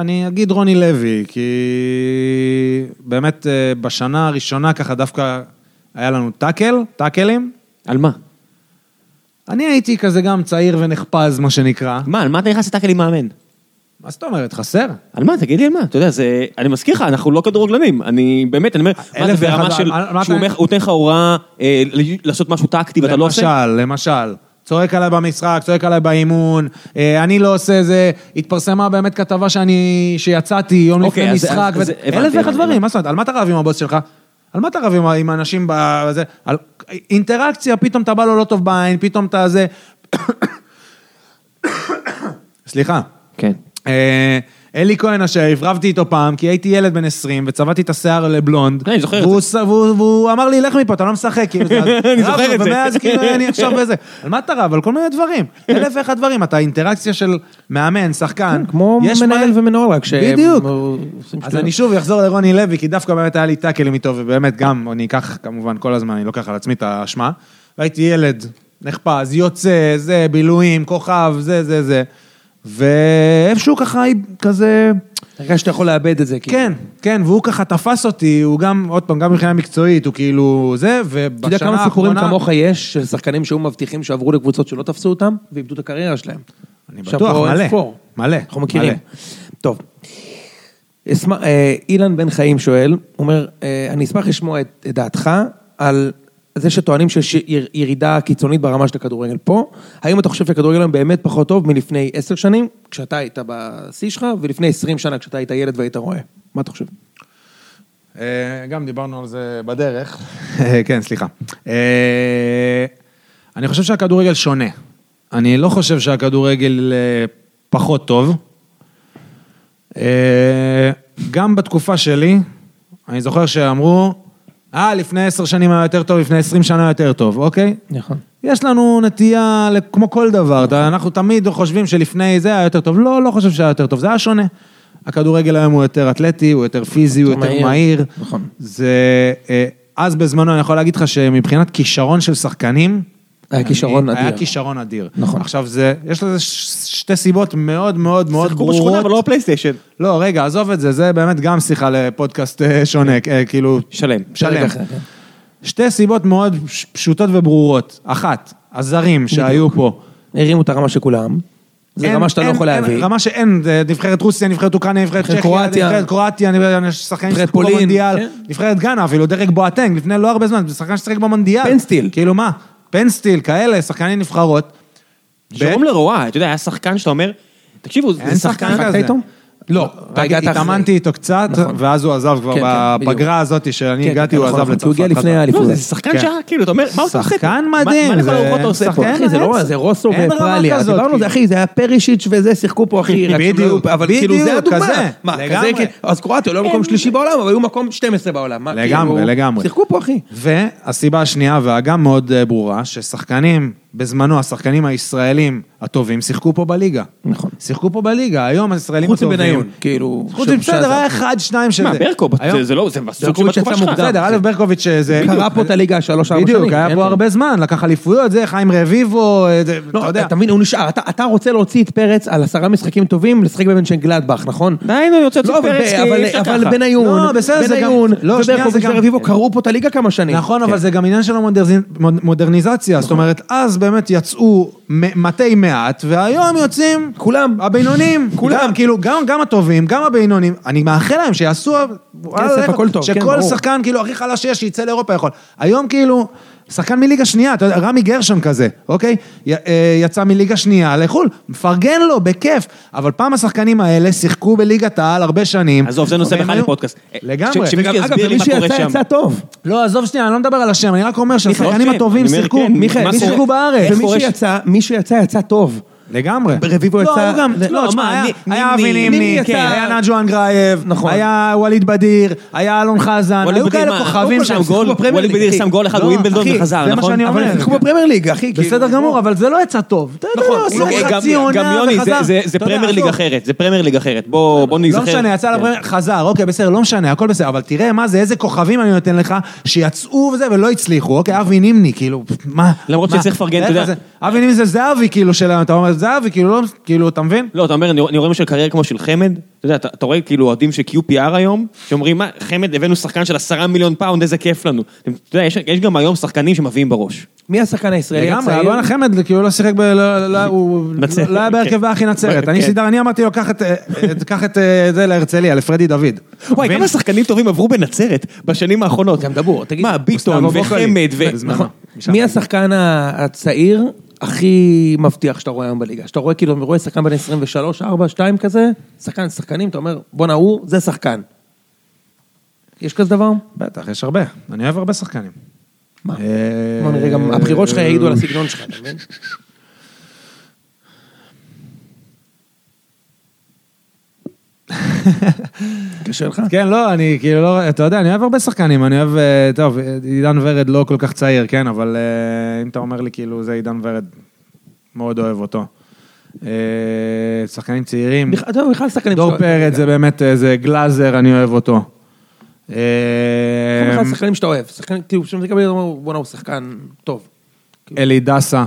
B: אני אגיד רוני לוי, כי באמת אה, בשנה הראשונה ככה דווקא היה לנו טאקל, טאקלים.
D: על מה?
B: אני הייתי כזה גם צעיר ונחפז, מה שנקרא.
D: מה, על מה אתה נכנס לטאקל עם מאמן?
B: מה זאת אומרת, חסר?
D: על מה? תגיד לי על מה. אתה יודע, זה... אני מזכיר לך, אנחנו לא כדורגלנים. אני באמת, אני אומר, מה זה
B: אה, אלף ואחד,
D: ברמה של...
B: על- על- מה
D: שהוא
B: אתה-
D: אומר- הוא נותן לך הוראה אה, ל- לעשות משהו טקטי ואתה לא עושה?
B: למשל, למשל. צועק עליי במשחק, צועק עליי באימון, אה, אני לא עושה זה, התפרסמה באמת כתבה שאני, שיצאתי יום
D: אוקיי,
B: לפני
D: אז-
B: משחק,
D: אז- אז
B: ו-
D: הבנתי,
B: אלף ואחד
D: הבנתי,
B: דברים,
D: הבנתי.
B: מה זאת אומרת, על מה אתה רב עם הבוס שלך? על מה אתה רב עם, ה- עם האנשים בזה? על אינטראקציה, פתאום אתה בא לו לא טוב בעין, פתאום אתה זה... סליחה.
D: כן.
B: אה, אלי כהן השאיף, רבתי איתו פעם, כי הייתי ילד בן 20, וצבעתי את השיער לבלונד.
D: אני זוכר את
B: והוא ס- והוא- והוא אמר לי, לך מפה, אתה לא משחק, כאילו, זה- אז
D: אני זוכר
B: רבנו,
D: את זה.
B: ומאז כאילו אני עכשיו בזה. על מה אתה רב? על כל מיני דברים. אלף ואחד דברים, אתה אינטראקציה של מאמן, שחקן.
C: כן, כמו
B: יש
C: מנהל
B: מה-
C: ומנהל רק ש...
B: בדיוק.
C: הוא- עושים
B: אז
C: שטויות.
B: אני שוב אחזור לרוני לוי, כי דווקא באמת היה לי טאקלים איתו, ובאמת גם, אני אקח כמובן כל הזמן, אני לוקח על עצמי את האשמה. והייתי ילד, נחפז, יוצא, זה, בילויים, כוכב, זה, זה, זה. ואיפשהו ככה, כזה...
C: הרגשת שאתה יכול לאבד את זה. כאילו.
B: כן, כן, והוא ככה תפס אותי, הוא גם, עוד פעם, גם מבחינה מקצועית, הוא כאילו זה, ובשנה האחרונה...
C: אתה יודע כמה סיפורים כמוך יש, של שחקנים שהיו מבטיחים שעברו לקבוצות שלא תפסו אותם, ואיבדו את הקריירה שלהם.
B: אני
C: עכשיו
B: בטוח,
C: פה אין
B: מלא,
C: ספור.
B: מלא,
C: אנחנו מכירים.
B: מלא.
C: טוב. אשמח- אה, אילן בן חיים שואל, הוא אומר, אה, אני אשמח לשמוע את את דעתך על זה שטוענים שיש יר- ירידה קיצונית ברמה של הכדורגל פה. האם אתה חושב שהכדורגל היום באמת פחות טוב מלפני עשר שנים, כשאתה היית בשיא שלך, ולפני עשרים שנה כשאתה היית ילד והיית רואה? מה אתה חושב?
B: אה, גם דיברנו על זה בדרך. אה, כן, סליחה. אה, אני חושב שהכדורגל שונה. אני לא חושב שהכדורגל אה, פחות טוב. אה, גם בתקופה שלי, אני זוכר שאמרו, אה, לפני עשר שנים היה יותר טוב, לפני עשרים שנה היה יותר טוב, אוקיי?
C: נכון.
B: יש לנו נטייה, ל- כמו כל דבר, אתה- אנחנו תמיד חושבים שלפני זה היה יותר טוב. לא, לא חושב שהיה יותר טוב, זה היה שונה. הכדורגל היום הוא יותר אתלטי, הוא יותר פיזי, הוא
C: יותר
B: יותר
C: מהיר.
B: מהיר.
C: נכון.
B: זה... אה, אז בזמנו אני יכול להגיד לך שמבחינת כישרון של שחקנים...
C: היה
B: אני-
C: כישרון
B: היה
C: אדיר.
B: כישרון אדיר.
C: נכון.
B: עכשיו זה, יש לזה ש- שתי סיבות מאוד מאוד מאוד
D: שיחקו בשכונה,
B: ברורות.
D: אבל לא בפלייסטיישן.
B: לא, רגע, עזוב את זה, זה באמת גם שיחה לפודקאסט אה, שונה,
C: כן.
B: אה, כאילו...
D: שלם.
B: שלם.
C: רגע אחר, כן.
B: שתי סיבות מאוד פש- פשוטות וברורות. אחת, הזרים שהיו פה.
C: הרימו את הרמה של כולם. זה
B: אין-
C: רמה שאתה לא
B: אין-
C: יכול
B: אין-
C: להביא.
B: רמה שאין, זה נבחרת רוסיה, נבחרת אוקראינה, נבחרת
C: נבחרת
B: צ'כיה,
C: קרואטיה.
B: נבחרת קרואטיה, נבחרת- שחקנים
C: נבחרת
B: ששיחקו
C: פולין,
B: במונדיאל,
C: כן.
B: נבחרת גאנה אפילו, דרק בואטנג, לפני לא הרבה זמן, זה שחקן ששיחק במונדיאל.
C: פנסטיל.
B: כאילו מה? פנסטיל, כאלה, שחקני נבחרות.
D: שרום לרואה, אתה יודע, היה שחקן שאתה אומר, תקשיבו,
B: אין
D: זה
B: שחקן
D: שחקן...
B: כזה.
C: איתו? לא, אתה הגעת אחרי.
B: התאמנתי איתו קצת,
C: נכון.
B: ואז הוא עזב כבר
C: כן, כן, בדיוק.
B: בפגרה הזאת שאני
C: כן,
B: הגעתי,
C: כן,
B: הוא
C: נכון,
B: עזב
C: נכון,
B: לצרפת.
C: כי הוא הגיע לפני
B: חזר.
C: האליפות.
D: לא, זה שחקן
B: כן.
D: שעה, כאילו, אתה אומר, מה אתה עושה פה?
B: שחקן
D: מה-
B: מדהים,
D: מה לכל
B: זה-
D: הרוחות אתה עושה פה?
B: שחקן
C: אחי, זה לא, זה רוסוב
B: אין ברמה
C: ופרליה,
B: כזאת,
C: דיברנו על זה,
B: כאילו.
C: אחי, זה היה פרישיץ' וזה, שיחקו פה, אחי, רק שהם לא היו
B: בדיוק,
C: פה, אבל כאילו, זה
B: בדיוק,
C: הדוגמה.
B: כזה,
C: מה, כזה,
B: לגמרי.
C: כאילו, אז קרואטיה, לא היו מקום שלישי בעולם, אבל היו מקום 12 בעולם. מה,
B: לגמרי,
C: כאילו,
B: לגמרי.
C: שיחקו פה, אחי.
B: והסיבה השנייה, והגם מאוד אה, ברורה, ששחקנים, בזמנו, השחקנים הישראלים הטובים, שיחקו פה בליגה.
C: נכון.
B: שיחקו פה בליגה, היום הישראלים
C: חוץ
B: הטובים.
C: מבניון, כאילו,
B: חוץ
C: ש-
B: מבסדר,
C: שעזב.
B: היה אחד, שניים שזה.
D: מה, ברקו,
B: היום-
D: זה- זה לא, זה סוג של
C: ברקוביץ'
D: בתקופה
C: יצא
D: שלך.
C: מוקדם.
B: בסדר, א' ברקוביץ' אה, זה...
C: קרה אה, פה את הליגה שלוש, ארבע שנים.
B: בדיוק, היה
C: כן,
B: פה
C: כן.
B: הרבה זמן, לקח אליפויות, זה, חיים רביבו, אה, זה, אתה
C: לא,
B: יודע.
C: אתה מבין, הוא נשאר, אתה- אתה רוצה להוציא את פרץ על עשרה משחקים טובים, לשחק בבנצ'ן גלדבך, נכון?
D: די, נו, יוצא
C: לא,
D: יוצא
C: אבל
D: פרץ,
C: ב-
D: כי
C: אבל-
D: אי אפשר
C: אבל
D: ככה.
C: בניון,
B: לא, בסדר, זה גם-
C: בניון,
B: לא, שנייה, זה
C: וברקוביץ'
B: גם-
C: ורביבו קראו פה את הליגה כמה שנים.
B: נכון,
C: כן. נכון.
B: אבל זה גם עניין של המודרזי- מוד- מודרניזציה, זאת אומרת, אז באמת יצאו מ- מתי מעט, והיום יוצאים...
C: כולם.
B: הבינונים, כולם, כאילו, גם, גם הטובים, גם הבינונים, אני מאחל להם שיעשו... וואלה,
C: הכל טוב, כן,
B: שכל
C: ברור.
B: שחקן, כאילו, הכי חלש שיש, שיצא לאירופה יכול. היום, כאילו, שחקן מליגה שנייה, אתה יודע, רמי גרשון כזה, אוקיי? י, אה, יצא מליגה שנייה לחו"ל, מפרגן לו, בכיף. אבל פעם השחקנים האלה שיחקו בליגת העל הרבה שנים.
D: עזוב, זה נושא
B: והם
D: בכלל
B: היו-
D: לפודקאסט.
B: לגמרי.
D: ש- שמישהו
C: וגם, אגב,
D: יסביר לי
C: ומי
D: מה קורה
C: שיצא,
D: שם.
C: יצא טוב.
B: לא, עזוב שנייה, אני לא מדבר על השם, אני רק אומר שהשחקנים
D: כן,
B: הטובים
D: אני אומר,
B: שיחקו,
D: כן,
B: מיכאל,
D: מה
B: מי
D: קורה?
B: שיחקו בארץ.
D: איך
C: ומי
D: קורה ש-
C: שיצא, מי שיצא, יצא טוב.
B: לגמרי.
C: רביבו
B: לא,
C: יצא-
B: הוא גם,
C: ל-
B: לא,
D: לא,
B: תשמע,
D: מה,
B: היה-
D: ני-
B: היה אבי
D: נימני,
B: נימני, כן,
C: נימני יצא.
B: היה נג'ו אנגרייב,
C: נכון.
B: היה ווליד בדיר, היה אלון חזן,
D: אה, ווליד
B: היו
D: בדיר,
B: כאלה
D: מה,
B: כוכבים
D: קודם
B: שם.
D: כל שיחקו בפרמייר ליג, אחי. לא, אחי,
B: זה מה שאני
C: אבל
B: אומר.
C: הם שיחקו בפרמייר ליג, אחי. כאילו.
B: בסדר גמור, אבל זה לא יצא טוב. אתה יודע,
C: נכון,
B: לא,
C: אוקיי,
B: עשו
D: גם-
B: חצי
D: גם
B: עונה
D: יוני, זה-
B: וחזר.
D: זה- זה
B: אתה יודע,
D: פרמייר ליג
B: עזוב.
D: אחרת, זה פרמייר ליג אחרת. בוא בוא
B: לא
D: נזכר.
B: משנה, יצא
D: כן.
B: לפרמייר, חזר, אוקיי, בסדר, לא משנה, הכל בסדר, אבל תראה מה זה, איזה כוכבים אני נותן לך, שיצאו וזה, ולא הצליחו, אוקיי, אבי נימני, כאילו, מה?
D: למרות
B: מה?
D: שצריך לפרגן, אתה
B: איך
D: יודע.
B: זה? אבי נימני זה זהבי, כאילו, שלנו, אתה אומר, זהבי, כאילו, לא, כאילו, אתה מבין?
D: לא, אתה אומר, אני אני רואה משהו קריירה כמו של חמד, אתה יודע, אתה אתה רואה כאילו אוהדים של QPR היום, שאומרים, מה, חמד, הבאנו שחקן של עשרה מיליון פאונד, איזה כיף לנו. אתם- אתה יודע, יש- יש גם היום שחקנים שמביאים בראש.
C: מי השחקן הישראלי
B: לגמרי,
C: הצעיר?
B: אלון החמד, כאילו, לא שיחק ב... לא- לא- הוא
D: נצרת,
B: לא היה בהרכב
D: כן.
B: באחי נצרת. אני
D: כן.
B: סידר, אני אמרתי לו, קח את, אה, את- קח את אה, זה להרצליה, לפרדי דוד.
D: וואי, כמה שחקנים טובים עברו בנצרת בשנים האחרונות.
C: גם דבור, תגיד.
D: מה, ביטון
B: אוסטאבו ווקאלי.
D: וחמד ו...
B: בזמנו.
D: נכון.
C: מי השחקן ה- הצעיר הכי מבטיח שאתה רואה היום בליגה? שאתה רואה כאילו, רואה שחקן בן 23, 4, 2 כזה, שחקן, שחקנים, אתה אומר, בואנה הוא, זה שחקן. יש כזה דבר?
B: בטח, יש הרבה. אני אוהב הרבה שחקנים.
C: מה?
B: אה,
C: בוא נראה, גם הבחירות שלך יעידו על הסגנון שלך, אתה מבין? קשה לך?
B: כן, לא, אני כאילו לא, אתה יודע, אני אוהב הרבה שחקנים, אני אוהב, אה, טוב, עידן ורד לא כל כך צעיר, כן, אבל אה, אם אתה אומר לי, כאילו, זה עידן ורד, מאוד אוהב אותו. אה, שחקנים צעירים.
C: בכלל- אתה יודע, בכלל שחקנים...
B: דור
C: שאתה-
B: פרץ זה באמת, אה, זה גלאזר, אני אוהב אותו. אה,
C: זה בכלל
B: אמ-
C: שחקנים שאתה אוהב, שחקנים, כאילו, כשאתה מקבל, אתה אומר, בואנה הוא שחקן טוב.
B: אלי דסה.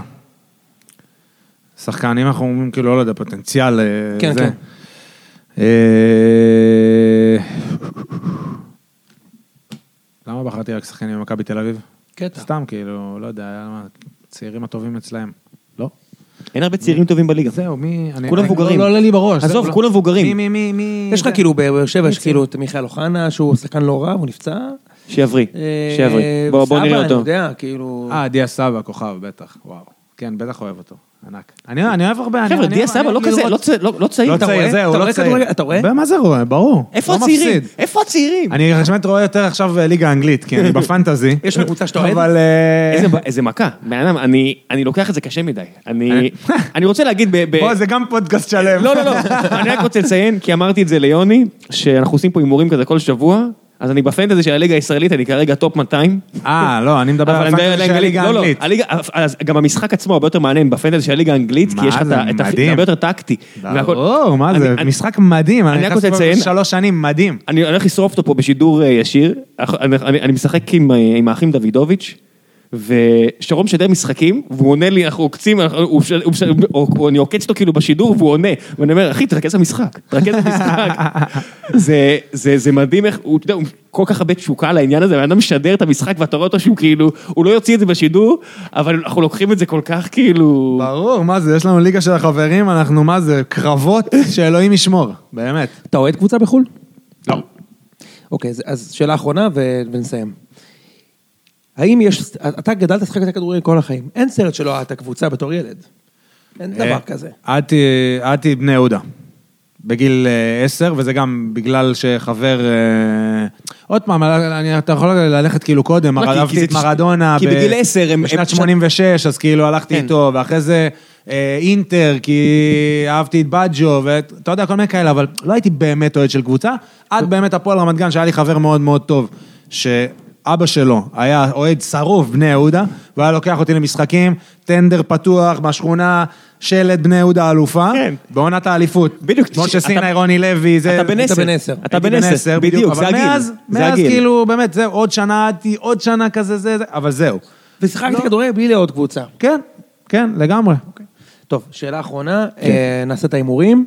B: שחקן, אם אנחנו אומרים כאילו, לא יודע, פוטנציאל, אה,
C: כן,
B: זה.
C: כן.
B: אה, למה בחרתי רק שחקנים ממכבי תל אביב?
C: קטע.
B: סתם, כאילו, לא יודע, היה מה, הצעירים הטובים אצלהם. לא?
D: אין הרבה צעירים טובים בליגה.
B: זהו, מי... אני-
D: כולם
B: אני-
D: מבוגרים.
B: לא לא עולה לי בראש.
D: עזוב,
B: זהו, לא-
D: כולם מבוגרים.
B: מי, מי, מי, מי... כן.
C: יש לך
B: זה-
C: כאילו בבאר שבע, יש כאילו את מיכאל אוחנה, שהוא שחקן לא רע, הוא נפצע.
D: שיבריא,
C: אה,
D: שיבריא. בוא בוא
C: סבא,
D: נראה
C: אני
D: אותו.
C: יודע, כאילו...
B: אה, דיה סבא, כוכב, בטח, וואו. כן, בטח אוהב אותו, ענק. אני אני אוהב הרבה... אני-
D: חבר'ה,
B: אני
D: דיה
B: אוהב- אני
D: סבא לא
B: אוהב
D: כזה,
B: לראות-
D: לא צעיר, לא- לא צעיר.
B: לא
D: אתה רואה?
B: צעיר, זהו,
C: אתה
B: לא
C: רואה
B: צעיר.
C: כדורגל? אתה רואה?
B: מה זה רואה? ברור.
D: איפה
B: לא
D: הצעירים?
B: מפסיד.
D: איפה הצעירים?
B: אני באמת רואה יותר עכשיו אה, ליגה אנגלית, כי אני בפנטזי.
C: יש לך קבוצה שאתה אוהד?
B: אבל... אה,
D: איזה ב- איזה מכה. בן אדם, אני- אני לוקח את זה קשה מדי. אני- אני רוצה להגיד... ב- ב-
B: אה? בוא, זה גם פודקאסט שלם.
D: לא, לא, לא. אני רק רוצה לציין, כי אמרתי את זה ליוני, שאנחנו עושים פה הימורים כזה כל שבוע, אז אני בפנטזי של הליגה הישראלית, אני כרגע טופ 200.
B: אה, לא, אני מדבר
D: אבל
B: על
D: אני מדבר על
B: הפנטזי של
D: הליגה
B: הליגה
D: האנגלית. לא, לא,
B: האנגלית.
D: הליגה- אז גם המשחק עצמו הרבה יותר מעניין בפנטזי של הליגה האנגלית,
B: מה
D: כי יש לך את
B: זה
D: ה- את ה...
B: מדהים.
D: זה הרבה יותר טקטי. והכל-
B: ברור, מה זה?
D: אני- אני-
B: משחק מדהים.
D: אני רק
B: נכנס
D: רוצה
B: פה
D: לציין-
B: שלוש שנים, מדהים.
D: אני הולך לשרוף אותו פה בשידור אה, ישיר, אח- אני- אני אני משחק עם, אה, עם האחים דוידוביץ', ושרון משדר משחקים, והוא עונה לי, אנחנו עוקצים, אנחנו- הוא ש- הוא ש- או- או- אני עוקץ אותו כאילו בשידור, והוא עונה, ואני אומר, אחי, תרכז במשחק, תרכז במשחק. זה- זה זה מדהים איך, הוא, אתה יודע, הוא כל כך הרבה תשוקה לעניין הזה, והאדם משדר את המשחק, ואתה רואה אותו שהוא כאילו, הוא לא יוציא את זה בשידור, אבל אנחנו לוקחים את זה כל כך כאילו...
B: ברור, מה זה? יש לנו ליגה של החברים, אנחנו, מה זה? קרבות שאלוהים ישמור, באמת.
C: אתה אוהד קבוצה בחו"ל?
D: לא.
C: אוקיי, אז- אז שאלה אחרונה ו- ונסיים. האם יש, אתה גדלת לשחק את הכדורגל כל החיים, אין סרט שלא אהבת קבוצה בתור ילד. אין דבר
B: אה,
C: כזה.
B: עד ת- עד תהיי בני יהודה. בגיל אה, עשר, וזה גם בגלל שחבר... אה, עוד פעם, אני- אתה יכול ללכת כאילו קודם,
D: לא, כי- כי
B: אהבתי
D: זה-
B: את מרדונה.
D: כי
B: ב-
D: בגיל עשר הם- הם-
B: בשנת 86, אז כאילו הלכתי
D: כן.
B: איתו, ואחרי זה אה, אינטר, כי אהבתי את בג'ו, ואתה יודע, כל מיני כאלה, אבל לא הייתי באמת אוהד של קבוצה,
D: לא.
B: עד באמת הפועל רמת גן, שהיה לי חבר מאוד מאוד טוב, שאבא שלו היה אוהד שרוף בני יהודה, והיה לוקח אותי למשחקים, טנדר פתוח מהשכונה. שלט בני יהודה אלופה,
D: כן.
B: בעונת האליפות.
D: בדיוק,
B: משה
D: אתה-
B: סיני, רוני לוי, זה...
D: אתה בן
C: היית
D: עשר.
C: בן עשר.
D: אתה בן עשר, בדיוק, זה הגיל.
B: אבל מאז,
D: זה
B: מאז
D: הגיל.
B: כאילו, באמת, זהו, עוד שנה עדתי, עוד שנה כזה, זה, זה, אבל זהו.
C: ושיחקתי כדורגל בלי לעוד קבוצה.
B: כן, כן, לגמרי.
C: טוב, שאלה אחרונה, אה, נעשה את ההימורים.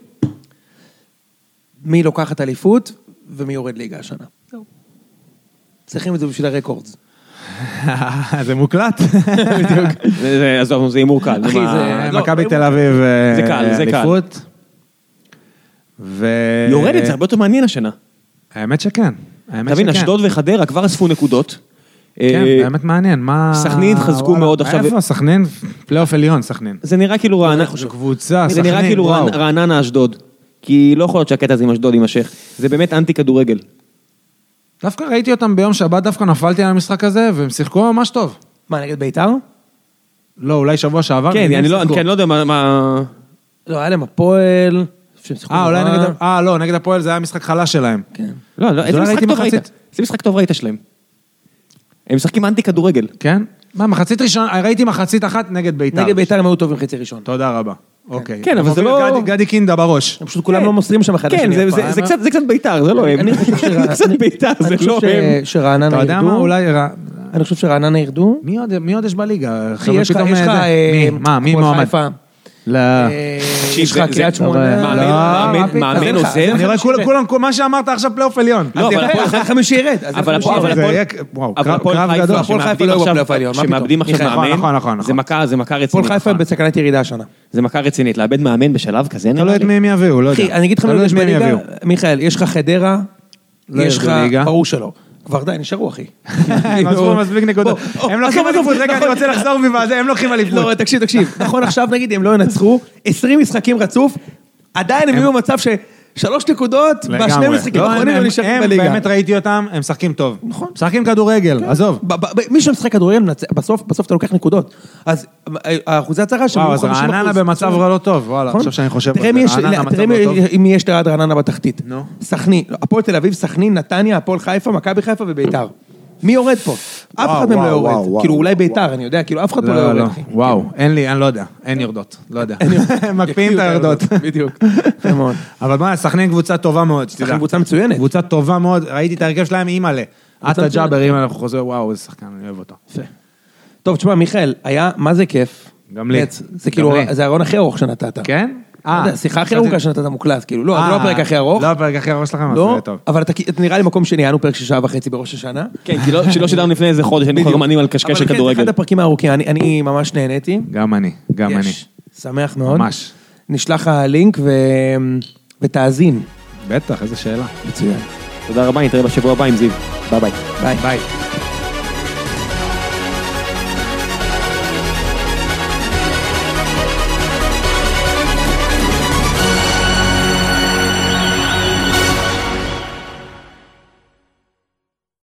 C: מי לוקחת אליפות ומי יורד ליגה השנה? זהו. צריכים את זה בשביל הרקורדס.
B: זה מוקלט.
D: זה- זה- עזוב, זה הימור קל.
C: אחי,
D: מה-
C: זה- לא,
B: מכבי
C: לא,
B: תל אביב, אה,
D: זה קל, זה קל.
B: אליפות. ו...
D: יורדת, זה הרבה יותר מעניין השנה.
B: האמת שכן. האמת
D: תבין,
C: כן.
B: שכן.
D: אשדוד וחדרה כבר אספו נקודות.
B: כן,
D: אה,
B: באמת מעניין, מה...
D: סכנין התחזקו
B: וואלה,
D: מאוד עכשיו.
B: איפה סכנין? פלייאוף עליון, סכנין.
D: זה נראה כאילו רעננה,
B: זו קבוצה,
D: זה נראה
B: סכנין,
D: כאילו
B: וואו.
D: רענ- רעננה אשדוד. כי לא יכול להיות שהקטע הזה עם אשדוד יימשך. זה באמת אנטי כדורגל.
C: לא,
B: דווקא ראיתי אותם ביום שבת, דווקא נפלתי על המשחק הזה, והם שיחקו ממש טוב.
C: מה, נגד ביתר?
B: לא, אולי שבוע שעבר.
D: כן,
B: נגד מי
D: אני לא-
B: שיחקו?
D: כי אני לא יודע מה- מה...
C: לא, היה להם הפועל. שהם שיחקו
B: אה, אולי
C: נורא.
B: נגד... אה, לא, נגד הפועל זה היה משחק חלש שלהם.
C: כן.
D: לא, לא,
B: אז
D: איזה
B: אולי
D: משחק
B: ראיתי
D: טוב ראית?
B: מחצית.
D: איזה משחק טוב ראית שלהם? הם משחקים אנטי כדורגל.
B: כן? מה, מחצית ראשונה, ראיתי מחצית אחת נגד ביתר.
C: נגד ביתר הם היו טובים חצי ראשון.
B: תודה רבה. אוקיי.
D: כן, אבל זה
B: מוביל
D: לא-
B: גדי- גדי קינדה בראש.
C: הם פשוט כולם לא מוסרים שם אחד
D: כן,
C: לשני.
D: זה-
C: אף
D: זה-
C: פעם.
D: זה קצת- זה קצת בית"ר, זה לא הם.
C: אני חושב שרע-
D: זה קצת
C: אני-
D: בית"ר,
C: אני
D: זה
C: חושב
D: לא
C: ש-
D: הם.
B: אתה
C: שרעננה
B: יודע מה,
C: ירדו.
B: אולי... רע-
C: אני חושב שרעננה ירדו.
B: מי עוד- מי עוד יש בליגה?
C: אחי,
B: חבר'ה,
C: יש לך...
B: פתאום,
C: יש
B: אה,
C: לך,
B: זה-
C: אה,
B: מי? מה, מי
C: הפועל
B: מועמד?
C: חיפה.
B: לא.
C: אה, יש לך
D: זה- זה-
C: קריית שמונה.
D: מאמן-
C: לא,
D: מאמן-
C: מה
B: אה,
C: פתאום?
D: מאמן
C: אין לך,
D: עוזר?
C: אין לך
B: אני רואה
C: חמישי
B: כולם,
C: ירד.
B: כולם, כל מה שאמרת עכשיו פלייאוף עליון.
D: לא,
B: אז
D: אבל
B: יפה.
D: הפועל-
C: אז אין חמישי ירד. אז אין
D: אבל
C: חמישי
D: הפועל- אבל
C: ירד.
B: זה
D: הפועל-
B: יהיה כ- וואו,
D: אבל
B: קרב-
D: הפועל
B: קרב
D: חיפה,
B: גדול.
C: הפועל חיפה
D: שמאבדים
C: לא היו
D: עכשיו-
C: בפלייאוף העליון, מה
D: שמאבדים
C: פתאום? כן,
D: עכשיו
B: נכון,
D: מאמן,
B: נכון, נכון,
D: זה
B: נכון.
D: מכה- זה מכה
C: הפועל
D: רצינית.
C: חיפה בסכנת ירידה השנה.
B: לא
D: זה מכה רצינית, לאבד מאמן בשלב כזה נראה
B: תלוי את
D: לי.
B: מי הם יביאו, לא יודע.
C: אחי, אני אגיד לך מה
B: תלוי
C: יש
B: את מי הם
C: בליגה,
B: יביאו.
C: מיכאל, יש לך חדרה,
B: לא
C: יש
B: ירדו
C: לך,
B: ליגה.
C: ברור שלא. כבר די, נשארו אחי.
B: הם עזבו מספיק נקודות.
C: בוא,
B: הם לא לוקחים
C: עזוב, עזוב,
B: אליפות, רגע, אני
C: נכון.
B: רוצה לחזור בי, ואז הם לוקחים אליפות.
C: לא, תקשיב, תקשיב. נכון עכשיו נגיד הם לא ינצחו, 20 משחקים רצוף, עדיין הם יהיו במצב ששלוש נקודות, בשני
B: לגמרי.
C: המשחקים
B: לא,
C: האחרונים
B: הם-
C: הם נשארים
B: הם,
C: בליגה.
B: באמת ראיתי אותם, הם משחקים טוב.
C: נכון.
B: משחקים כדורגל, עזוב.
C: ב- ב- ב- מי שמשחק כדורגל, מנצח- בסוף בסוף אתה לוקח נקודות. אז אה, האחוזי הצהרה שלהם
B: וואו,
C: היו
B: אז
C: 50%.
B: רעננה במצב רע לא טוב, וואלה,
C: נכון?
B: עכשיו שאני חושב
C: תראה
B: על
C: מי
B: זה,
C: יש-
B: רעננה
C: תראה
B: מצב לא טוב.
C: מי- מי יש ליד רעננה בתחתית.
B: נו.
C: סכנין, לא, הפועל תל אביב, סכנין, נתניה, הפועל חיפה, מכבי חיפה וביתר. מי יורד פה? אף אחד מהם לא
B: וואו,
C: יורד.
B: וואו, וואו,
C: כאילו אולי ביתר, אני יודע, כאילו אף אחד פה לא
B: לא,
C: יורד.
B: לא,
C: אחי.
B: וואו, אין לי, אני לא יודע, אין יורדות, לא יודע. מקפיאים את היורדות.
C: בדיוק. יפה מאוד.
B: אבל מה, סכנין קבוצה טובה מאוד, שתדע.
C: סכנין קבוצה מצוינת.
B: קבוצה טובה מאוד, ראיתי את ההרכב שלהם, אימא'לה. עטה
C: מצוינת.
B: ג'אבר, אם אנחנו חוזרים, וואו, איזה שחקן, אני אוהב אותו.
C: טוב, תשמע, מיכאל, היה, מה זה כיף.
B: גם לי.
C: באמת, זה
B: גם
C: כאילו,
B: לי.
C: זה הרעיון הכי ארוך שנתת.
B: כן?
C: לא יודע, השיחה הכי ארוכה שנתת מוקלט, כאילו, לא, זה לא הפרק הכי ארוך.
B: לא הפרק הכי ארוך שלכם, אז
C: לא,
B: זה טוב.
C: אבל אתה אתה נראה לי מקום שני, היה לנו פרק של שעה וחצי בראש השנה.
D: כן, כי לא- שלא שידרנו לפני איזה חודש, היינו חרמנים על
C: אבל
D: קשקש
C: כן,
D: של
C: זה
D: כדורגל.
C: אחד הפרקים הארוכים, אני- אני ממש נהניתי.
B: גם אני, גם אני.
C: יש. שמח מאוד.
B: ממש.
C: נשלח הלינק ו... ותאזין.
B: בטח, איזה שאלה.
C: מצוין.
D: תודה רבה, נתראה בשבוע הבא עם זיו. ביי ביי.
C: ביי.
B: ביי.